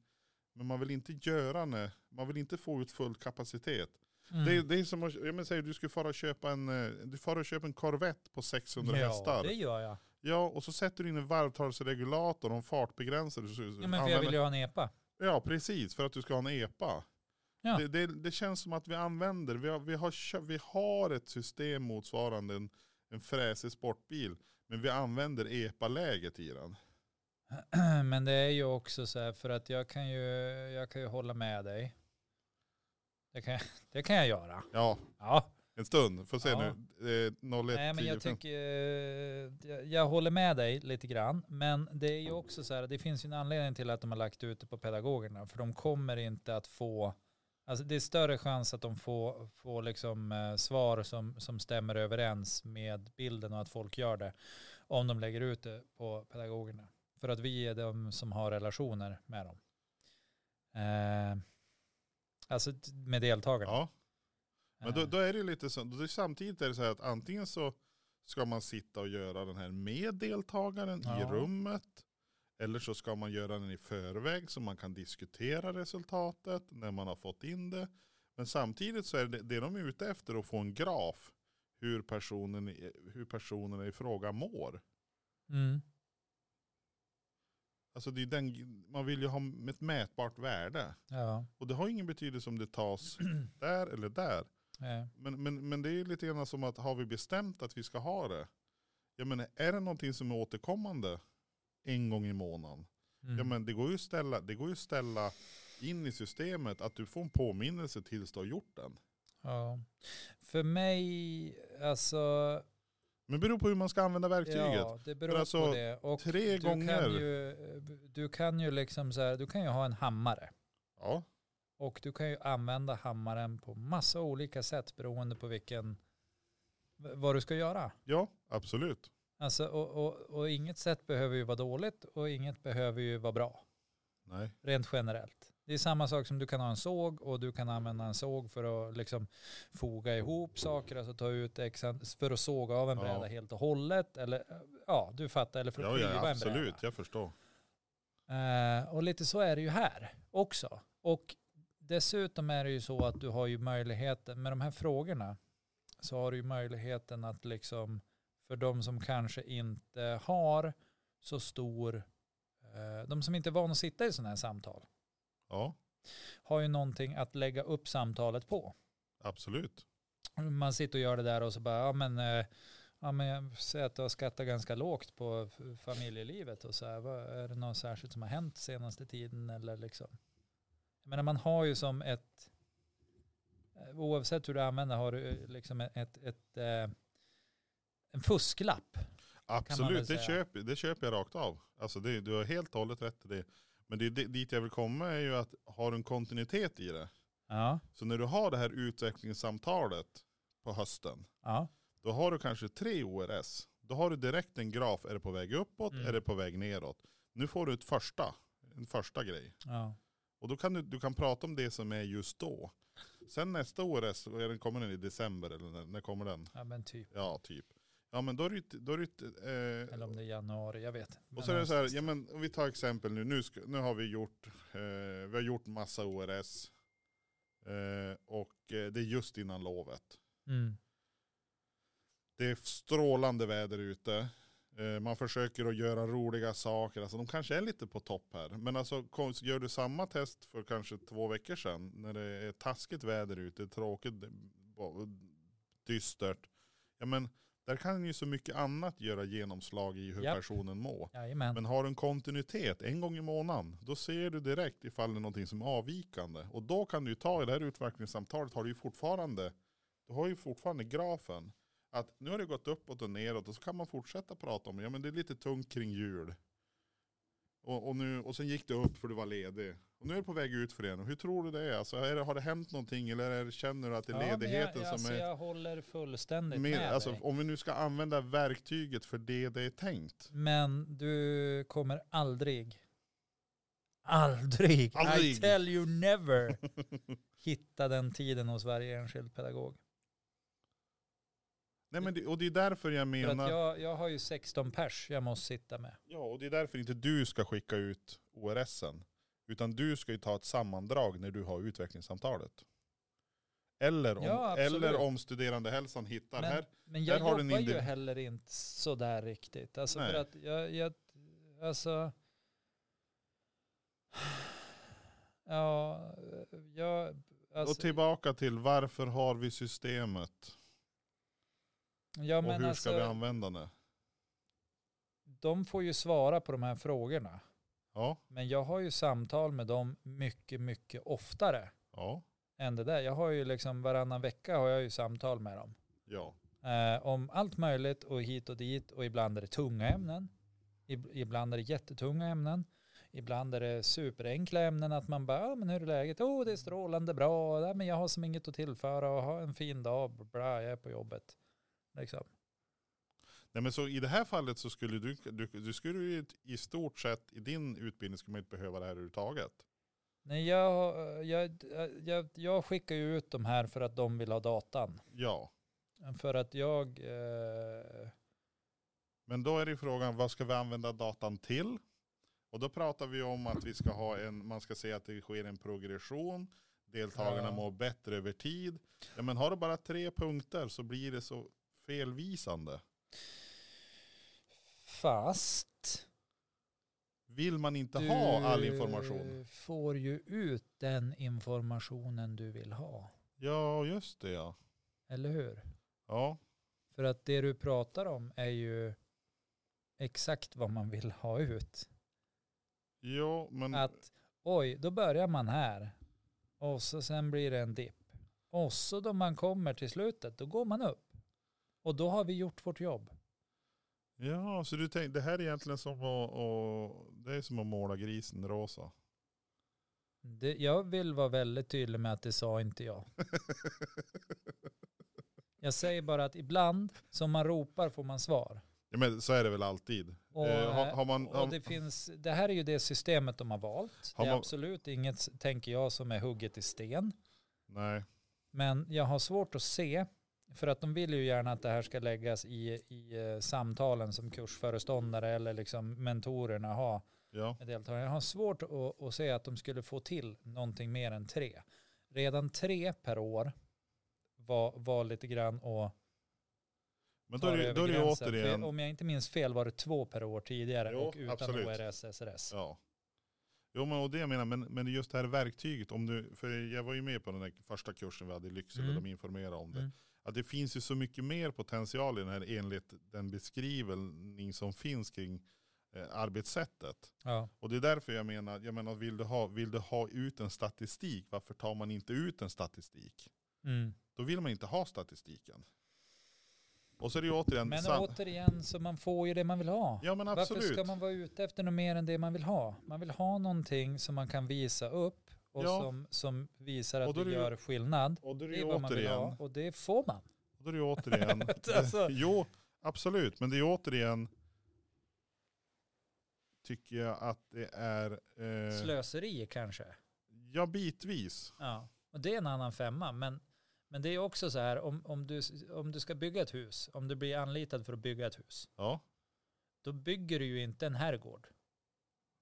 [SPEAKER 1] men man vill inte göra det, man vill inte få ut full kapacitet.
[SPEAKER 2] Mm.
[SPEAKER 1] Det, är- det är som att, jag menar, säg, du skulle fara och köpa en, eh, du far och köpa en Corvette på 600
[SPEAKER 2] Mm. ja,
[SPEAKER 1] hästar.
[SPEAKER 2] det gör jag.
[SPEAKER 1] Ja, och så sätter du in en varvtalsregulator och en fartbegränsare. Så,
[SPEAKER 2] Ja, men för jag vill ju ha en epa.
[SPEAKER 1] ja, precis, för att du ska ha en EPA.
[SPEAKER 2] Ja.
[SPEAKER 1] Det, det, det känns som att vi använder, vi har, vi har, kö- vi har ett system motsvarande en, en fräsig sportbil, men vi använder E EPA-läget i den.
[SPEAKER 2] Men det är ju också så här, för att jag kan ju, jag kan ju hålla med dig. Det kan, jag- det kan jag göra.
[SPEAKER 1] Ja,
[SPEAKER 2] Ja.
[SPEAKER 1] en stund, får se
[SPEAKER 2] Ja.
[SPEAKER 1] nu. Eh, 01,
[SPEAKER 2] Nej, men
[SPEAKER 1] 10,
[SPEAKER 2] jag
[SPEAKER 1] 15.
[SPEAKER 2] tycker, eh, jag, jag håller med dig lite grann. Men det är ju också så här, det finns ju en anledning till att de har lagt ut det på pedagogerna. För de kommer inte att få, alltså det är större chans att de får, får liksom eh, svar som, som stämmer överens med bilden och att folk gör det. Om de lägger ut det på pedagogerna. För att vi är de som har relationer med dem. Eh, alltså t- med deltagarna.
[SPEAKER 1] Ja. Men då,
[SPEAKER 2] Eh.
[SPEAKER 1] då är det lite så, då är samtidigt är det så här att antingen så ska man sitta och göra den här med deltagaren i
[SPEAKER 2] Ja.
[SPEAKER 1] rummet. Eller så ska man göra den i förväg så man kan diskutera resultatet när man har fått in det. Men samtidigt så är det, det de är ute efter att få en graf hur personen, i- hur personen i fråga mår.
[SPEAKER 2] Mm.
[SPEAKER 1] Alltså det är den, man vill ju ha ett mätbart värde.
[SPEAKER 2] Ja.
[SPEAKER 1] Och det har ingen betydelse om det tas där eller där.
[SPEAKER 2] Eh.
[SPEAKER 1] Men, men, men det är ju lite grann som att har vi bestämt att vi ska ha det? Jag menar, är det någonting som är återkommande en gång i månaden?
[SPEAKER 2] Mm.
[SPEAKER 1] Ja, men det går ju att ställa, det går ju att ställa in i systemet att du får en påminnelse tills du har gjort den.
[SPEAKER 2] Ja. För mig, alltså,
[SPEAKER 1] Men det beror på hur man ska använda verktyget.
[SPEAKER 2] ja, det beror
[SPEAKER 1] alltså,
[SPEAKER 2] på det. Och
[SPEAKER 1] tre
[SPEAKER 2] du
[SPEAKER 1] gånger-
[SPEAKER 2] Kan ju, du kan ju liksom så här, du kan ju ha en hammare.
[SPEAKER 1] Ja,
[SPEAKER 2] Och du kan ju använda hammaren på massa olika sätt beroende på vilken, v- vad du ska göra.
[SPEAKER 1] ja absolut.
[SPEAKER 2] Alltså, och, och, och inget sätt behöver ju vara dåligt och inget behöver ju vara bra,
[SPEAKER 1] Nej.
[SPEAKER 2] rent generellt. Det är samma sak som du kan ha en såg och du kan använda en såg för att liksom foga ihop saker, alltså ta ut x för att såga av en
[SPEAKER 1] Ja.
[SPEAKER 2] bräda helt och hållet. Eller ja, du fattar, eller för att
[SPEAKER 1] Ja,
[SPEAKER 2] klyva
[SPEAKER 1] ja,
[SPEAKER 2] en bräda.
[SPEAKER 1] absolut. Jag förstår.
[SPEAKER 2] Eh, och lite så är det ju här också. Och dessutom är det ju så att du har ju möjligheten, med de här frågorna, så har du ju möjligheten att liksom, för de som kanske inte har så stor, eh, de som inte är vana att sitta i sådana här samtal,
[SPEAKER 1] Ja,
[SPEAKER 2] har ju någonting att lägga upp samtalet på.
[SPEAKER 1] absolut.
[SPEAKER 2] Man sitter och gör det där och så bara, ja men, eh, ja, men jag säger att du har skattat ganska lågt på f- familjelivet och så här, vad, är det något särskilt som har hänt senaste tiden eller liksom? Jag menar man har ju som ett, eh, oavsett hur du använder har du eh, liksom ett, ett, eh, en fusklapp. väl
[SPEAKER 1] Absolut, det
[SPEAKER 2] säga.
[SPEAKER 1] köper, det köper jag rakt av. Alltså det, du har helt och hållet rätt i det. Men det, är di- dit jag vill komma är ju att har du en kontinuitet i det?
[SPEAKER 2] Ja,
[SPEAKER 1] Så när du har det här utvecklingssamtalet på hösten,
[SPEAKER 2] ja,
[SPEAKER 1] då har du kanske tre ORS. Då har du direkt en graf, är det på väg uppåt,
[SPEAKER 2] Mm.
[SPEAKER 1] är det på väg neråt? Nu får du ett första, en första grej.
[SPEAKER 2] ja.
[SPEAKER 1] Och då kan du, du kan prata om det som är just då. Sen nästa ORS, är den- kommer den i december eller när, när kommer den?
[SPEAKER 2] ja men typ.
[SPEAKER 1] Ja, typ. Ja men då är det ju ett- då är det ett, eh,
[SPEAKER 2] Eller om det är januari, jag vet.
[SPEAKER 1] och så är det så här, ja, men, om vi tar exempel nu, nu, ska, nu har vi gjort, eh, vi har gjort massa ORS. Eh, och eh, det är just innan lovet.
[SPEAKER 2] Mm,
[SPEAKER 1] Det är strålande väder ute. Eh, Man försöker att göra roliga saker. Alltså, de kanske är lite på topp här. Men alltså, kom- gör du samma test för kanske två veckor sedan. När det är taskigt väder ute, tråkigt, bo- dystert. Ja, men där kan ju så mycket annat göra genomslag i hur
[SPEAKER 2] Japp.
[SPEAKER 1] personen mår.
[SPEAKER 2] jajamän.
[SPEAKER 1] Men har du en kontinuitet en gång i månaden, då ser du direkt ifall det är någonting som är avvikande. Och då kan du ju ta i det här utvecklingssamtalet, har du ju fortfarande, du har ju fortfarande grafen. Att nu har det gått uppåt och neråt och så kan man fortsätta prata om ja men det är lite tungt kring jul. Och, och, nu, och sen gick det upp för du var ledig. Och nu är det på väg ut för igen. Hur tror du det är? Alltså, är det, har det hänt någonting eller är det, känner du att det är
[SPEAKER 2] Ja, men
[SPEAKER 1] ledigheten
[SPEAKER 2] jag, jag,
[SPEAKER 1] som
[SPEAKER 2] alltså,
[SPEAKER 1] är...
[SPEAKER 2] jag håller fullständigt
[SPEAKER 1] mer,
[SPEAKER 2] med
[SPEAKER 1] alltså,
[SPEAKER 2] dig.
[SPEAKER 1] om vi nu ska använda verktyget för det det är tänkt.
[SPEAKER 2] Men du kommer aldrig, aldrig, I
[SPEAKER 1] Aldrig.
[SPEAKER 2] tell you never, hitta den tiden hos varje enskild pedagog.
[SPEAKER 1] Nej, men det, och det är därför jag
[SPEAKER 2] För
[SPEAKER 1] menar...
[SPEAKER 2] att jag, jag har ju 16 pers jag måste sitta med.
[SPEAKER 1] Ja, och det är därför inte du ska skicka ut ORSen. Utan du ska ju ta ett sammandrag när du har utvecklingssamtalet. Eller om,
[SPEAKER 2] Ja, absolut.
[SPEAKER 1] eller om studerandehälsan hittar
[SPEAKER 2] Men-
[SPEAKER 1] här.
[SPEAKER 2] Men jag
[SPEAKER 1] Där har du
[SPEAKER 2] jobbar
[SPEAKER 1] en
[SPEAKER 2] ju
[SPEAKER 1] individ-
[SPEAKER 2] heller inte sådär riktigt. Alltså för
[SPEAKER 1] Nej.
[SPEAKER 2] att jag, jag alltså, ja, jag,
[SPEAKER 1] och
[SPEAKER 2] alltså,
[SPEAKER 1] tillbaka till varför har vi systemet?
[SPEAKER 2] ja
[SPEAKER 1] och
[SPEAKER 2] men
[SPEAKER 1] hur ska vi
[SPEAKER 2] alltså,
[SPEAKER 1] använda det?
[SPEAKER 2] de får ju svara på de här frågorna.
[SPEAKER 1] Ja,
[SPEAKER 2] Men jag har ju samtal med dem mycket, mycket oftare
[SPEAKER 1] ja,
[SPEAKER 2] än det där. Jag har ju liksom varannan vecka har jag ju samtal med dem.
[SPEAKER 1] ja.
[SPEAKER 2] Eh, om allt möjligt och hit och dit och ibland är det tunga ämnen. Ib- Ibland är det jättetunga ämnen. Ibland är det superenkla ämnen att man bara, ah, men hur är läget? Oh, det är strålande bra. Nej, men jag har som inget att tillföra och ha en fin dag. Bra, jag är på jobbet. Liksom.
[SPEAKER 1] Nej, men så i det här fallet så skulle du, du, du skulle ju i stort sett i din utbildning skulle man inte behöva det här överhuvudtaget.
[SPEAKER 2] Nej, jag, eh, jag, jag, jag skickar ju ut de här för att de vill ha datan.
[SPEAKER 1] Ja,
[SPEAKER 2] För att jag, eh,
[SPEAKER 1] men då är det ju frågan vad ska vi använda datan till? Och då pratar vi om att vi ska ha en, man ska se att det sker en progression. Deltagarna
[SPEAKER 2] Ja.
[SPEAKER 1] mår bättre över tid. Ja, men har du bara tre punkter så blir det så felvisande.
[SPEAKER 2] fast
[SPEAKER 1] Vill man inte ha all information?
[SPEAKER 2] får ju ut den informationen du vill ha.
[SPEAKER 1] Ja, just det ja.
[SPEAKER 2] Eller hur?
[SPEAKER 1] Ja,
[SPEAKER 2] För att det du pratar om är ju exakt vad man vill ha ut.
[SPEAKER 1] jo, men
[SPEAKER 2] Att oj, då börjar man här och så sen blir det en dipp. Och så då man kommer till slutet, då går man upp. Och då har vi gjort vårt jobb.
[SPEAKER 1] ja, så du tänk, det här är egentligen som att, att, det är som att måla grisen rosa.
[SPEAKER 2] Det, jag vill vara väldigt tydlig med att det sa inte jag. Jag säger bara att ibland som man ropar får man svar.
[SPEAKER 1] Ja, men så är det väl alltid.
[SPEAKER 2] Och,
[SPEAKER 1] Eh, har, har man,
[SPEAKER 2] och
[SPEAKER 1] har,
[SPEAKER 2] det, finns, det här är ju det systemet de har valt.
[SPEAKER 1] Har
[SPEAKER 2] det är
[SPEAKER 1] man-
[SPEAKER 2] absolut inget, tänker jag, som är hugget i sten.
[SPEAKER 1] nej,
[SPEAKER 2] Men jag har svårt att se, för att de vill ju gärna att det här ska läggas i, i eh, samtalen som kursföreståndare eller liksom mentorerna har
[SPEAKER 1] ja,
[SPEAKER 2] med deltagarna. Jag har svårt att, att se att de skulle få till någonting mer än tre. Redan tre per år var, var lite grann och
[SPEAKER 1] men då
[SPEAKER 2] ta
[SPEAKER 1] är
[SPEAKER 2] det
[SPEAKER 1] det,
[SPEAKER 2] över
[SPEAKER 1] då är det ju
[SPEAKER 2] gränsen. För
[SPEAKER 1] återigen.
[SPEAKER 2] Om jag inte minns fel var det två per år tidigare
[SPEAKER 1] Jo,
[SPEAKER 2] och utan
[SPEAKER 1] absolut.
[SPEAKER 2] ORS, SRS.
[SPEAKER 1] Ja. Jo men och det jag menar, men, men just det här verktyget, om du, för jag var ju med på den här första kursen vi hade i Lycksele,
[SPEAKER 2] Mm.
[SPEAKER 1] de informerade om det.
[SPEAKER 2] Mm.
[SPEAKER 1] Att det finns ju så mycket mer potential i den här enligt den beskrivning som finns kring eh, arbetssättet.
[SPEAKER 2] Ja.
[SPEAKER 1] Och det är därför jag menar, jag menar vill, du ha, vill du ha ut en statistik, varför tar man inte ut en statistik?
[SPEAKER 2] Mm.
[SPEAKER 1] Då vill man inte ha statistiken. Och så är det ju återigen,
[SPEAKER 2] Men
[SPEAKER 1] sam-
[SPEAKER 2] återigen, så man får ju det man vill ha.
[SPEAKER 1] ja men
[SPEAKER 2] Varför
[SPEAKER 1] absolut.
[SPEAKER 2] ska man vara ute efter något mer än det man vill ha? Man vill ha någonting som man kan visa upp och
[SPEAKER 1] Ja.
[SPEAKER 2] som, som visar
[SPEAKER 1] Och
[SPEAKER 2] att
[SPEAKER 1] då är
[SPEAKER 2] det
[SPEAKER 1] det ju-
[SPEAKER 2] gör skillnad.
[SPEAKER 1] Och då är det
[SPEAKER 2] Det är
[SPEAKER 1] ju
[SPEAKER 2] vad man vill ha
[SPEAKER 1] återigen,
[SPEAKER 2] och det får man.
[SPEAKER 1] Och Då är det ju återigen.
[SPEAKER 2] Alltså.
[SPEAKER 1] Jo, absolut. Men det är ju återigen. Tycker jag att det är. Eh,
[SPEAKER 2] Slöseri kanske.
[SPEAKER 1] ja, bitvis.
[SPEAKER 2] Ja. Och det är en annan femma. Men, men det är också så här, om, om, du, om du ska bygga ett hus, om du blir anlitad för att bygga ett hus,
[SPEAKER 1] Ja,
[SPEAKER 2] då bygger du ju inte en herrgård.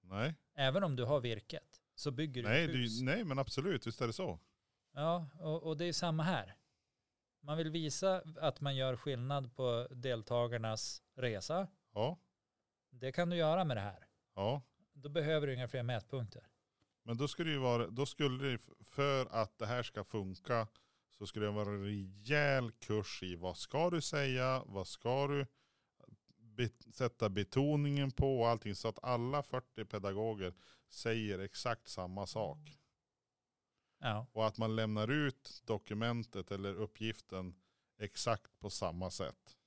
[SPEAKER 1] nej.
[SPEAKER 2] Även om du har virket, så bygger du
[SPEAKER 1] Nej,
[SPEAKER 2] ett
[SPEAKER 1] det, är
[SPEAKER 2] hus.
[SPEAKER 1] ju- nej, men absolut. Visst är det så.
[SPEAKER 2] Ja, och, och det är samma här. Man vill visa att man gör skillnad på deltagarnas resa.
[SPEAKER 1] Ja,
[SPEAKER 2] Det kan du göra med det här.
[SPEAKER 1] ja.
[SPEAKER 2] Då behöver du inga fler mätpunkter.
[SPEAKER 1] Men då skulle det ju vara, då skulle det, för att det här ska funka så skulle det vara en rejäl kurs i vad ska du säga, vad ska du bet- sätta betoningen på och allting så att alla 40 pedagoger säger exakt samma sak.
[SPEAKER 2] Ja,
[SPEAKER 1] Och att man lämnar ut dokumentet eller uppgiften exakt på samma sätt.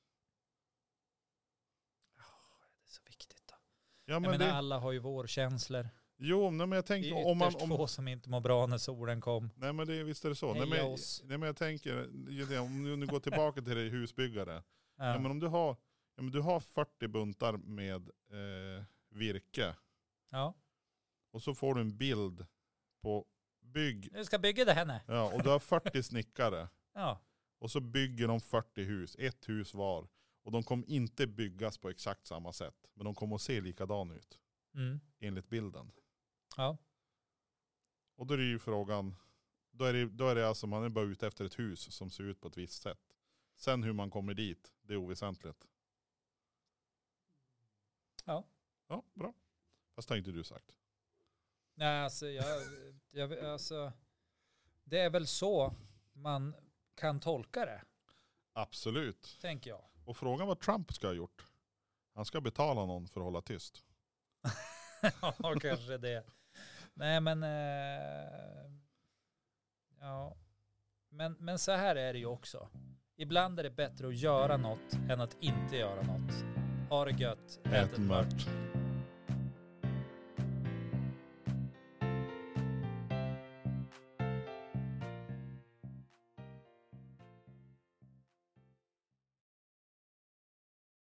[SPEAKER 2] Det är så viktigt. Då.
[SPEAKER 1] Ja,
[SPEAKER 2] Jag
[SPEAKER 1] men
[SPEAKER 2] menar,
[SPEAKER 1] det,
[SPEAKER 2] alla har ju vårkänslor.
[SPEAKER 1] jo, nej, men jag
[SPEAKER 2] Det
[SPEAKER 1] tänker
[SPEAKER 2] är
[SPEAKER 1] om man...
[SPEAKER 2] ytterst
[SPEAKER 1] Om,
[SPEAKER 2] få som inte mår bra när solen kom.
[SPEAKER 1] nej men det, visst är det så. Nej
[SPEAKER 2] Heja
[SPEAKER 1] men,
[SPEAKER 2] oss.
[SPEAKER 1] nej men jag tänker, ju det, om du nu går tillbaka till dig husbyggare.
[SPEAKER 2] Ja.
[SPEAKER 1] Ja, men om du har, ja, men du har 40 buntar med eh, virke
[SPEAKER 2] ja.
[SPEAKER 1] och så får du en bild på bygg.
[SPEAKER 2] Du ska bygga det här nu.
[SPEAKER 1] Ja, och du har 40 snickare.
[SPEAKER 2] Ja.
[SPEAKER 1] Och så bygger de 40 hus, ett hus var. Och de kommer inte byggas på exakt samma sätt. Men de kommer att se likadan ut
[SPEAKER 2] Mm.
[SPEAKER 1] enligt bilden.
[SPEAKER 2] Ja.
[SPEAKER 1] Och då är det ju frågan, då är det, då är det alltså man är bara ute efter ett hus som ser ut på ett visst sätt. Sen hur man kommer dit, det är oväsentligt.
[SPEAKER 2] Ja.
[SPEAKER 1] Ja, bra. Fast det har inte du sagt.
[SPEAKER 2] Nej, alltså, jag, jag, alltså, det är väl så man kan tolka det,
[SPEAKER 1] Absolut.
[SPEAKER 2] tänker jag.
[SPEAKER 1] Och frågan vad Trump ska ha gjort. Han ska betala någon för att hålla tyst.
[SPEAKER 2] ja, kanske det. Nej, men... Eh, ja. Men, men så här är det ju också. Ibland är det bättre att göra något än att inte göra något. Ha det gött. Ät en mört.